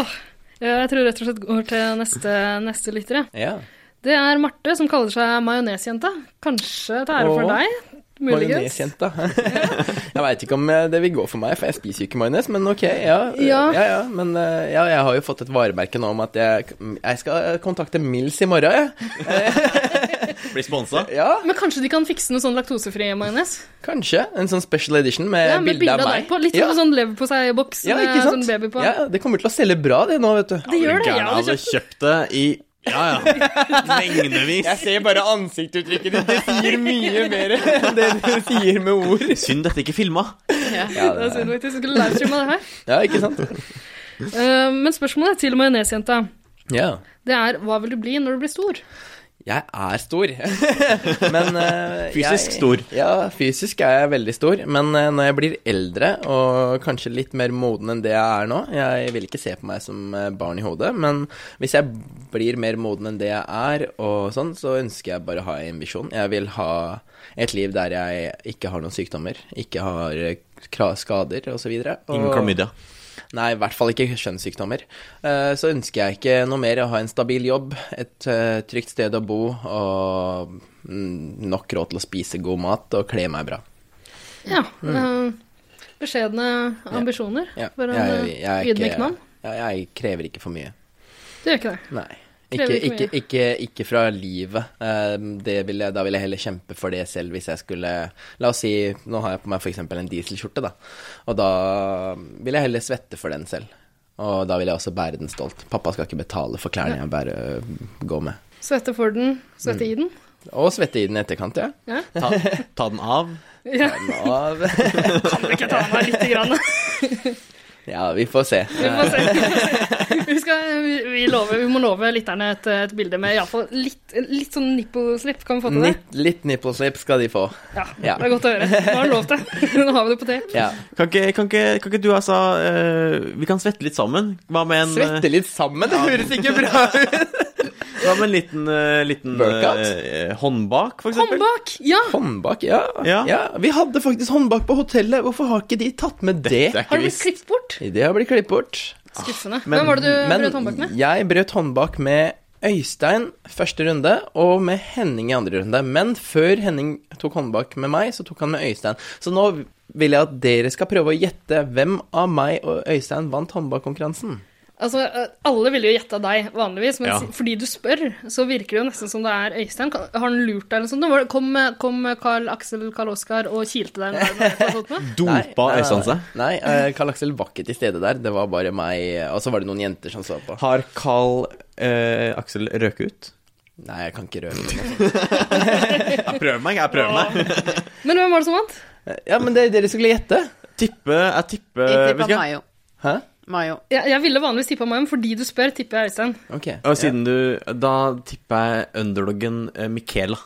Speaker 1: Åh, eh, jeg tror rett og slett går til neste, neste lytter, jeg.
Speaker 7: Ja.
Speaker 1: Det er Marte som kaller seg majonesjenta. Kanskje til ære for
Speaker 7: Åh,
Speaker 1: deg? Muligens.
Speaker 7: Majonesjenta. jeg veit ikke om eh, det vil gå for meg, for jeg spiser jo ikke majones, men ok, ja. Eh,
Speaker 1: Ja.
Speaker 7: ja, ja. Men eh, ja, jeg har jo fått et varemerke nå om at jeg, jeg skal eh, kontakte Mills i morgen, jeg.
Speaker 4: blir sponsa.
Speaker 7: Ja,
Speaker 1: Men kanskje de kan fikse noe sånn laktosefri majones?
Speaker 7: kanskje. En sånn special edition med,
Speaker 1: Ja, med bilde av deg
Speaker 7: meg.
Speaker 1: på. Litt
Speaker 7: ja.
Speaker 1: som en sånn leverpostei-boks
Speaker 7: ja,
Speaker 1: med
Speaker 7: ikke sant?
Speaker 1: sånn baby på.
Speaker 7: Ja, altså, det kommer til å selge bra, det nå, vet du.
Speaker 1: Det gjør det, liksom.
Speaker 4: Gærne
Speaker 1: jeg hadde
Speaker 4: hadde
Speaker 1: kjøpt.
Speaker 4: kjøpt det i Ja, ja. Mengdevis.
Speaker 7: Jeg ser bare ansiktsuttrykket ditt. Det sier mye mer enn det du sier med ord.
Speaker 4: Synd dette ikke filma.
Speaker 1: Ja, det er synd faktisk, jeg skulle livestreama det her.
Speaker 7: Ja, ikke sant?
Speaker 1: Eh, men spørsmålet til majonesjenta,
Speaker 7: Ja.
Speaker 1: det er hva vil du bli når du blir stor?
Speaker 7: Jeg er stor. men eh,
Speaker 4: Fysisk
Speaker 7: jeg,
Speaker 4: stor.
Speaker 7: Ja, fysisk er jeg veldig stor. Men eh, når jeg blir eldre og kanskje litt mer moden enn det jeg er nå Jeg vil ikke se på meg som eh, barn i hodet, men hvis jeg blir mer moden enn det jeg er, og sånn, så ønsker jeg bare å ha en visjon. Jeg vil ha et liv der jeg ikke har noen sykdommer, ikke har eh, kra- skader osv. Og, så videre, og
Speaker 4: Ingen klamydia.
Speaker 7: Nei, i hvert fall ikke kjønnssykdommer. Eh, Så ønsker jeg ikke noe mer å ha en stabil jobb, et eh, trygt sted å bo og mm, nok råd til å spise god mat og kle meg bra.
Speaker 1: Ja. eh, beskjedne ambisjoner
Speaker 7: Ja,
Speaker 1: for en
Speaker 7: jeg-
Speaker 1: eh,
Speaker 7: jeg er ikke-
Speaker 1: ydmyk mann.
Speaker 7: Ja, jeg krever ikke for mye.
Speaker 1: Du gjør ikke det.
Speaker 7: Nei.
Speaker 1: Krever
Speaker 7: Ikke,
Speaker 1: ikke
Speaker 7: ikke, ikke, ikke fra livet. Eh, Det vil jeg, da vil jeg heller kjempe for det selv hvis jeg skulle La oss si nå har jeg på meg f.eks. en dieselskjorte, da. Og da vil jeg heller svette for den selv. Og da vil jeg også bære den stolt. Pappa skal ikke betale for klærne jeg bærer, går med.
Speaker 1: Svette for den, svette
Speaker 7: Mm.
Speaker 1: i den.
Speaker 7: Og svette i den i etterkant, ja.
Speaker 4: Ta, ta den av.
Speaker 1: Ja.
Speaker 7: Av.
Speaker 1: Ikke ta meg lite grann.
Speaker 7: Ja, vi får se.
Speaker 1: Vi får se. Vi, skal, vi, vi, lover, vi må love lytterne et, et bilde med iallfall litt, litt sånn nipposlip. Kan vi få til det?
Speaker 7: Litt, litt nippleslipp skal de få.
Speaker 1: Ja,
Speaker 7: Ja.
Speaker 1: Det er godt å høre. Nå har du lov til. Nå har vi det på tape.
Speaker 7: Ja.
Speaker 4: Kan ikke, kan ikke, kan ikke du, altså eh, Vi kan svette litt sammen. Hva med en, eh,
Speaker 7: Svette litt sammen, det høres ikke bra ut!
Speaker 4: hva med en liten, eh, liten
Speaker 7: Workout?
Speaker 4: eh, håndbak, for
Speaker 1: Kom
Speaker 4: eksempel?
Speaker 1: bak! Ja!
Speaker 7: Håndbak, ja.
Speaker 4: Ja.
Speaker 7: Vi hadde faktisk håndbak på hotellet, hvorfor har ikke de tatt med det?
Speaker 4: Det
Speaker 1: Har
Speaker 4: er ikke
Speaker 1: du blitt
Speaker 4: visst.
Speaker 1: klippet bort?
Speaker 7: Det har blitt klippet bort.
Speaker 1: Skuffende.
Speaker 4: men-
Speaker 1: Hvem var det du
Speaker 7: Men
Speaker 1: brøt håndbak med?
Speaker 7: jeg brøt håndbak med Øystein første runde, og med Henning i andre runde. Men før Henning tok håndbak med meg, så tok han med Øystein. Så nå vil jeg at dere skal prøve å gjette hvem av meg og Øystein vant håndbakkonkurransen.
Speaker 1: Altså, eh, Alle ville jo gjette deg vanligvis, men
Speaker 4: Ja.
Speaker 1: si- fordi du spør, så virker det jo nesten som det er Øystein. Kan- Har han lurt deg eller noe sånt? Nå var det- Kom, eh, kom eh, Carl Axel Carl Oskar og kilte deg? med- med- med- sånt noe?
Speaker 4: Dopa
Speaker 7: Nei, nei,
Speaker 4: Øystein seg?
Speaker 7: Nei, eh, Karl Aksel var ikke til stede der. Det var bare meg, eh, og så var det noen jenter som så på.
Speaker 4: Har Carl eh, Aksel røket ut?
Speaker 7: Nei, jeg kan ikke røre
Speaker 4: Jeg prøver meg, jeg prøver meg.
Speaker 1: Men hvem var det som vant?
Speaker 7: Ja, men det, dere skulle gjette.
Speaker 4: Tippe, jeg tipper
Speaker 2: Jeg
Speaker 4: vet
Speaker 2: tippa
Speaker 4: ikke.
Speaker 2: Mayo.
Speaker 7: Hæ?
Speaker 2: Mayo.
Speaker 1: Jeg, jeg ville vanligvis tippa Mayam, fordi du spør, tipper jeg Øystein.
Speaker 7: Ok.
Speaker 4: Og siden du Da tipper jeg underdoggen eh, Michaela.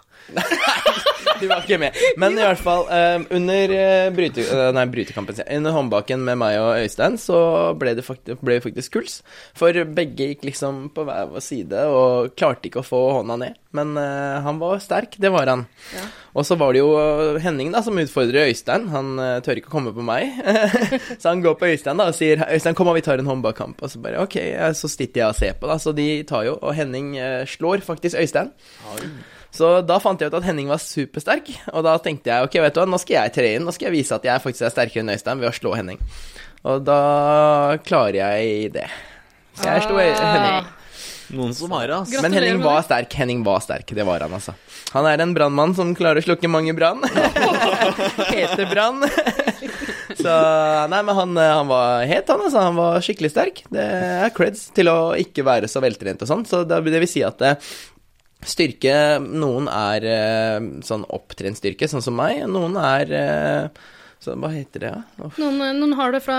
Speaker 7: Du var ikke med. Men i hvert fall, eh, under eh, bryte, eh, nei, brytekampen sier jeg. Under håndbaken med meg og Øystein, så ble det faktisk, ble det faktisk kuls. For begge gikk liksom på hver vår side og klarte ikke å få hånda ned. Men eh, han var sterk, det var han. Og så var det jo eh, Henning da, som utfordrer Øystein. Han eh, tør ikke å komme på meg. så han går på Øystein da og sier 'Øystein, kom og vi tar en håndbakkamp'. Og så bare OK, eh, så sitter jeg og ser på, da. Så de tar jo, og Henning eh, slår faktisk Øystein. Så da fant jeg ut at Henning var supersterk, og da tenkte jeg ok, vet du hva, nå skal jeg tre inn, nå skal jeg vise at jeg faktisk er sterkere enn Øystein ved å slå Henning. Og da klarer jeg det. Så jeg slo Øy- Henning.
Speaker 4: Noen som har det, altså.
Speaker 1: Gratulerer
Speaker 7: Men Henning
Speaker 1: med
Speaker 7: var
Speaker 1: det.
Speaker 7: sterk. Henning var sterk, det var han, altså. Han er en brannmann som klarer å slukke mange brann. Hete brann. Så nei, men han, eh, han var het, han, altså. Han var skikkelig sterk. Det er creds til å ikke være så veltrent og sånn. Så det, det vil si at eh, styrke Noen er eh, sånn opptrent styrke, sånn som meg. Noen er eh, så, Hva heter det, da?
Speaker 1: Noen, noen har det fra,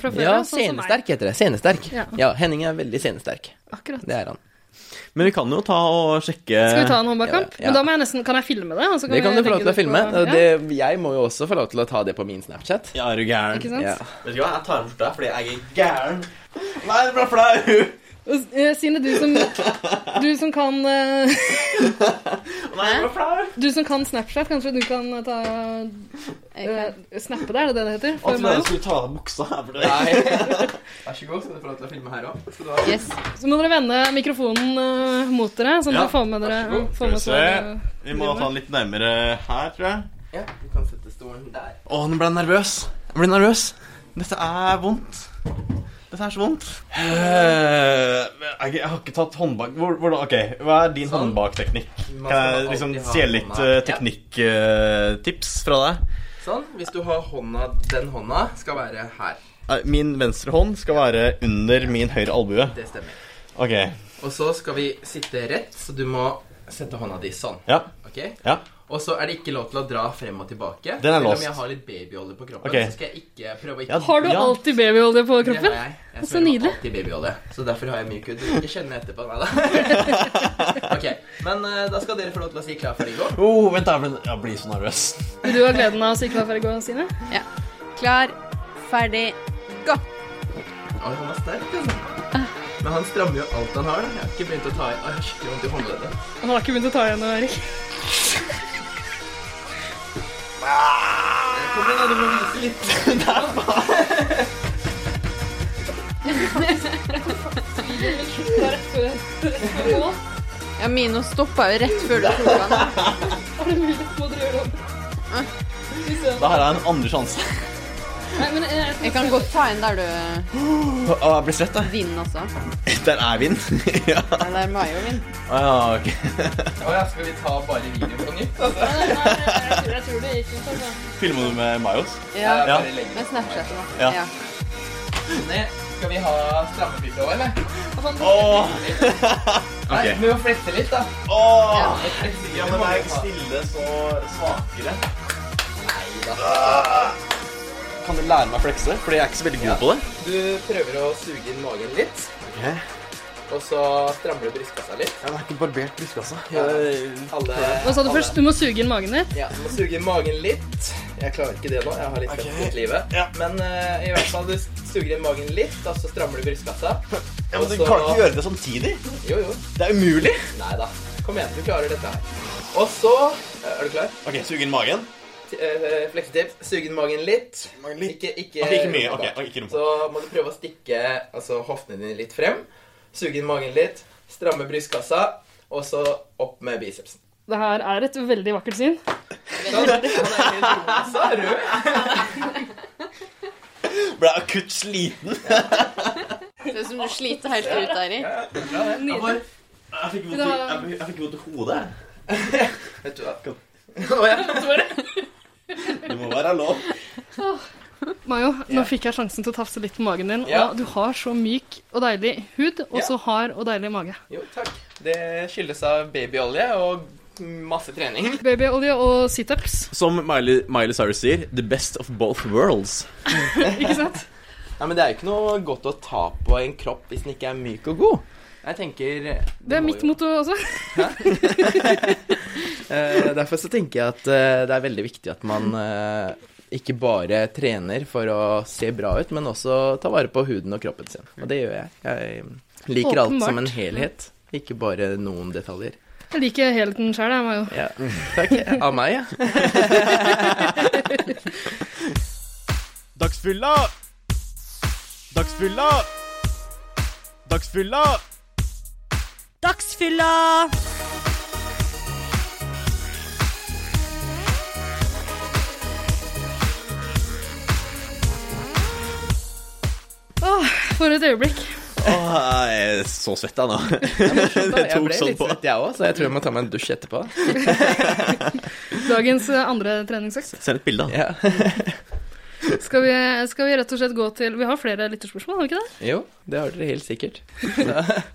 Speaker 1: fra før?
Speaker 7: Ja,
Speaker 1: sånn som meg.
Speaker 7: senesterk heter det. Senesterk.
Speaker 1: Ja.
Speaker 7: Ja, Henning er veldig senesterk.
Speaker 1: Akkurat.
Speaker 7: Det er han.
Speaker 4: Men vi kan jo ta og sjekke
Speaker 1: Skal vi ta en håndbakkamp?
Speaker 7: Ja, ja.
Speaker 1: Men da må jeg nesten, kan jeg filme det? Og så
Speaker 7: Det kan
Speaker 1: vi
Speaker 7: du få lov
Speaker 1: legge
Speaker 7: til å
Speaker 1: det
Speaker 7: filme.
Speaker 1: på-
Speaker 7: og Det, jeg må jo også få lov til å ta det på min Snapchat.
Speaker 4: Ja, er du gæren?
Speaker 1: Ikke sant?
Speaker 7: Ja.
Speaker 4: Vet du hva, jeg tar bort deg fordi jeg er gæren. Nei, det ble flau.
Speaker 1: Og, eh, Sine, du som, du som kan eh,
Speaker 4: Nei, det ble flau.
Speaker 1: Du som kan Snapchat, kanskje du kan ta eh, Snappe det, er det det det heter? For
Speaker 4: Jeg trodde jeg
Speaker 1: meg.
Speaker 4: skulle ta av buksa her for det.
Speaker 7: Nei. Vær så god, skal du få lov til å filme her òg.
Speaker 2: Yes.
Speaker 1: Så må dere vende mikrofonen eh, mot dere, sånn at
Speaker 4: Ja,
Speaker 1: dere får med dere
Speaker 4: vær så god.
Speaker 1: får med
Speaker 4: Skal vi se.
Speaker 1: dere-
Speaker 4: Vi må ta den litt nærmere her, tror jeg.
Speaker 7: Ja, du kan sette stolen der.
Speaker 4: Å, nå ble jeg nervøs. Jeg ble nervøs. Dette er vondt. Dette er så vondt. Eh, Jeg, jeg har ikke tatt håndbak... Hvor, hvordan, ok, Hva er din
Speaker 7: Sånn.
Speaker 4: håndbakteknikk?
Speaker 7: Man
Speaker 4: Kan jeg
Speaker 7: skal
Speaker 4: liksom
Speaker 7: alltid ha
Speaker 4: stjele litt
Speaker 7: hånda-
Speaker 4: eh, teknikktips fra deg?
Speaker 7: Sånn. Hvis du har hånda Den hånda skal være her.
Speaker 4: Eh, Min venstre hånd skal være under min høyre albue.
Speaker 7: Det stemmer.
Speaker 4: Ok.
Speaker 7: Og så skal vi sitte rett, så du må sette hånda di sånn.
Speaker 4: Ja.
Speaker 7: Ok?
Speaker 4: Ja.
Speaker 7: Og så er det ikke lov til å dra frem og tilbake.
Speaker 4: Den er
Speaker 7: Selv
Speaker 4: låst.
Speaker 7: om jeg har litt babyolje på kroppen,
Speaker 4: Ok.
Speaker 7: så skal jeg ikke prøve å ikke
Speaker 4: Ja,
Speaker 1: Har du
Speaker 4: ja.
Speaker 1: alltid babyolje på
Speaker 7: Det
Speaker 1: kroppen?
Speaker 7: har jeg. Jeg
Speaker 1: Så
Speaker 7: smører meg
Speaker 1: nydelig.
Speaker 7: alltid babyolje. Så derfor har jeg mye kudd. Ikke kjenn meg etterpå, nei da. ok, men eh, da skal dere få lov til å si klar, ferdig, gå.
Speaker 4: Oh, vent, da, jeg blir- jeg blir så nervøs.
Speaker 1: Vil du ha gleden av å si hva for å gå, Sine?
Speaker 2: Klar, ferdig, gå.
Speaker 7: Oi, han er sterk, altså.
Speaker 1: Ah.
Speaker 7: Men han strammer jo alt han har. da. Jeg har ikke begynt å ta i. Oi, jeg har skikkelig vondt i håndleddet.
Speaker 1: Han har ikke begynt å ta igjen nå, Erik.
Speaker 7: Kom igjen, da, du må vise litt.
Speaker 1: Rett før- rett før nå.
Speaker 2: Ja, Mino stoppa jo rett før du tok han.
Speaker 1: Er det mulig? Må dere gjøre det? Fy søren.
Speaker 4: Da har jeg en andre sjanse.
Speaker 1: Nei, men jeg, jeg,
Speaker 2: Jeg kan godt ta en der du
Speaker 4: Å, jeg blir svett, jeg.
Speaker 2: vinner også.
Speaker 4: Der er vind. ja.
Speaker 2: Eller Mayo vinner.
Speaker 4: Å, ja, ok.
Speaker 7: Å ja, skal vi ta bare video på nytt, altså?
Speaker 1: Nei, nei, jeg, jeg tror det gikk ut, altså.
Speaker 4: Filmer du med Mayos?
Speaker 2: Ja,
Speaker 4: Ja.
Speaker 7: Bare legge
Speaker 2: Eh, med Snapchat nå.
Speaker 4: Ja.
Speaker 2: Ja.
Speaker 7: den ned. Skal vi ha stramme fitte òg, eller?
Speaker 4: Åh,
Speaker 7: Nei,
Speaker 4: Ok.
Speaker 7: vi må flette litt, da.
Speaker 4: åh.
Speaker 7: Jeg flette
Speaker 4: Ja, men er stille så svakere.
Speaker 7: Nei da. Kan du lære meg å flekse?
Speaker 4: Fordi jeg er ikke så veldig god på det.
Speaker 7: Du prøver å suge inn magen litt,
Speaker 4: Okay.
Speaker 7: og så strammer du brystkassa litt.
Speaker 4: Jeg har ikke barbert brystkassa.
Speaker 7: Alle,
Speaker 1: Hva sa du først? Du må suge inn magen ditt.
Speaker 7: Ja, du må suge inn magen litt. Jeg klarer ikke det nå. Jeg har litt okay. fett mot livet. Men eh, i hvert fall, du suger inn magen litt, og så strammer du brystkassa.
Speaker 4: Ja,
Speaker 7: Og
Speaker 4: men du
Speaker 7: så-
Speaker 4: kan ikke gjøre det samtidig.
Speaker 7: Jo, jo.
Speaker 4: Det er umulig.
Speaker 7: Nei da. Kom igjen, du klarer dette her. Og så eh, Er du klar?
Speaker 4: Ok, Sug inn magen.
Speaker 7: T- eh, Fleksetips. Sug inn magen litt.
Speaker 4: Magen litt.
Speaker 7: Ikke, ikke,
Speaker 4: Ok, ikke mye. Ok, ok, ikke rumpa.
Speaker 7: Så må du prøve å stikke altså, hoftene dine litt frem. Suge inn magen litt. Stramme brystkassa. Og så opp med bicepsen.
Speaker 1: Det her er et veldig vakkert syn.
Speaker 7: Så er du
Speaker 4: Ble jeg akutt sliten.
Speaker 2: Det er som du sliter helt ut der i.
Speaker 4: Jeg bare- jeg fikk vondt i- jeg fikk- jeg fikk vondt i hodet.
Speaker 7: Vet du hva?
Speaker 4: Det må være lov.
Speaker 1: Mayo, nå fikk jeg sjansen til å tafse litt på magen din.
Speaker 7: Ja.
Speaker 1: Og du har så myk og deilig hud, og
Speaker 7: Ja.
Speaker 1: så hard og deilig mage.
Speaker 7: Jo, takk. Det skyldes av babyolje og masse trening.
Speaker 1: Babyolje og situps,
Speaker 4: Som Miley, Miley Cyrus sier, the best of both worlds.
Speaker 1: ikke sant?
Speaker 7: Nei, men Det er jo ikke noe godt å ta på en kropp hvis den ikke er myk og god. Jeg tenker...
Speaker 1: Det er mitt motto også.
Speaker 7: Eh, derfor så tenker jeg at eh, det er veldig viktig at man eh, ikke bare trener for å se bra ut, men også ta vare på huden og kroppen sin. Og det gjør jeg. Jeg liker alt som en
Speaker 1: Åpenbart.
Speaker 7: helhet, ikke bare noen detaljer.
Speaker 1: Jeg liker helheten sjøl, jeg, Mayo.
Speaker 7: Ja, takk. Av meg, ja.
Speaker 4: Dagsfylla! Dagsfylla! Dagsfylla!
Speaker 3: Dagsfylla!
Speaker 1: Åh, for et øyeblikk.
Speaker 4: Åh, jeg er så svett jeg nå. Det
Speaker 7: Jeg
Speaker 4: tok
Speaker 7: ble
Speaker 4: sånn
Speaker 7: litt
Speaker 4: på.
Speaker 7: svett, jeg òg, så jeg tror jeg må ta meg en dusj etterpå.
Speaker 1: Dagens eh, andre treningsøkt.
Speaker 4: Send et bilde, da.
Speaker 7: Ja.
Speaker 1: Skal vi, skal vi rett og slett gå til Vi har flere lytterspørsmål, har vi ikke det?
Speaker 7: Jo, det har dere helt sikkert.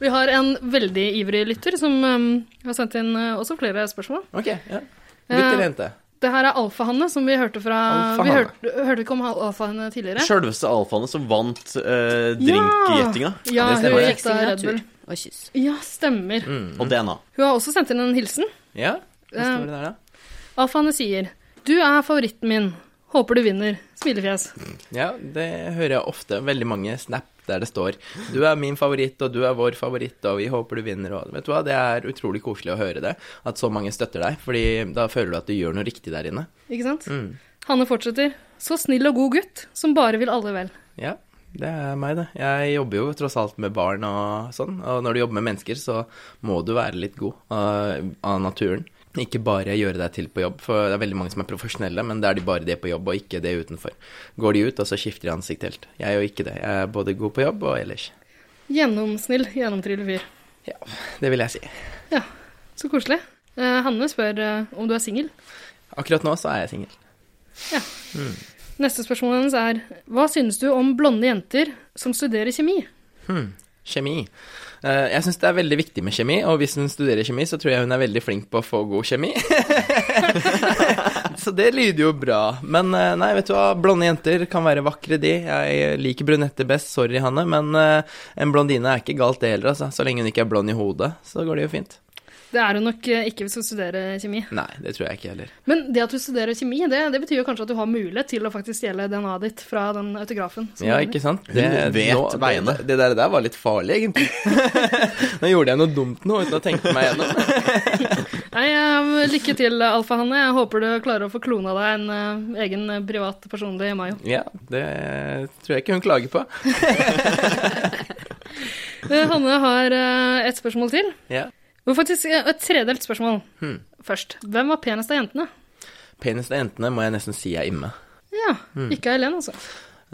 Speaker 1: Vi har en veldig ivrig lytter som eh, har sendt inn eh, også flere spørsmål. Eh,
Speaker 7: Ok, ja. Gutt eller jente?
Speaker 1: Det her er Alfahanne, som vi hørte fra Vi
Speaker 7: Alfahanne.
Speaker 1: hørte, hørte ikke om Alfahanne tidligere.
Speaker 4: Sjølveste alfaene som vant eh, drinkgjettinga.
Speaker 1: Ja,
Speaker 7: Det
Speaker 1: hun
Speaker 7: stemmer.
Speaker 1: gjetta Red Bull.
Speaker 2: Og kyss.
Speaker 1: Ja, stemmer.
Speaker 7: Mm.
Speaker 4: Og DNA.
Speaker 1: Hun har også sendt inn en hilsen.
Speaker 7: Ja? Hva
Speaker 1: Eh,
Speaker 7: står det der, da?
Speaker 1: Alfahanne sier Du er favoritten min. Håper du vinner. Smilefjes.
Speaker 7: Ja, det hører jeg ofte. Veldig mange snap der det står 'Du er min favoritt, og du er vår favoritt, og vi håper du vinner', og Vet du hva, det er utrolig koselig å høre det. At så mange støtter deg, fordi da føler du at du gjør noe riktig der inne.
Speaker 1: Ikke sant?
Speaker 7: Mm.
Speaker 1: Hanne fortsetter. Så snill og god gutt, som bare vil alle vel.
Speaker 7: Ja, det er meg, det. Jeg jobber jo tross alt med barn og sånn, og når du jobber med mennesker, så må du være litt god av, av naturen. Ikke bare gjøre deg til på jobb, for det er veldig mange som er profesjonelle, men det er de bare det på jobb, og ikke det utenfor. Går de ut, og så skifter de ansikt helt. Jeg gjør ikke det. Jeg er både god på jobb og ellers.
Speaker 1: Gjennomsnill, gjennomtrylle fyr.
Speaker 7: Ja, det vil jeg si.
Speaker 1: Ja, så koselig. Eh, Hanne spør eh, om du er singel.
Speaker 7: Akkurat nå så er jeg singel.
Speaker 1: Neste spørsmål hennes er Hva synes du om blonde jenter som studerer kjemi?
Speaker 7: Kjemi. Eh, Jeg syns det er veldig viktig med kjemi, og hvis hun studerer kjemi, så tror jeg hun er veldig flink på å få god kjemi. så det lyder jo bra. Men eh, nei, vet du hva, blonde jenter kan være vakre, de. Jeg liker brunetter best, sorry Hanne, men eh, en blondine er ikke galt det heller, altså. Så lenge hun ikke er blond i hodet, så går det jo fint.
Speaker 1: Det er hun nok eh, ikke hvis hun studerer kjemi.
Speaker 7: Nei, det tror jeg ikke heller.
Speaker 1: Men det at du studerer kjemi, det, det betyr jo kanskje at du har mulighet til å faktisk stjele DNA-et ditt fra den autografen. som
Speaker 7: Ja,
Speaker 1: du har.
Speaker 7: ikke sant?
Speaker 4: vet
Speaker 7: nå-
Speaker 4: veiene.
Speaker 7: Det, det der, der var litt farlig, egentlig. nå gjorde jeg noe dumt nå, uten å tenke meg gjennom.
Speaker 1: Nei, eh, lykke til, Alfahanne. Jeg håper du klarer å få klona deg en eh, egen eh, privat, personlig Mayo.
Speaker 7: Ja, det tror jeg ikke hun klager på.
Speaker 1: Eh, Hanne har eh, et spørsmål til.
Speaker 7: Ja. Hmm.
Speaker 1: Men faktisk eh, et tredelt spørsmål først. Hvem var penest av jentene?
Speaker 7: Penest av jentene må jeg nesten si er imme.
Speaker 1: Ja,
Speaker 7: Hmm.
Speaker 1: ikke Eileen, altså.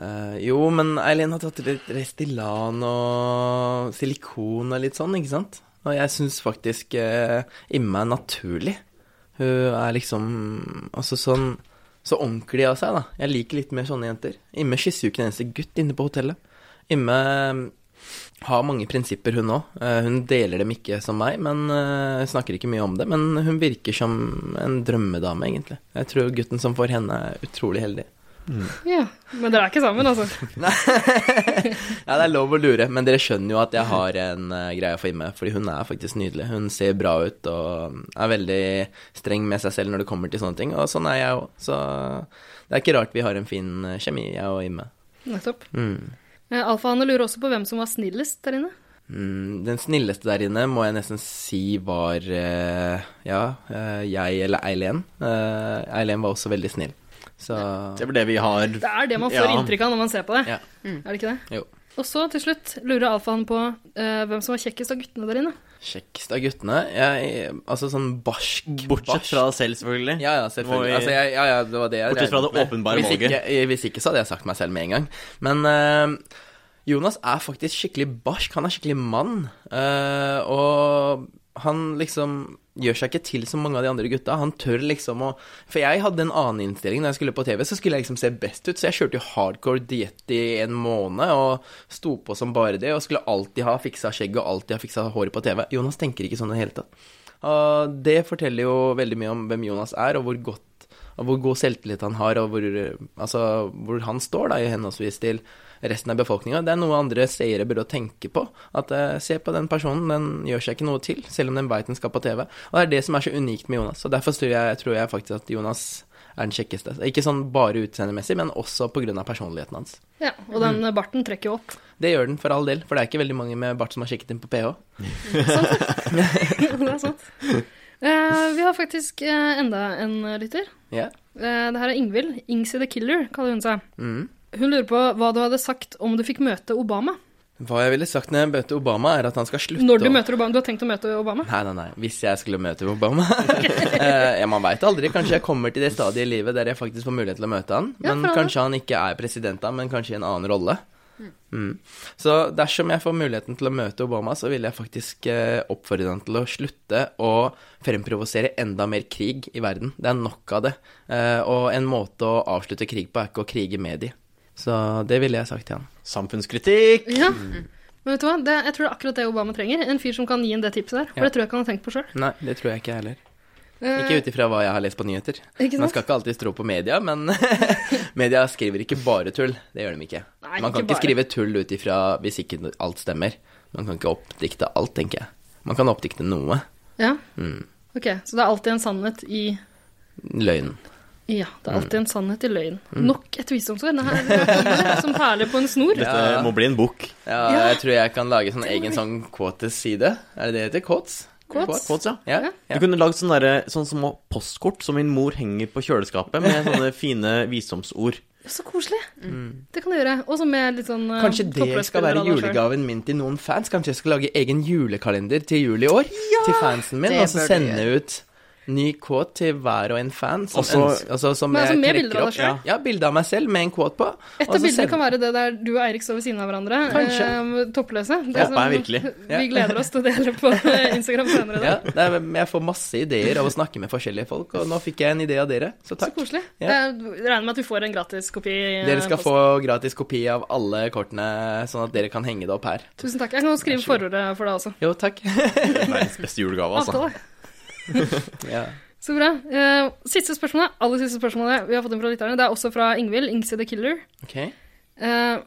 Speaker 7: Eh, jo, men Eileen har tatt litt Restylane og silikon og litt sånn, ikke sant? Og jeg syns faktisk eh, Imme er naturlig. Hun er liksom Altså sånn så ordentlig av seg, da. Jeg liker litt mer sånne jenter. Imme kysser jo ikke en eneste gutt inne på hotellet. Imme eh, har mange prinsipper, hun òg. Hun deler dem ikke som meg, men eh, hun snakker ikke mye om det. Men hun virker som en drømmedame, egentlig. Jeg tror gutten som får henne, er utrolig heldig.
Speaker 1: Ja. Men dere er ikke sammen, altså.
Speaker 7: Ja, det er lov å lure, men dere skjønner jo at jeg har en eh, greie å få inn med, fordi hun er faktisk nydelig. Hun ser bra ut og mm, er veldig streng med seg selv når det kommer til sånne ting, og sånn er jeg òg. Så det er ikke rart vi har en fin eh, kjemi, jeg og Imme.
Speaker 1: Nettopp.
Speaker 7: Mm.
Speaker 1: Eh, Alfahane lurer også på hvem som var snillest der inne.
Speaker 7: Mm, den snilleste der inne må jeg nesten si var eh, ja, eh, jeg eller Eileen. Eh, Eileen var også veldig snill, så
Speaker 4: Det er vel det vi har.
Speaker 1: Det er det man får
Speaker 4: Ja.
Speaker 1: inntrykk av når man ser på det. Hmm,
Speaker 7: Ja.
Speaker 1: Er det ikke det?
Speaker 7: Jo.
Speaker 1: Og så til slutt lurer Alfahan på eh, hvem som var kjekkest av guttene der inne.
Speaker 7: kjekkest av guttene. Jeg, altså sånn barsk
Speaker 4: Bortsett
Speaker 7: barsk.
Speaker 4: fra deg selv, selvfølgelig.
Speaker 7: Ja, ja,
Speaker 4: Må
Speaker 7: selvfølgelig.
Speaker 4: vi-
Speaker 7: altså, jeg, ja, ja, det var det jeg
Speaker 4: Bortsett fra
Speaker 7: regnet
Speaker 4: det
Speaker 7: med.
Speaker 4: åpenbare
Speaker 7: hvis
Speaker 4: valget.
Speaker 7: Ikke, eh, hvis ikke så hadde jeg sagt meg selv med en gang. Men eh, Jonas er faktisk skikkelig barsk. Han er skikkelig mann. eh, og han liksom gjør seg ikke til som mange av de andre gutta. Han tør liksom å For jeg hadde en annen innstilling når jeg skulle på TV, så skulle jeg liksom se best ut. Så jeg kjørte jo hardcore diett i en måned og sto på som bare det. Og skulle alltid ha fiksa skjegget og alltid ha fiksa håret på TV. Jonas tenker ikke sånn i det hele tatt. Og det forteller jo veldig mye om hvem Jonas er, og hvor, godt, og hvor god selvtillit han har, og hvor, eh, altså, hvor han står da, i henholdsvis til resten av befolkninga. Det er noe andre seere burde tenke på. At eh, se på den personen, den gjør seg ikke noe til, selv om den veit den skal på TV. Og det er det som er så unikt med Jonas, og derfor tror jeg, tror jeg faktisk at Jonas er den kjekkeste. Ikke sånn bare utseendemessig, men også pga. personligheten hans.
Speaker 1: Ja, Og den
Speaker 7: Hmm.
Speaker 1: eh, barten trekker jo opp.
Speaker 7: Det gjør den for all del, for det er ikke veldig mange med bart som har sjekket inn på PH.
Speaker 1: Sånn det er sant. Eh, vi har faktisk eh, enda en eh, lytter.
Speaker 7: Ja.
Speaker 1: Eh, det her er Ingvild. Ingsy the Killer kaller hun seg.
Speaker 7: Mm.
Speaker 1: Hun lurer på hva du hadde sagt om du fikk møte Obama.
Speaker 7: Hva jeg ville sagt når jeg møter Obama, er at han skal slutte
Speaker 1: Når du
Speaker 7: å-
Speaker 1: møter Obama. Du har tenkt å møte Obama?
Speaker 7: Nei, nei, nei. Hvis jeg skulle møte Obama Eh, ja, Man veit aldri. Kanskje jeg kommer til det stadiet i livet der jeg faktisk får mulighet til å møte han.
Speaker 1: Ja,
Speaker 7: Men
Speaker 1: for all del.
Speaker 7: kanskje han ikke er president da, men kanskje i en annen rolle. Mm. Så dersom jeg får muligheten til å møte Obama, så vil jeg faktisk eh, oppfordre han til å slutte å fremprovosere enda mer krig i verden. Det er nok av det. Eh, og en måte å avslutte krig på er ikke å krige med de. Så det ville jeg sagt til han.
Speaker 4: Samfunnskritikk!
Speaker 1: Ja.
Speaker 7: Mm.
Speaker 1: Men vet du hva? Det, jeg tror det er akkurat det Obama trenger. En fyr som kan gi en det tipset der. For
Speaker 7: Ja.
Speaker 1: det tror jeg ikke han har tenkt på Eh, sjøl.
Speaker 7: Nei, det tror jeg ikke jeg heller. Ikke ut ifra hva jeg har lest på nyheter.
Speaker 1: Ikke sant?
Speaker 7: Man skal ikke alltid tro på media, men media skriver ikke bare tull. Det gjør de ikke.
Speaker 1: Nei,
Speaker 7: man kan
Speaker 1: ikke
Speaker 7: ikke,
Speaker 1: bare.
Speaker 7: skrive tull ut ifra hvis ikke alt stemmer. Man kan ikke oppdikte alt, tenker jeg. Man kan oppdikte noe.
Speaker 1: Ja.
Speaker 7: Mm.
Speaker 1: Ok, så det er alltid en sannhet i
Speaker 7: Løgn.
Speaker 1: Ja, det er alltid
Speaker 7: Mm.
Speaker 1: en sannhet i løgn. Nok et visdomsord. Det her det kommer som perler på en snor.
Speaker 4: Dette
Speaker 7: Ja.
Speaker 4: må bli en bok.
Speaker 7: Ja,
Speaker 1: Ja.
Speaker 7: Jeg tror jeg kan lage sånn egen sånn quotes-side. Er det det det heter? Quotes?
Speaker 1: Quotes.
Speaker 4: Quotes, ja.
Speaker 7: Ja.
Speaker 4: Du kunne lagd sånne, derre- sånne små postkort som min mor henger på kjøleskapet, med sånne fine visdomsord.
Speaker 1: Så koselig. Det kan du gjøre. Og så med litt sånn eh,
Speaker 7: Mm. Kanskje det skal være
Speaker 1: toppløsbilder av deg selv.
Speaker 7: julegaven min til noen fans? Kanskje jeg skal lage egen julekalender til jul i år? til fansen min,
Speaker 2: Det
Speaker 7: og så
Speaker 2: bør du
Speaker 7: sende ut ny quote til hver og en fan. Som
Speaker 4: Også-
Speaker 7: ønsker, altså, som
Speaker 1: Men altså
Speaker 7: jeg
Speaker 1: med
Speaker 7: trekker
Speaker 1: bilder av deg
Speaker 7: opp.
Speaker 1: selv?
Speaker 7: Ja, bilde av meg selv med en quote på.
Speaker 1: Et av bildene kan være det der du og Eirik står ved siden av hverandre, eh,
Speaker 7: Kanskje.
Speaker 1: toppløse. Det
Speaker 4: Håper
Speaker 1: som-
Speaker 4: jeg virkelig.
Speaker 1: Vi gleder oss til å dele på eh, Instagram senere. Da.
Speaker 7: ja, det er, men Jeg får masse ideer av å snakke med forskjellige folk, og nå fikk jeg en idé av dere,
Speaker 1: Så
Speaker 7: så takk.
Speaker 1: koselig.
Speaker 7: Ja.
Speaker 1: Jeg regner med at vi får en gratis kopi. eh,
Speaker 7: Dere skal
Speaker 1: posten.
Speaker 7: få gratis kopi av alle kortene, sånn at dere kan henge det opp her.
Speaker 1: Tusen takk. Jeg kan også skrive forordet for deg også.
Speaker 7: Jo, takk.
Speaker 4: Verdens beste julegave, altså.
Speaker 1: Avtale.
Speaker 7: ja.
Speaker 1: Så bra. Eh, siste spørsmålet, aller siste spørsmålet vi har fått inn fra lytterne, det er også fra Ingvild, Ingsi the Killer.
Speaker 7: Ok.
Speaker 1: Eh,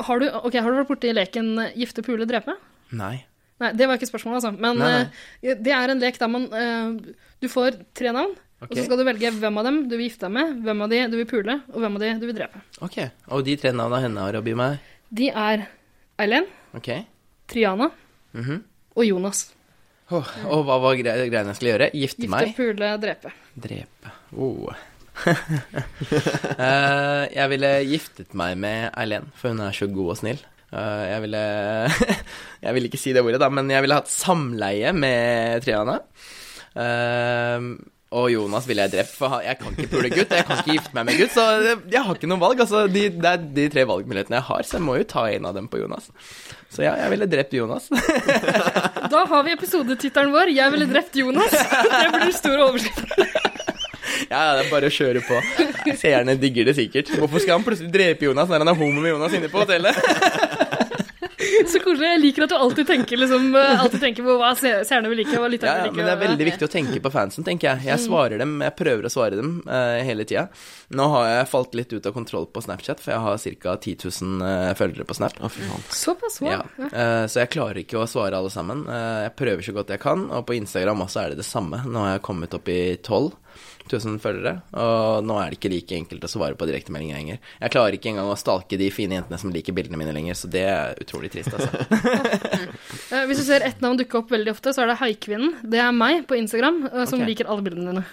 Speaker 1: har, du, ok, har du vært borti leken eh, gifte, pule, drepe?
Speaker 7: Nei.
Speaker 1: Nei, det var ikke spørsmålet, altså. Men
Speaker 7: Nei,
Speaker 1: eh, det er en lek der man eh, Du får tre navn, og
Speaker 7: Ok.
Speaker 1: så skal du velge hvem av dem du vil gifte deg med, hvem av de du vil pule, og hvem av de du vil drepe.
Speaker 7: ok. Og de tre navnene henne har å by meg.
Speaker 1: De er Eileen,
Speaker 7: Ok.
Speaker 1: Triana
Speaker 7: Mhm.
Speaker 1: og Jonas.
Speaker 7: Åh, og hva var gre greiene jeg skulle gjøre? Gifte
Speaker 1: Gifte,
Speaker 7: meg?
Speaker 1: pule, drepe.
Speaker 7: Drepe oh. Eh, Jeg ville giftet meg med Eileen, for hun er så god og snill. Eh, jeg ville Jeg ville ikke si det ordet, da, men jeg ville hatt samleie med Triana. Eh, og Jonas ville jeg drept, for han- jeg kan ikke pule gutt. og Jeg kan ikke gifte meg med gutt, så jeg har ikke noe valg. Altså, de, det er de tre valgmulighetene jeg har, så jeg må jo ta en av dem på Jonas. Så ja, jeg ville drept Jonas.
Speaker 1: Da har vi episodetittelen vår 'Jeg ville drept Jonas'. Det blir stor oversikt.
Speaker 7: Ja, ja, det er bare å kjøre på. Seerne digger det sikkert. Hvorfor skal han plutselig drepe Jonas når han er homo med Jonas inne på hotellet?
Speaker 1: Så koselig. Jeg liker at du alltid tenker, liksom, eh, alltid tenker på hva se- seerne vil like, og hva
Speaker 7: Ja,
Speaker 1: lytterne
Speaker 7: ja,
Speaker 1: vil
Speaker 7: men
Speaker 1: like.
Speaker 7: det er
Speaker 1: og-
Speaker 7: veldig viktig å tenke på fansen, tenker jeg. Jeg svarer dem, jeg prøver å svare dem eh, hele tida. Nå har jeg falt litt ut av kontroll på Snapchat, for jeg har ca. 10 000 eh, følgere på Snap.
Speaker 1: Såpass, wow.
Speaker 7: Ja. eh, så jeg klarer ikke å svare alle sammen. Eh, jeg prøver så godt jeg kan, og på Instagram også er det det samme. Nå har jeg kommet opp i 12 000 følgere, og nå er det ikke like enkelt å svare på direktemeldinger lenger. Jeg klarer ikke engang å stalke de fine jentene som liker bildene mine lenger, så det er utrolig trist, altså.
Speaker 1: Eh, Hvis du ser ett navn dukke opp veldig ofte, så er det Haikvinnen. Det er meg på Instagram, eh, som
Speaker 7: Ok.
Speaker 1: liker alle bildene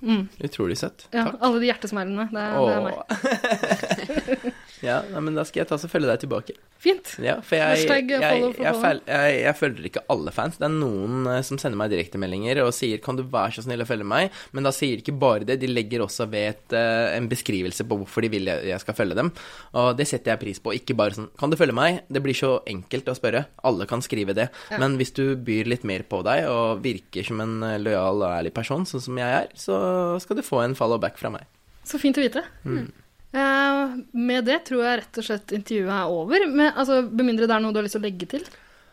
Speaker 1: dine.
Speaker 7: Utrolig søtt.
Speaker 1: Ja, alle de hjertesmilene. Det, er- det er meg.
Speaker 7: Åh. ja, nei, men da skal jeg ta så følge deg tilbake.
Speaker 1: Fint.
Speaker 7: Ja, for jeg, jeg,
Speaker 1: Hashtag
Speaker 7: jeg,
Speaker 1: follow
Speaker 7: jeg,
Speaker 1: for follow.
Speaker 7: fel- jeg, jeg følger ikke alle fans. Det er noen eh, som sender meg direktemeldinger og sier 'kan du være så snill å følge meg', men da sier de ikke bare det, de legger også ved et, eh, en beskrivelse på hvorfor de vil jeg, jeg skal følge dem. Og det setter jeg pris på. Ikke bare sånn 'kan du følge meg'? Det blir så enkelt å spørre. Alle kan skrive det. Men hvis du byr litt mer på deg og virker som en eh, lojal og ærlig person, sånn som jeg er, så skal du få en follow back fra meg.
Speaker 1: Så fint å vite. Mm. Eh, med det tror jeg rett og slett intervjuet er over. Men, altså, med mindre det er noe du har lyst til å legge til.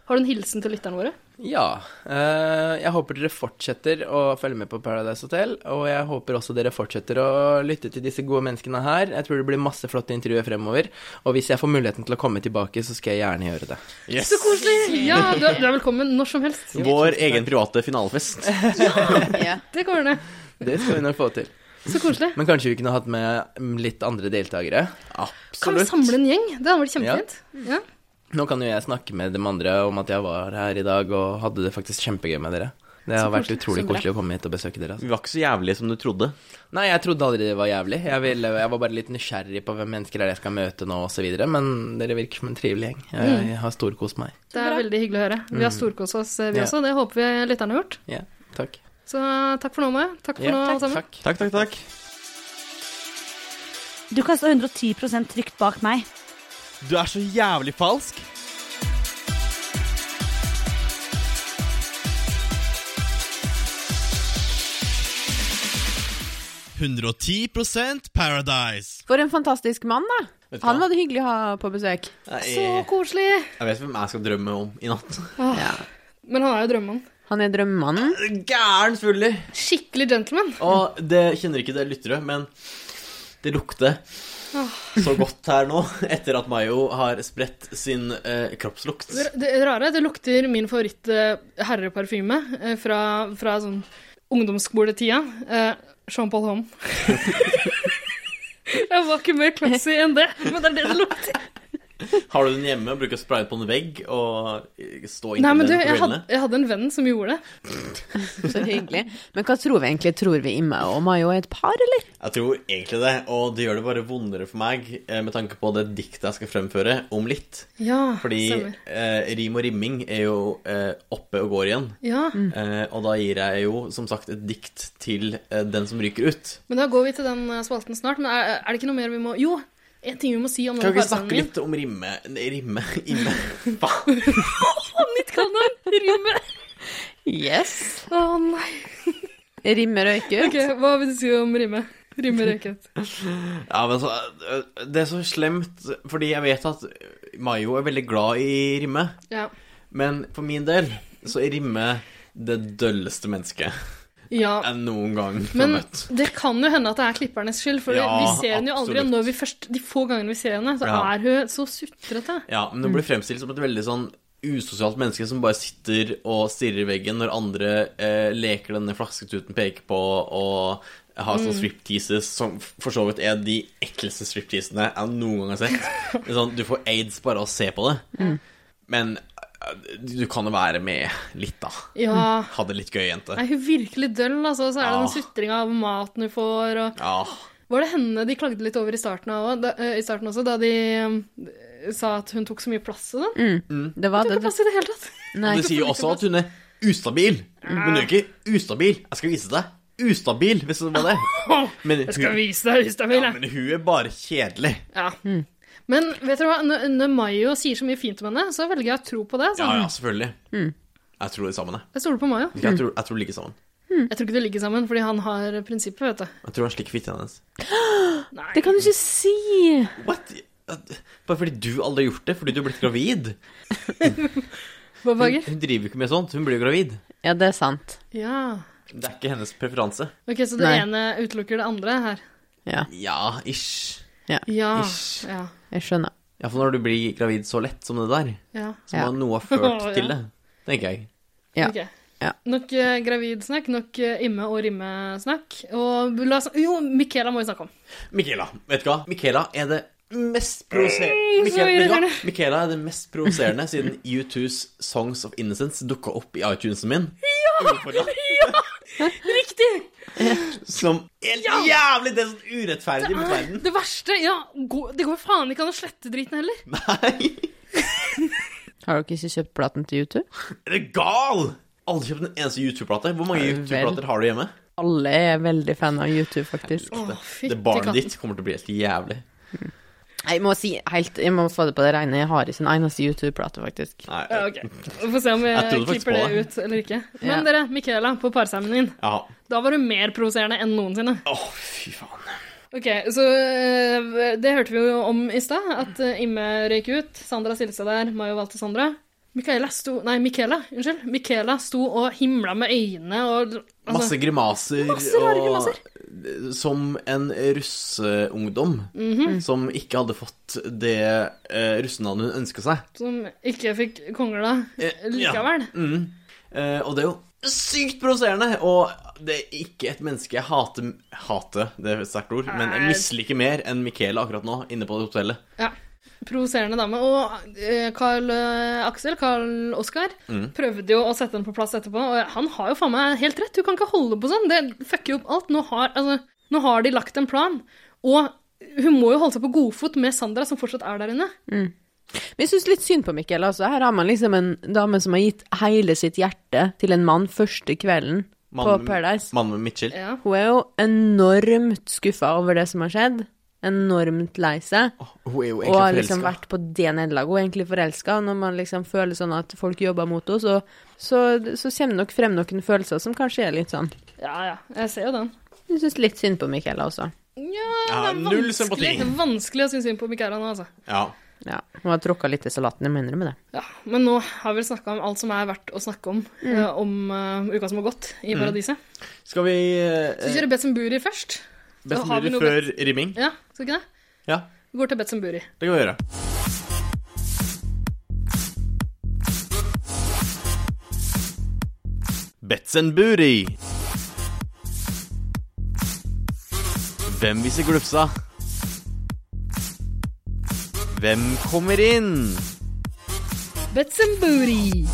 Speaker 1: Har du en hilsen til lytterne våre?
Speaker 7: Ja. eh, jeg håper dere fortsetter å følge med på Paradise Hotel. Og jeg håper også dere fortsetter å lytte til disse gode menneskene her. Jeg tror det blir masse flotte intervjuer fremover. Og hvis jeg får muligheten til å komme tilbake, så skal jeg gjerne gjøre det.
Speaker 4: Yes.
Speaker 1: Så koselig! Ja, du er, du er velkommen når som helst.
Speaker 4: Vår egen private finalefest.
Speaker 2: Ja.
Speaker 1: Det går ned.
Speaker 7: Det skal vi nok få til.
Speaker 1: Så koselig.
Speaker 7: Men kanskje vi kunne hatt med mm, litt andre deltakere.
Speaker 1: Kan vi
Speaker 4: Absolutt.
Speaker 1: samle en gjeng? Det hadde vært kjempefint. Ja.
Speaker 7: Nå kan jo jeg snakke med dem andre om at jeg var her i dag og hadde det faktisk kjempegøy med dere. Det har vært
Speaker 1: koselig, så
Speaker 7: utrolig
Speaker 1: bra.
Speaker 7: koselig å komme hit og besøke dere. altså.
Speaker 4: Vi var ikke så jævlige som du trodde.
Speaker 7: Nei, jeg trodde aldri det var jævlig. Jeg, ville, jeg var bare litt nysgjerrig på hvem mennesker er det jeg skal møte nå, osv. Men dere virker som en trivelig gjeng. Jeg,
Speaker 1: Mm.
Speaker 7: jeg har storkost meg.
Speaker 1: Det er veldig hyggelig å høre. Vi har storkost oss, eh, vi
Speaker 7: Ja.
Speaker 1: også. Det håper vi lytterne har gjort.
Speaker 7: Ja, takk.
Speaker 1: Så eh, takk for nå, Maja. Takk for
Speaker 7: Ja,
Speaker 1: nå, alle sammen.
Speaker 7: takk.
Speaker 4: Takk, takk, takk.
Speaker 3: Du kan stå 110 trygt bak meg.
Speaker 4: Du er så jævlig falsk.
Speaker 2: Ja. For en fantastisk mann, da.
Speaker 4: Vet du
Speaker 2: Han
Speaker 4: hva?
Speaker 2: var det hyggelig å ha på besøk.
Speaker 1: Så
Speaker 4: Jeg,
Speaker 1: koselig!
Speaker 4: jeg vet hvem jeg skal drømme om i natt.
Speaker 1: Men han er jo drømmen.
Speaker 2: Han er drømmemannen.
Speaker 4: Gæren fuller.
Speaker 1: Skikkelig gentleman.
Speaker 4: Og det kjenner ikke dere lyttere, men det lukter så godt her nå, etter at Mayo har spredt sin eh, kroppslukt.
Speaker 1: Det, det rare, det lukter min favoritt eh, herreparfyme eh, fra, fra sånn ungdomsskoletida. Eh, Jean-Paul Homme. Jeg var ikke mer classy enn det, men det er det det lukter.
Speaker 4: Har du den hjemme og bruker sprayen på en vegg og eh, stå
Speaker 1: Nei,
Speaker 4: inntil
Speaker 1: men du,
Speaker 4: den på
Speaker 1: jeg hadde,
Speaker 4: kveldene?
Speaker 1: jeg hadde en venn som gjorde det.
Speaker 2: Så hyggelig. Men hva tror vi egentlig? Tror vi Imma og Mayo er et par, eller?
Speaker 4: Jeg tror egentlig det, og det gjør det bare vondere for meg eh, med tanke på det diktet jeg skal fremføre om litt.
Speaker 1: Ja,
Speaker 4: Fordi
Speaker 1: stemmer.
Speaker 4: eh, rim og rimming er jo eh, oppe og går igjen.
Speaker 1: Ja,
Speaker 4: Eh, og da gir jeg jo som sagt et dikt til eh, den som ryker ut.
Speaker 1: men da går vi til den eh, spalten snart. Men er, er det ikke noe mer vi må Jo, en ting vi må si om
Speaker 4: Kan
Speaker 1: denne
Speaker 4: vi ikke snakke
Speaker 1: parsendingen.
Speaker 4: litt om rimme Nei, rimme imme. Faen.
Speaker 1: Nytt kanon! Rimme!
Speaker 2: Yes.
Speaker 1: Å nei.
Speaker 2: Rimmer og ikke ut.
Speaker 1: Ok, hva vil du si om rimme? Rimme røyket.
Speaker 4: Ja, men så, eh, det er så slemt, fordi jeg vet at Mayo er veldig glad i rimme,
Speaker 1: Ja.
Speaker 4: men for min del så er rimme det dølleste mennesket
Speaker 1: ja.
Speaker 4: jeg noen gang har
Speaker 1: Men
Speaker 4: møtt.
Speaker 1: det kan jo hende at det er klippernes skyld, for
Speaker 4: Ja,
Speaker 1: vi ser henne jo aldri. Og
Speaker 4: absolutt.
Speaker 1: når vi først, de få gangene vi ser henne, så
Speaker 4: Ja.
Speaker 1: er hun så sutrete.
Speaker 4: Ja, men hun blir fremstilt som et veldig sånn usosialt menneske som bare sitter og stirrer i veggen når andre eh, leker denne flasketuten peker på og har sånne stripteases som for så vidt er de ekleste stripteasene jeg noen gang har sett. Det er sånn, du får aids bare av å se på det. Men eh, du kan jo være med litt, da.
Speaker 1: Ja.
Speaker 4: Ha det litt gøy, jente.
Speaker 1: Er hun virkelig døll, altså? Så er det
Speaker 4: Ja.
Speaker 1: den sutringa av maten hun får, og
Speaker 4: Ja.
Speaker 1: Var det henne de klagde litt over i starten, av, også, da, eh, i starten også, da de eh, sa at hun tok så mye plass og sånn?
Speaker 2: Det var
Speaker 1: Hun tok
Speaker 2: det.
Speaker 1: ikke plass i det hele tatt.
Speaker 2: Nei.
Speaker 4: Og du sier jo også at hun er ustabil. Men hun er ikke ustabil. Jeg skal vise deg. Ustabil, hvis det var det. Men
Speaker 1: Jeg skal
Speaker 4: hun,
Speaker 1: vise deg ustabil,
Speaker 4: ja,
Speaker 1: jeg.
Speaker 4: men hun er bare kjedelig.
Speaker 1: Ja. Men vet dere hva, når, når Mayo sier så mye fint om henne, så velger jeg å tro på det.
Speaker 4: Ja,
Speaker 1: sånn.
Speaker 4: ja, selvfølgelig. Jeg tror det sammen, jeg.
Speaker 1: Jeg stoler på Mayo.
Speaker 4: Jeg tror, jeg tror det ligger sammen.
Speaker 1: Jeg tror ikke de ligger sammen, fordi han har prinsippet, vet du.
Speaker 4: Jeg tror han slikker fitta hennes.
Speaker 1: Nei.
Speaker 2: Det kan du ikke si.
Speaker 4: What? Bare fordi du aldri har gjort det, fordi du er blitt gravid.
Speaker 1: Bob
Speaker 4: Hun,
Speaker 1: Hager.
Speaker 4: hun driver jo ikke med sånt, hun blir jo gravid.
Speaker 2: Ja, det er sant.
Speaker 1: Ja.
Speaker 4: Det er ikke hennes preferanse.
Speaker 1: Ok, så det
Speaker 2: Nei.
Speaker 1: ene utelukker det andre her.
Speaker 2: Ja,
Speaker 4: Ja, ish.
Speaker 1: Ja.
Speaker 4: Ish.
Speaker 1: Ja.
Speaker 2: jeg skjønner.
Speaker 4: Iallfall når du blir gravid så lett som det der,
Speaker 1: ja.
Speaker 4: så
Speaker 2: Ja.
Speaker 4: må noe ha
Speaker 1: Å, ja.
Speaker 4: ført til det, tenker jeg.
Speaker 2: Ja.
Speaker 1: Ok.
Speaker 2: Ja.
Speaker 1: Nok eh, gravidsnakk, nok eh, imme- og rimmesnakk. Og la oss Jo, Michaela må vi snakke om.
Speaker 4: Michaela, vet du hva? Michaela er det mest provoserende
Speaker 1: så
Speaker 4: Michaela, vet du hva?
Speaker 1: irriterende.
Speaker 4: Michaela er det mest provoserende siden U2s Songs of Innocence dukka opp i iTunesen min. Ja!
Speaker 1: Riktig!
Speaker 4: Som helt jævlig det er sånn urettferdig mot verden.
Speaker 1: Det verste Ja, gå- det går faen ikke an å slette driten heller.
Speaker 4: Nei!
Speaker 2: Har dere ikke kjøpt platen til YouTube?
Speaker 4: Er du gal? Aldri kjøpt en eneste YouTube-plate. Hvor mange
Speaker 2: Vel.
Speaker 4: YouTube-plater har du hjemme?
Speaker 2: Alle er veldig fan av YouTube, faktisk.
Speaker 1: Å,
Speaker 4: Det
Speaker 1: fytti
Speaker 4: barnet
Speaker 1: katten.
Speaker 4: ditt kommer til å bli helt jævlig.
Speaker 2: Jeg må si helt Jeg må få det på det rene. Jeg har ikke en eneste YouTube-plate, faktisk.
Speaker 4: Nei,
Speaker 1: Ja, ok. Vi får se om vi
Speaker 4: Jeg trodde faktisk
Speaker 1: klipper
Speaker 4: på
Speaker 1: det
Speaker 4: det.
Speaker 1: ut eller ikke. Men
Speaker 2: Ja.
Speaker 1: dere, Michaela på parseremonien.
Speaker 4: ja.
Speaker 1: Da var hun mer provoserende enn noensinne.
Speaker 4: Å, fy faen.
Speaker 1: Ok, så eh, det hørte vi jo om i stad, at eh, Imme røyk ut. Sandra stilte seg der, Mayo valgte Sandra. Michaela sto Nei, Michaela, unnskyld. Michaela sto og himla med øynene og altså,
Speaker 4: Masse grimaser
Speaker 1: Masse rare grimaser. Mhm.
Speaker 4: og Som en russeungdom som ikke hadde fått det eh, russenavnet hun ønska seg.
Speaker 1: Som ikke fikk kongla
Speaker 4: Eh, ja.
Speaker 1: likevel.
Speaker 4: Mm. Eh, og det er jo sykt provoserende, og det er ikke et menneske jeg hater Hater, det er et sterkt ord, men jeg
Speaker 1: Nei.
Speaker 4: misliker mer enn Michaela akkurat nå, inne på det hotellet.
Speaker 1: Ja. Provoserende dame. Og eh, Carl eh, Aksel, Carl Oskar,
Speaker 4: Mm.
Speaker 1: prøvde jo å sette henne på plass etterpå, og han har jo faen meg helt rett. Du kan ikke holde på sånn. Det fucker jo opp alt. Nå har, altså, nå har de lagt en plan. Og hun må jo holde seg på godfot med Sandra, som fortsatt er der inne.
Speaker 2: Men jeg syns litt synd på Mikkel, altså. Her har man liksom en dame som har gitt hele sitt hjerte til en mann første kvelden på
Speaker 4: Mannen-
Speaker 2: Paradise.
Speaker 4: Mannen med midtskill.
Speaker 1: Ja.
Speaker 2: Hun er jo enormt skuffa over det som har skjedd. Enormt lei seg.
Speaker 4: Hun er jo
Speaker 2: Og har
Speaker 4: egentlig
Speaker 2: liksom
Speaker 4: forelska.
Speaker 2: vært på det nederlaget. Hun er egentlig forelska. Når man liksom føler sånn at folk jobber mot henne, så, så, så kommer nok frem noen følelser som kanskje er litt sånn
Speaker 1: ja, ja. Jeg ser jo den.
Speaker 2: Jeg syns litt synd på altså. Michaela også.
Speaker 1: Ja, det er
Speaker 4: Ja,
Speaker 1: vanskelig-
Speaker 4: null sympati.
Speaker 1: det er Vanskelig å synes synd på Michaela nå, altså.
Speaker 4: Ja.
Speaker 2: Ja, hun har tråkka litt i salaten, jeg må innrømme det.
Speaker 1: Ja, men nå har vi snakka om alt som er verdt å snakke om eh, om eh, uka som har gått i
Speaker 4: Mm.
Speaker 1: Paradiset.
Speaker 4: Skal
Speaker 1: Skal
Speaker 4: vi
Speaker 1: vi
Speaker 4: eh,
Speaker 1: kjøre Betsemburi først?
Speaker 4: Best
Speaker 1: har vi noe
Speaker 4: mulig før rimming?
Speaker 1: Ja, skal vi ikke det?
Speaker 4: Ja,
Speaker 1: Vi går til Betsemburi.
Speaker 4: det kan vi gjøre. Betzenburi. Hvem viser glufsa? Hvem kommer inn?
Speaker 1: Betsemburi!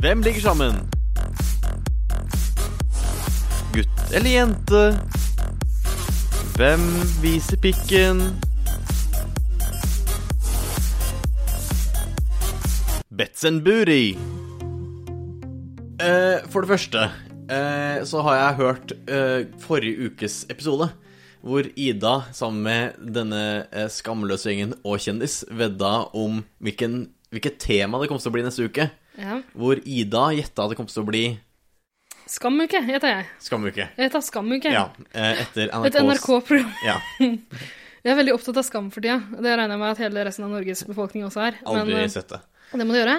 Speaker 4: Hvem ligger sammen? Gutt eller jente? Hvem viser pikken? Betzenburi. Eh, for det første eh, så har jeg hørt eh, forrige ukes episode. Hvor Ida sammen med denne eh, skamløse gjengen og kjendis vedda om hvilken, hvilket tema det kommer til å bli neste uke.
Speaker 1: Ja.
Speaker 4: Hvor Ida gjetta at det kom til å bli
Speaker 1: Skamuke heter jeg.
Speaker 4: Skamuke.
Speaker 1: Jeg heter Skamuke.
Speaker 4: Ja, eh, etter
Speaker 1: Et
Speaker 4: NRKs
Speaker 1: NRK-program.
Speaker 4: Ja,
Speaker 1: Jeg er veldig opptatt av skam for tida. Det regner jeg med at hele resten av Norges befolkning også er.
Speaker 4: aldri
Speaker 1: Men eh,
Speaker 4: sett det.
Speaker 1: det må du gjøre.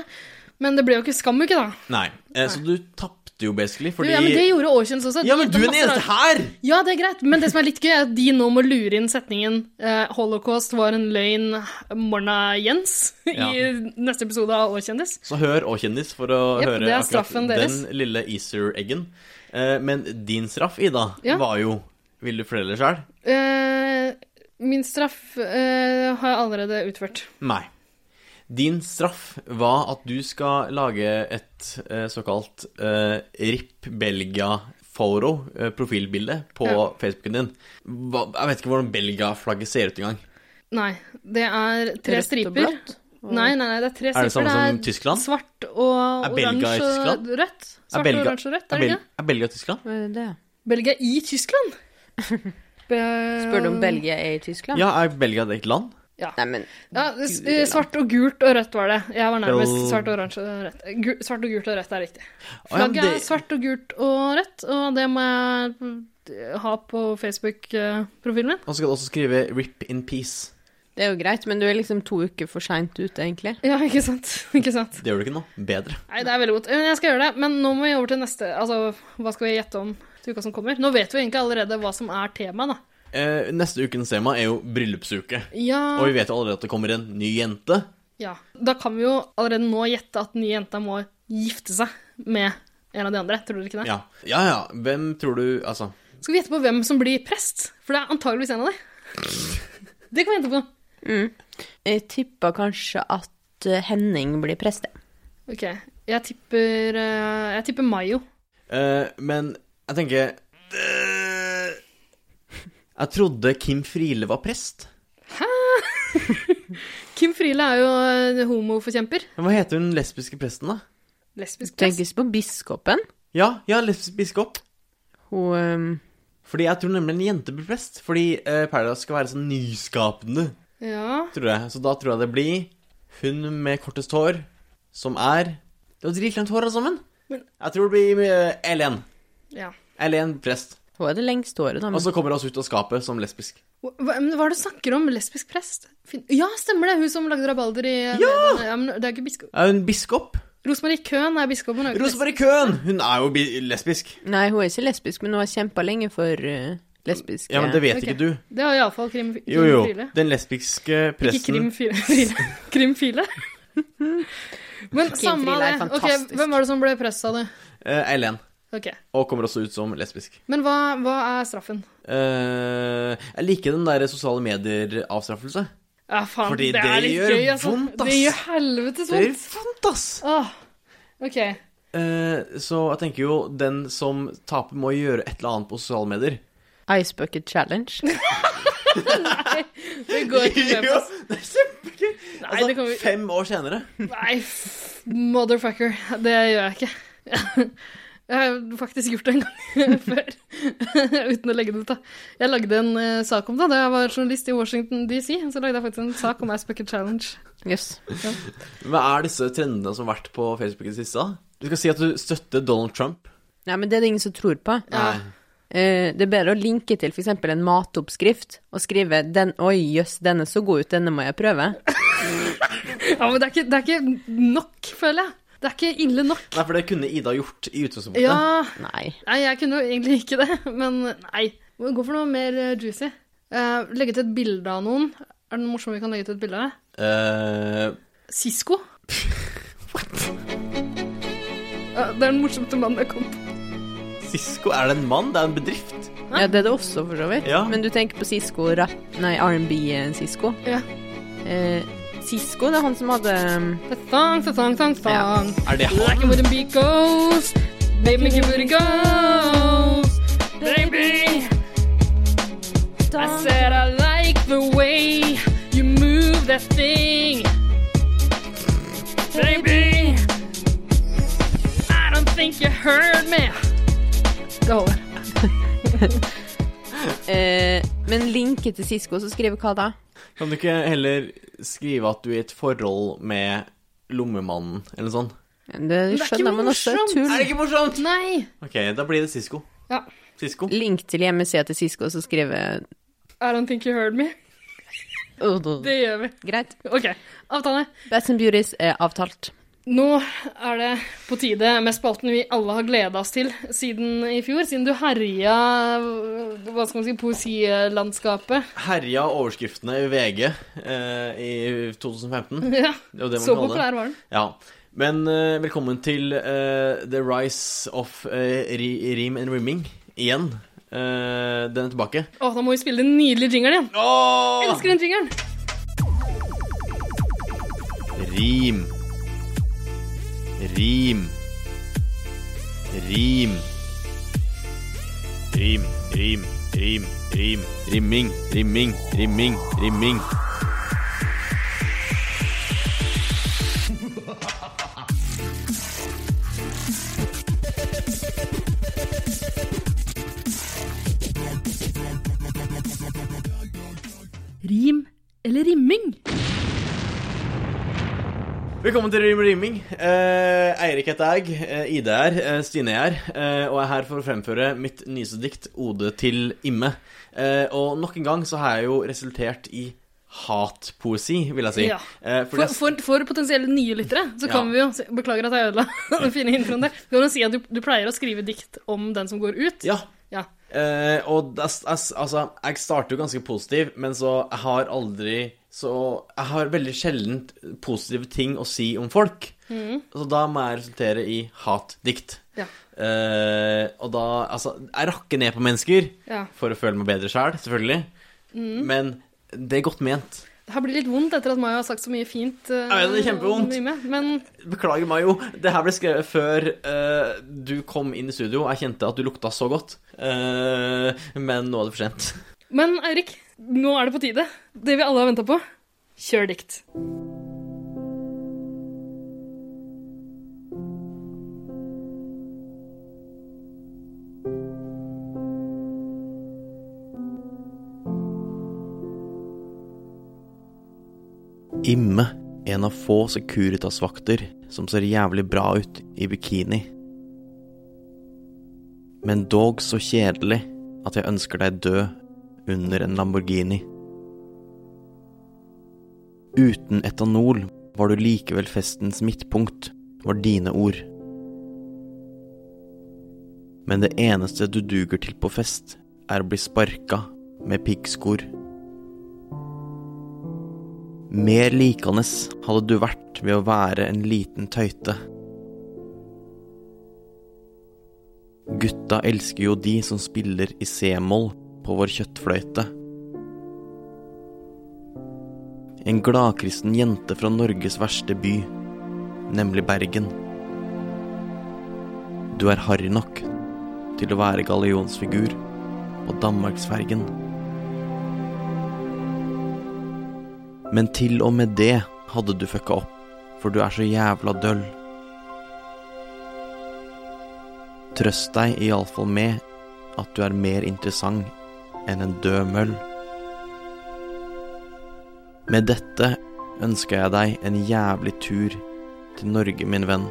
Speaker 1: Men det ble jo ikke Skamuke, da.
Speaker 4: Nei. Eh, så du tapte jo basically, fordi
Speaker 1: Ja, men det gjorde Åkjønns også.
Speaker 4: Ja, men
Speaker 1: De-
Speaker 4: du
Speaker 1: de
Speaker 4: er den
Speaker 1: masse
Speaker 4: eneste
Speaker 1: rare-
Speaker 4: her!
Speaker 1: Ja, det er greit, men det som er litt gøy, er at de nå må lure inn setningen eh, 'Holocaust var en løgn, Morna Jens'
Speaker 4: Ja.
Speaker 1: i neste episode av Åkjendis.
Speaker 4: Så hør og kjendis for å
Speaker 1: Jep,
Speaker 4: høre
Speaker 1: det er
Speaker 4: akkurat
Speaker 1: straffen deres.
Speaker 4: den lille Easter-eggen. Eh, men din straff, Ida,
Speaker 1: Ja.
Speaker 4: var jo Vil du fortelle sjøl?
Speaker 1: Eh, min straff eh, har jeg allerede utført.
Speaker 4: Nei. Din straff var at du skal lage et eh, såkalt eh, RIP Belgia-foto, eh, profilbilde, på
Speaker 1: Ja.
Speaker 4: Facebooken din. Hva, jeg vet ikke hvordan Belgia-flagget ser ut engang.
Speaker 1: Nei, det er tre
Speaker 2: Rødt og
Speaker 1: striper.
Speaker 2: blått?
Speaker 1: Nei, nei, nei, det er tre
Speaker 4: Er det
Speaker 1: striper.
Speaker 4: samme som Tyskland?
Speaker 1: Svart og
Speaker 4: Er Belgia i
Speaker 1: oransje og
Speaker 4: Tyskland?
Speaker 1: rødt. Svart og
Speaker 4: Belgia-
Speaker 1: oransje og rødt, er det
Speaker 4: Bel-
Speaker 1: ikke?
Speaker 4: er Belgia Tyskland?
Speaker 2: Hva er det?
Speaker 1: Belgia i Tyskland?
Speaker 2: Spør du om Belgia er i Tyskland?
Speaker 4: Ja, er Belgia et eget land?
Speaker 2: Nei, men
Speaker 1: Ja, s- eh, svart og gult og rødt var det. Jeg var nærmest
Speaker 4: Bel-
Speaker 1: svart og oransje og rødt. Eh, Gu svart og gult og rødt er riktig.
Speaker 4: Å, ja, men
Speaker 1: Flagget
Speaker 4: det-
Speaker 1: er svart og gult og rødt, og det må jeg mm, ha på Facebook-profilen min.
Speaker 4: Og så skal du også skrive 'Rip in peace'.
Speaker 2: Det er jo greit, men du er liksom to uker for seint ute, egentlig.
Speaker 1: Ja, ikke sant? Ikke sant?
Speaker 4: Det gjør du ikke noe bedre.
Speaker 1: Nei, det er veldig godt. Men Jeg skal gjøre det. Men nå må vi over til neste Altså, hva skal vi gjette om til uka som kommer? Nå vet vi egentlig allerede hva som er temaet, da.
Speaker 4: Eh, neste ukens tema er jo bryllupsuke.
Speaker 1: Ja.
Speaker 4: Og vi vet jo allerede at det kommer en ny jente.
Speaker 1: ja. Da kan vi jo allerede nå gjette at den nye jenta må gifte seg med en av de andre. Tror dere ikke det?
Speaker 4: Ja. ja ja, hvem tror du Altså,
Speaker 1: Skal vi gjette på hvem som blir prest? For det er antageligvis en av dem. Det kan vi gjette på.
Speaker 2: Jeg tipper kanskje at eh, Henning blir prest. jeg.
Speaker 1: Ok, jeg tipper, eh, jeg tipper Mayo.
Speaker 4: eh, men jeg tenker eh, Jeg trodde Kim Friele var prest.
Speaker 1: Kim Friele er jo eh, homoforkjemper.
Speaker 4: Men Hva heter hun lesbiske presten, da?
Speaker 1: Lesbisk prest.
Speaker 2: Tenkes på biskopen.
Speaker 4: Ja, ja, lesbisk biskop.
Speaker 2: Hun ehm,
Speaker 4: Fordi jeg tror nemlig en jente blir prest. Fordi eh, Paradise skal være så nyskapende,
Speaker 1: Ja.
Speaker 4: tror jeg. Så da tror jeg det blir hun med kortest hår, som er Det var dritlangt hår, alle sammen.
Speaker 1: Men-
Speaker 4: Jeg tror det blir eh, Elen.
Speaker 1: ja.
Speaker 4: Elen prest.
Speaker 2: hun er det lengste håret, da.
Speaker 4: Og
Speaker 2: Men
Speaker 4: så kommer hun oss ut av skapet som lesbisk.
Speaker 1: Hva, men hva er det du snakker om? Lesbisk prest? Fin ja, stemmer det! Hun som lagde rabalder i
Speaker 4: Ja!
Speaker 1: men det er ikke biskop.
Speaker 4: Er hun biskop?
Speaker 1: Rosmarie Köhn er biskopen. hun er ikke
Speaker 4: Rosemarie Køhn! Hun er jo bi lesbisk.
Speaker 2: Nei, hun er ikke lesbisk, men hun har kjempa lenge for eh, lesbiske
Speaker 4: Ja, men det vet
Speaker 1: Ok.
Speaker 4: ikke du.
Speaker 1: lesbisk. Det var iallfall Krim Krim
Speaker 4: Jo, jo.
Speaker 1: Friele.
Speaker 4: Den lesbiske
Speaker 1: Ikke Krim
Speaker 4: presten
Speaker 1: File. Friele. Krim File. Men samme
Speaker 2: Friele er
Speaker 1: av det. Ok,
Speaker 2: fantastisk.
Speaker 1: hvem var det som ble prest, sa du?
Speaker 4: eh, Elen.
Speaker 1: Ok.
Speaker 4: Og kommer også ut som lesbisk.
Speaker 1: Men hva, hva er straffen?
Speaker 4: Eh, jeg liker den der sosiale medier-avstraffelse.
Speaker 1: Ja, faen,
Speaker 4: Fordi
Speaker 1: det er
Speaker 4: det
Speaker 1: litt
Speaker 4: gjør
Speaker 1: gøy, altså.
Speaker 4: vondt, ass.
Speaker 1: Det gjør helvetes
Speaker 4: Det er
Speaker 1: vondt.
Speaker 4: fant, ass!
Speaker 1: Åh, ok.
Speaker 4: Eh, så jeg tenker jo den som taper, må gjøre et eller annet på sosiale medier.
Speaker 2: Ice Bucket Challenge.
Speaker 1: Det går ikke med på oss.
Speaker 4: det er kjempegøy!
Speaker 1: Nei, det
Speaker 4: Altså,
Speaker 1: kommer vi...
Speaker 4: fem år senere.
Speaker 1: Nei, f- motherfucker. Det gjør jeg ikke. Jeg har faktisk gjort det en gang før, uten å legge det ut. da. Jeg lagde en eh, sak om det da jeg var journalist i Washington DC. Så lagde jeg faktisk en sak om Ice Bucket Challenge.
Speaker 2: Jøss.
Speaker 4: Hva er disse trendene som har vært på Facebook i det siste? da? Du skal si at du støtter Donald Trump.
Speaker 2: Nei, men det er det ingen som tror på.
Speaker 1: Ja.
Speaker 2: Eh, det er bedre å linke til f.eks. en matoppskrift og skrive den, 'Oi, jøss, den er så god ut, denne må jeg prøve'.
Speaker 1: ja, men det er, ikke, det er ikke nok, føler jeg. Det er ikke ille nok.
Speaker 4: Nei, for det kunne Ida gjort i utgangspunktet.
Speaker 1: Ja,
Speaker 2: Nei.
Speaker 1: Nei, jeg kunne jo egentlig ikke det, men nei. Gå for noe mer eh, juicy. Eh, legge til et bilde av noen. Er det noe morsomt vi kan legge til et bilde av?
Speaker 4: Eh,
Speaker 1: Sisko. Ja, det er den morsomte mannen jeg kom på.
Speaker 4: Cisco, er det en mann? Det er en bedrift.
Speaker 2: Ja, det er det også, for så vidt.
Speaker 4: Ja.
Speaker 2: Men du tenker på Sisko rapp... Nei, R&B-Sisko.
Speaker 1: Ja.
Speaker 2: Eh, Sisko, det er han som hadde um,
Speaker 1: Thong, thong, thong, thong.
Speaker 4: Er det han?
Speaker 1: Like it wouldn't be goes. Baby, make it wouldn't goes. Baby. I said I like the way you move that thing. Baby. I don't think you heard me. Det holder.
Speaker 2: eh, Men linke til Sisko, så skriver hva da?
Speaker 4: Kan du ikke heller skrive at du er i et forhold med lommemannen, eller noe sånt?
Speaker 2: Det
Speaker 1: det er ikke
Speaker 2: skjønner man også.
Speaker 1: morsomt.
Speaker 2: Tull.
Speaker 4: ikke morsomt?
Speaker 1: Nei.
Speaker 4: Ok, da blir det Cisco.
Speaker 1: Ja.
Speaker 4: Cisco.
Speaker 2: Link til hjemmesida til Sisko, så skriver
Speaker 1: I don't think you heard me. Det gjør vi.
Speaker 2: Greit.
Speaker 1: Ok, avtale.
Speaker 2: Bats and Beauties er avtalt.
Speaker 1: Nå er det på tide med spalten vi alle har gleda oss til siden i fjor. Siden du herja hva skal man si, poesilandskapet.
Speaker 4: Herja overskriftene i VG eh, i 2015.
Speaker 1: Ja,
Speaker 4: Det var det man
Speaker 1: Så
Speaker 4: kaller det.
Speaker 1: populær var den.
Speaker 4: Ja. Men eh, velkommen til eh, The Rise of eh, ri, Rim and Rimming igjen. Eh, den er tilbake.
Speaker 1: Å, da må vi spille den nydelige jingeren igjen.
Speaker 4: Åh!
Speaker 1: Jeg elsker den jingeren!
Speaker 4: Rim. Rim. Rim. Rim, rim, rim, rim. Rimming, rimming, rimming, rimming.
Speaker 1: Rim eller rimming?
Speaker 4: Velkommen til Rim og Rimming. Eh, Eirik heter jeg, eh, Ide er, eh, Stine er, eh, og jeg er her for å fremføre mitt nyeste dikt, Ode til Imme. Eh, og nok en gang så har jeg jo resultert i hatpoesi, vil jeg si.
Speaker 1: Ja.
Speaker 4: Eh, fordi
Speaker 1: For,
Speaker 4: jeg s-
Speaker 1: for, for potensielle nye lyttere så kan
Speaker 4: Ja.
Speaker 1: vi jo si- Beklager at jeg ødela den fine introen der. Kan du si at du, du pleier å skrive dikt om den som går ut?
Speaker 4: ja.
Speaker 1: Ja.
Speaker 4: Eh, og da s- ass- altså, jeg starter jo ganske positiv, men så jeg har aldri så Jeg har veldig sjelden positive ting å si om folk. Så da må jeg resultere i hatdikt.
Speaker 1: Ja.
Speaker 4: Eh, og da Altså, jeg rakker ned på mennesker
Speaker 1: Ja.
Speaker 4: for å føle meg bedre sjæl, selv, selvfølgelig. Men det er godt ment.
Speaker 1: Det har blitt litt vondt etter at Mayo har sagt så mye fint. eh,
Speaker 4: Ja, det er kjempevondt.
Speaker 1: mye med, Men
Speaker 4: Beklager meg jo, det her ble skrevet før eh, du kom inn i studio. Jeg kjente at du lukta så godt. Eh, men nå er det for sent.
Speaker 1: Men Eirik, nå er det på tide. Det vi alle har venta på. Kjør dikt.
Speaker 4: Imme, en av få Securitas-vakter som ser jævlig bra ut i bikini. Men dog så kjedelig at jeg ønsker deg død under en Lamborghini. Uten etanol var du likevel festens midtpunkt, var dine ord. Men det eneste du duger til på fest, er å bli sparka med piggskor. Mer likende hadde du vært ved å være en liten tøyte. Gutta elsker jo de som spiller i c-moll på vår kjøttfløyte. En gladkristen jente fra Norges verste by, nemlig Bergen. Du er harry nok til å være gallionsfigur på Danmarksfergen. Men til og med det hadde du fucka opp, for du er så jævla døll. Trøst deg iallfall med at du er mer interessant enn en død møll. Med dette ønsker jeg deg en jævlig tur til Norge, min venn.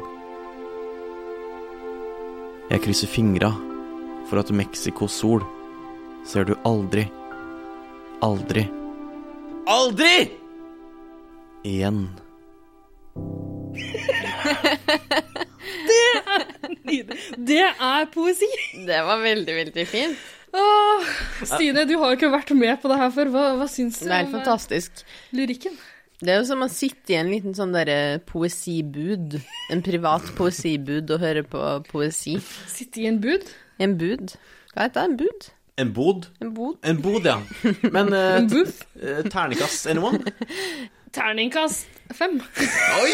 Speaker 4: Jeg krysser fingra for at Mexicos sol ser du aldri, aldri Aldri! Igjen.
Speaker 1: Det er poesi!
Speaker 2: Det var veldig, veldig fint.
Speaker 1: Åh, Stine, du har jo ikke vært med på det her før. Hva, hva syns du
Speaker 2: Det er helt
Speaker 1: om, eh,
Speaker 2: fantastisk.
Speaker 1: lyrikken?
Speaker 2: Det er jo som å sitte i en liten sånn derre poesibud. En privat poesibud og høre på poesi.
Speaker 1: Sitte i en bud?
Speaker 2: En bud. Hva heter det? En bud?
Speaker 4: En bod?
Speaker 2: En bod?
Speaker 4: En bod, ja. Men eh,
Speaker 1: En booth?
Speaker 4: eh, terningkast, anyone?
Speaker 1: Terningkast fem.
Speaker 4: Oi!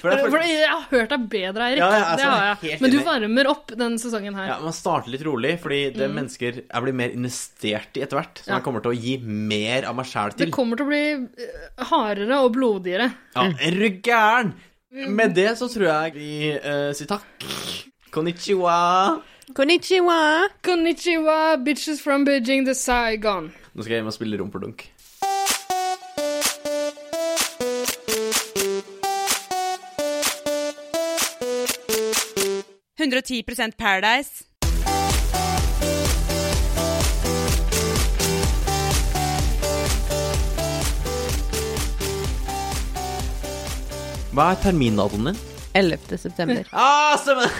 Speaker 4: For det er
Speaker 1: For
Speaker 4: for...
Speaker 1: jeg har hørt deg bedre, Eirik.
Speaker 4: Ja, ja, altså,
Speaker 1: det har jeg.
Speaker 4: helt
Speaker 1: Men du
Speaker 4: enig.
Speaker 1: varmer opp denne sesongen her.
Speaker 4: Ja, Man starter litt rolig, fordi det er mennesker jeg blir mer investert i etter hvert. Som
Speaker 1: Ja.
Speaker 4: jeg kommer til å gi mer av meg sjæl
Speaker 1: Det
Speaker 4: til.
Speaker 1: kommer til å bli eh, hardere og blodigere.
Speaker 4: Ja, er du gæren? Med det så tror jeg vi eh, sier takk. Konnichiwa.
Speaker 2: Konnichiwa!
Speaker 1: Konnichiwa, bitches from Beijing to Saigon.
Speaker 4: Nå skal jeg hjem og spille rumpeldunk. Hva er termindatoen din?
Speaker 2: 11. september.
Speaker 4: Ah, stemmer!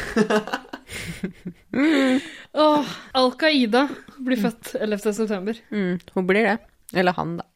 Speaker 1: Åh, Al Qaida blir født 11. september.
Speaker 2: Mm, hun blir det. Eller han, da.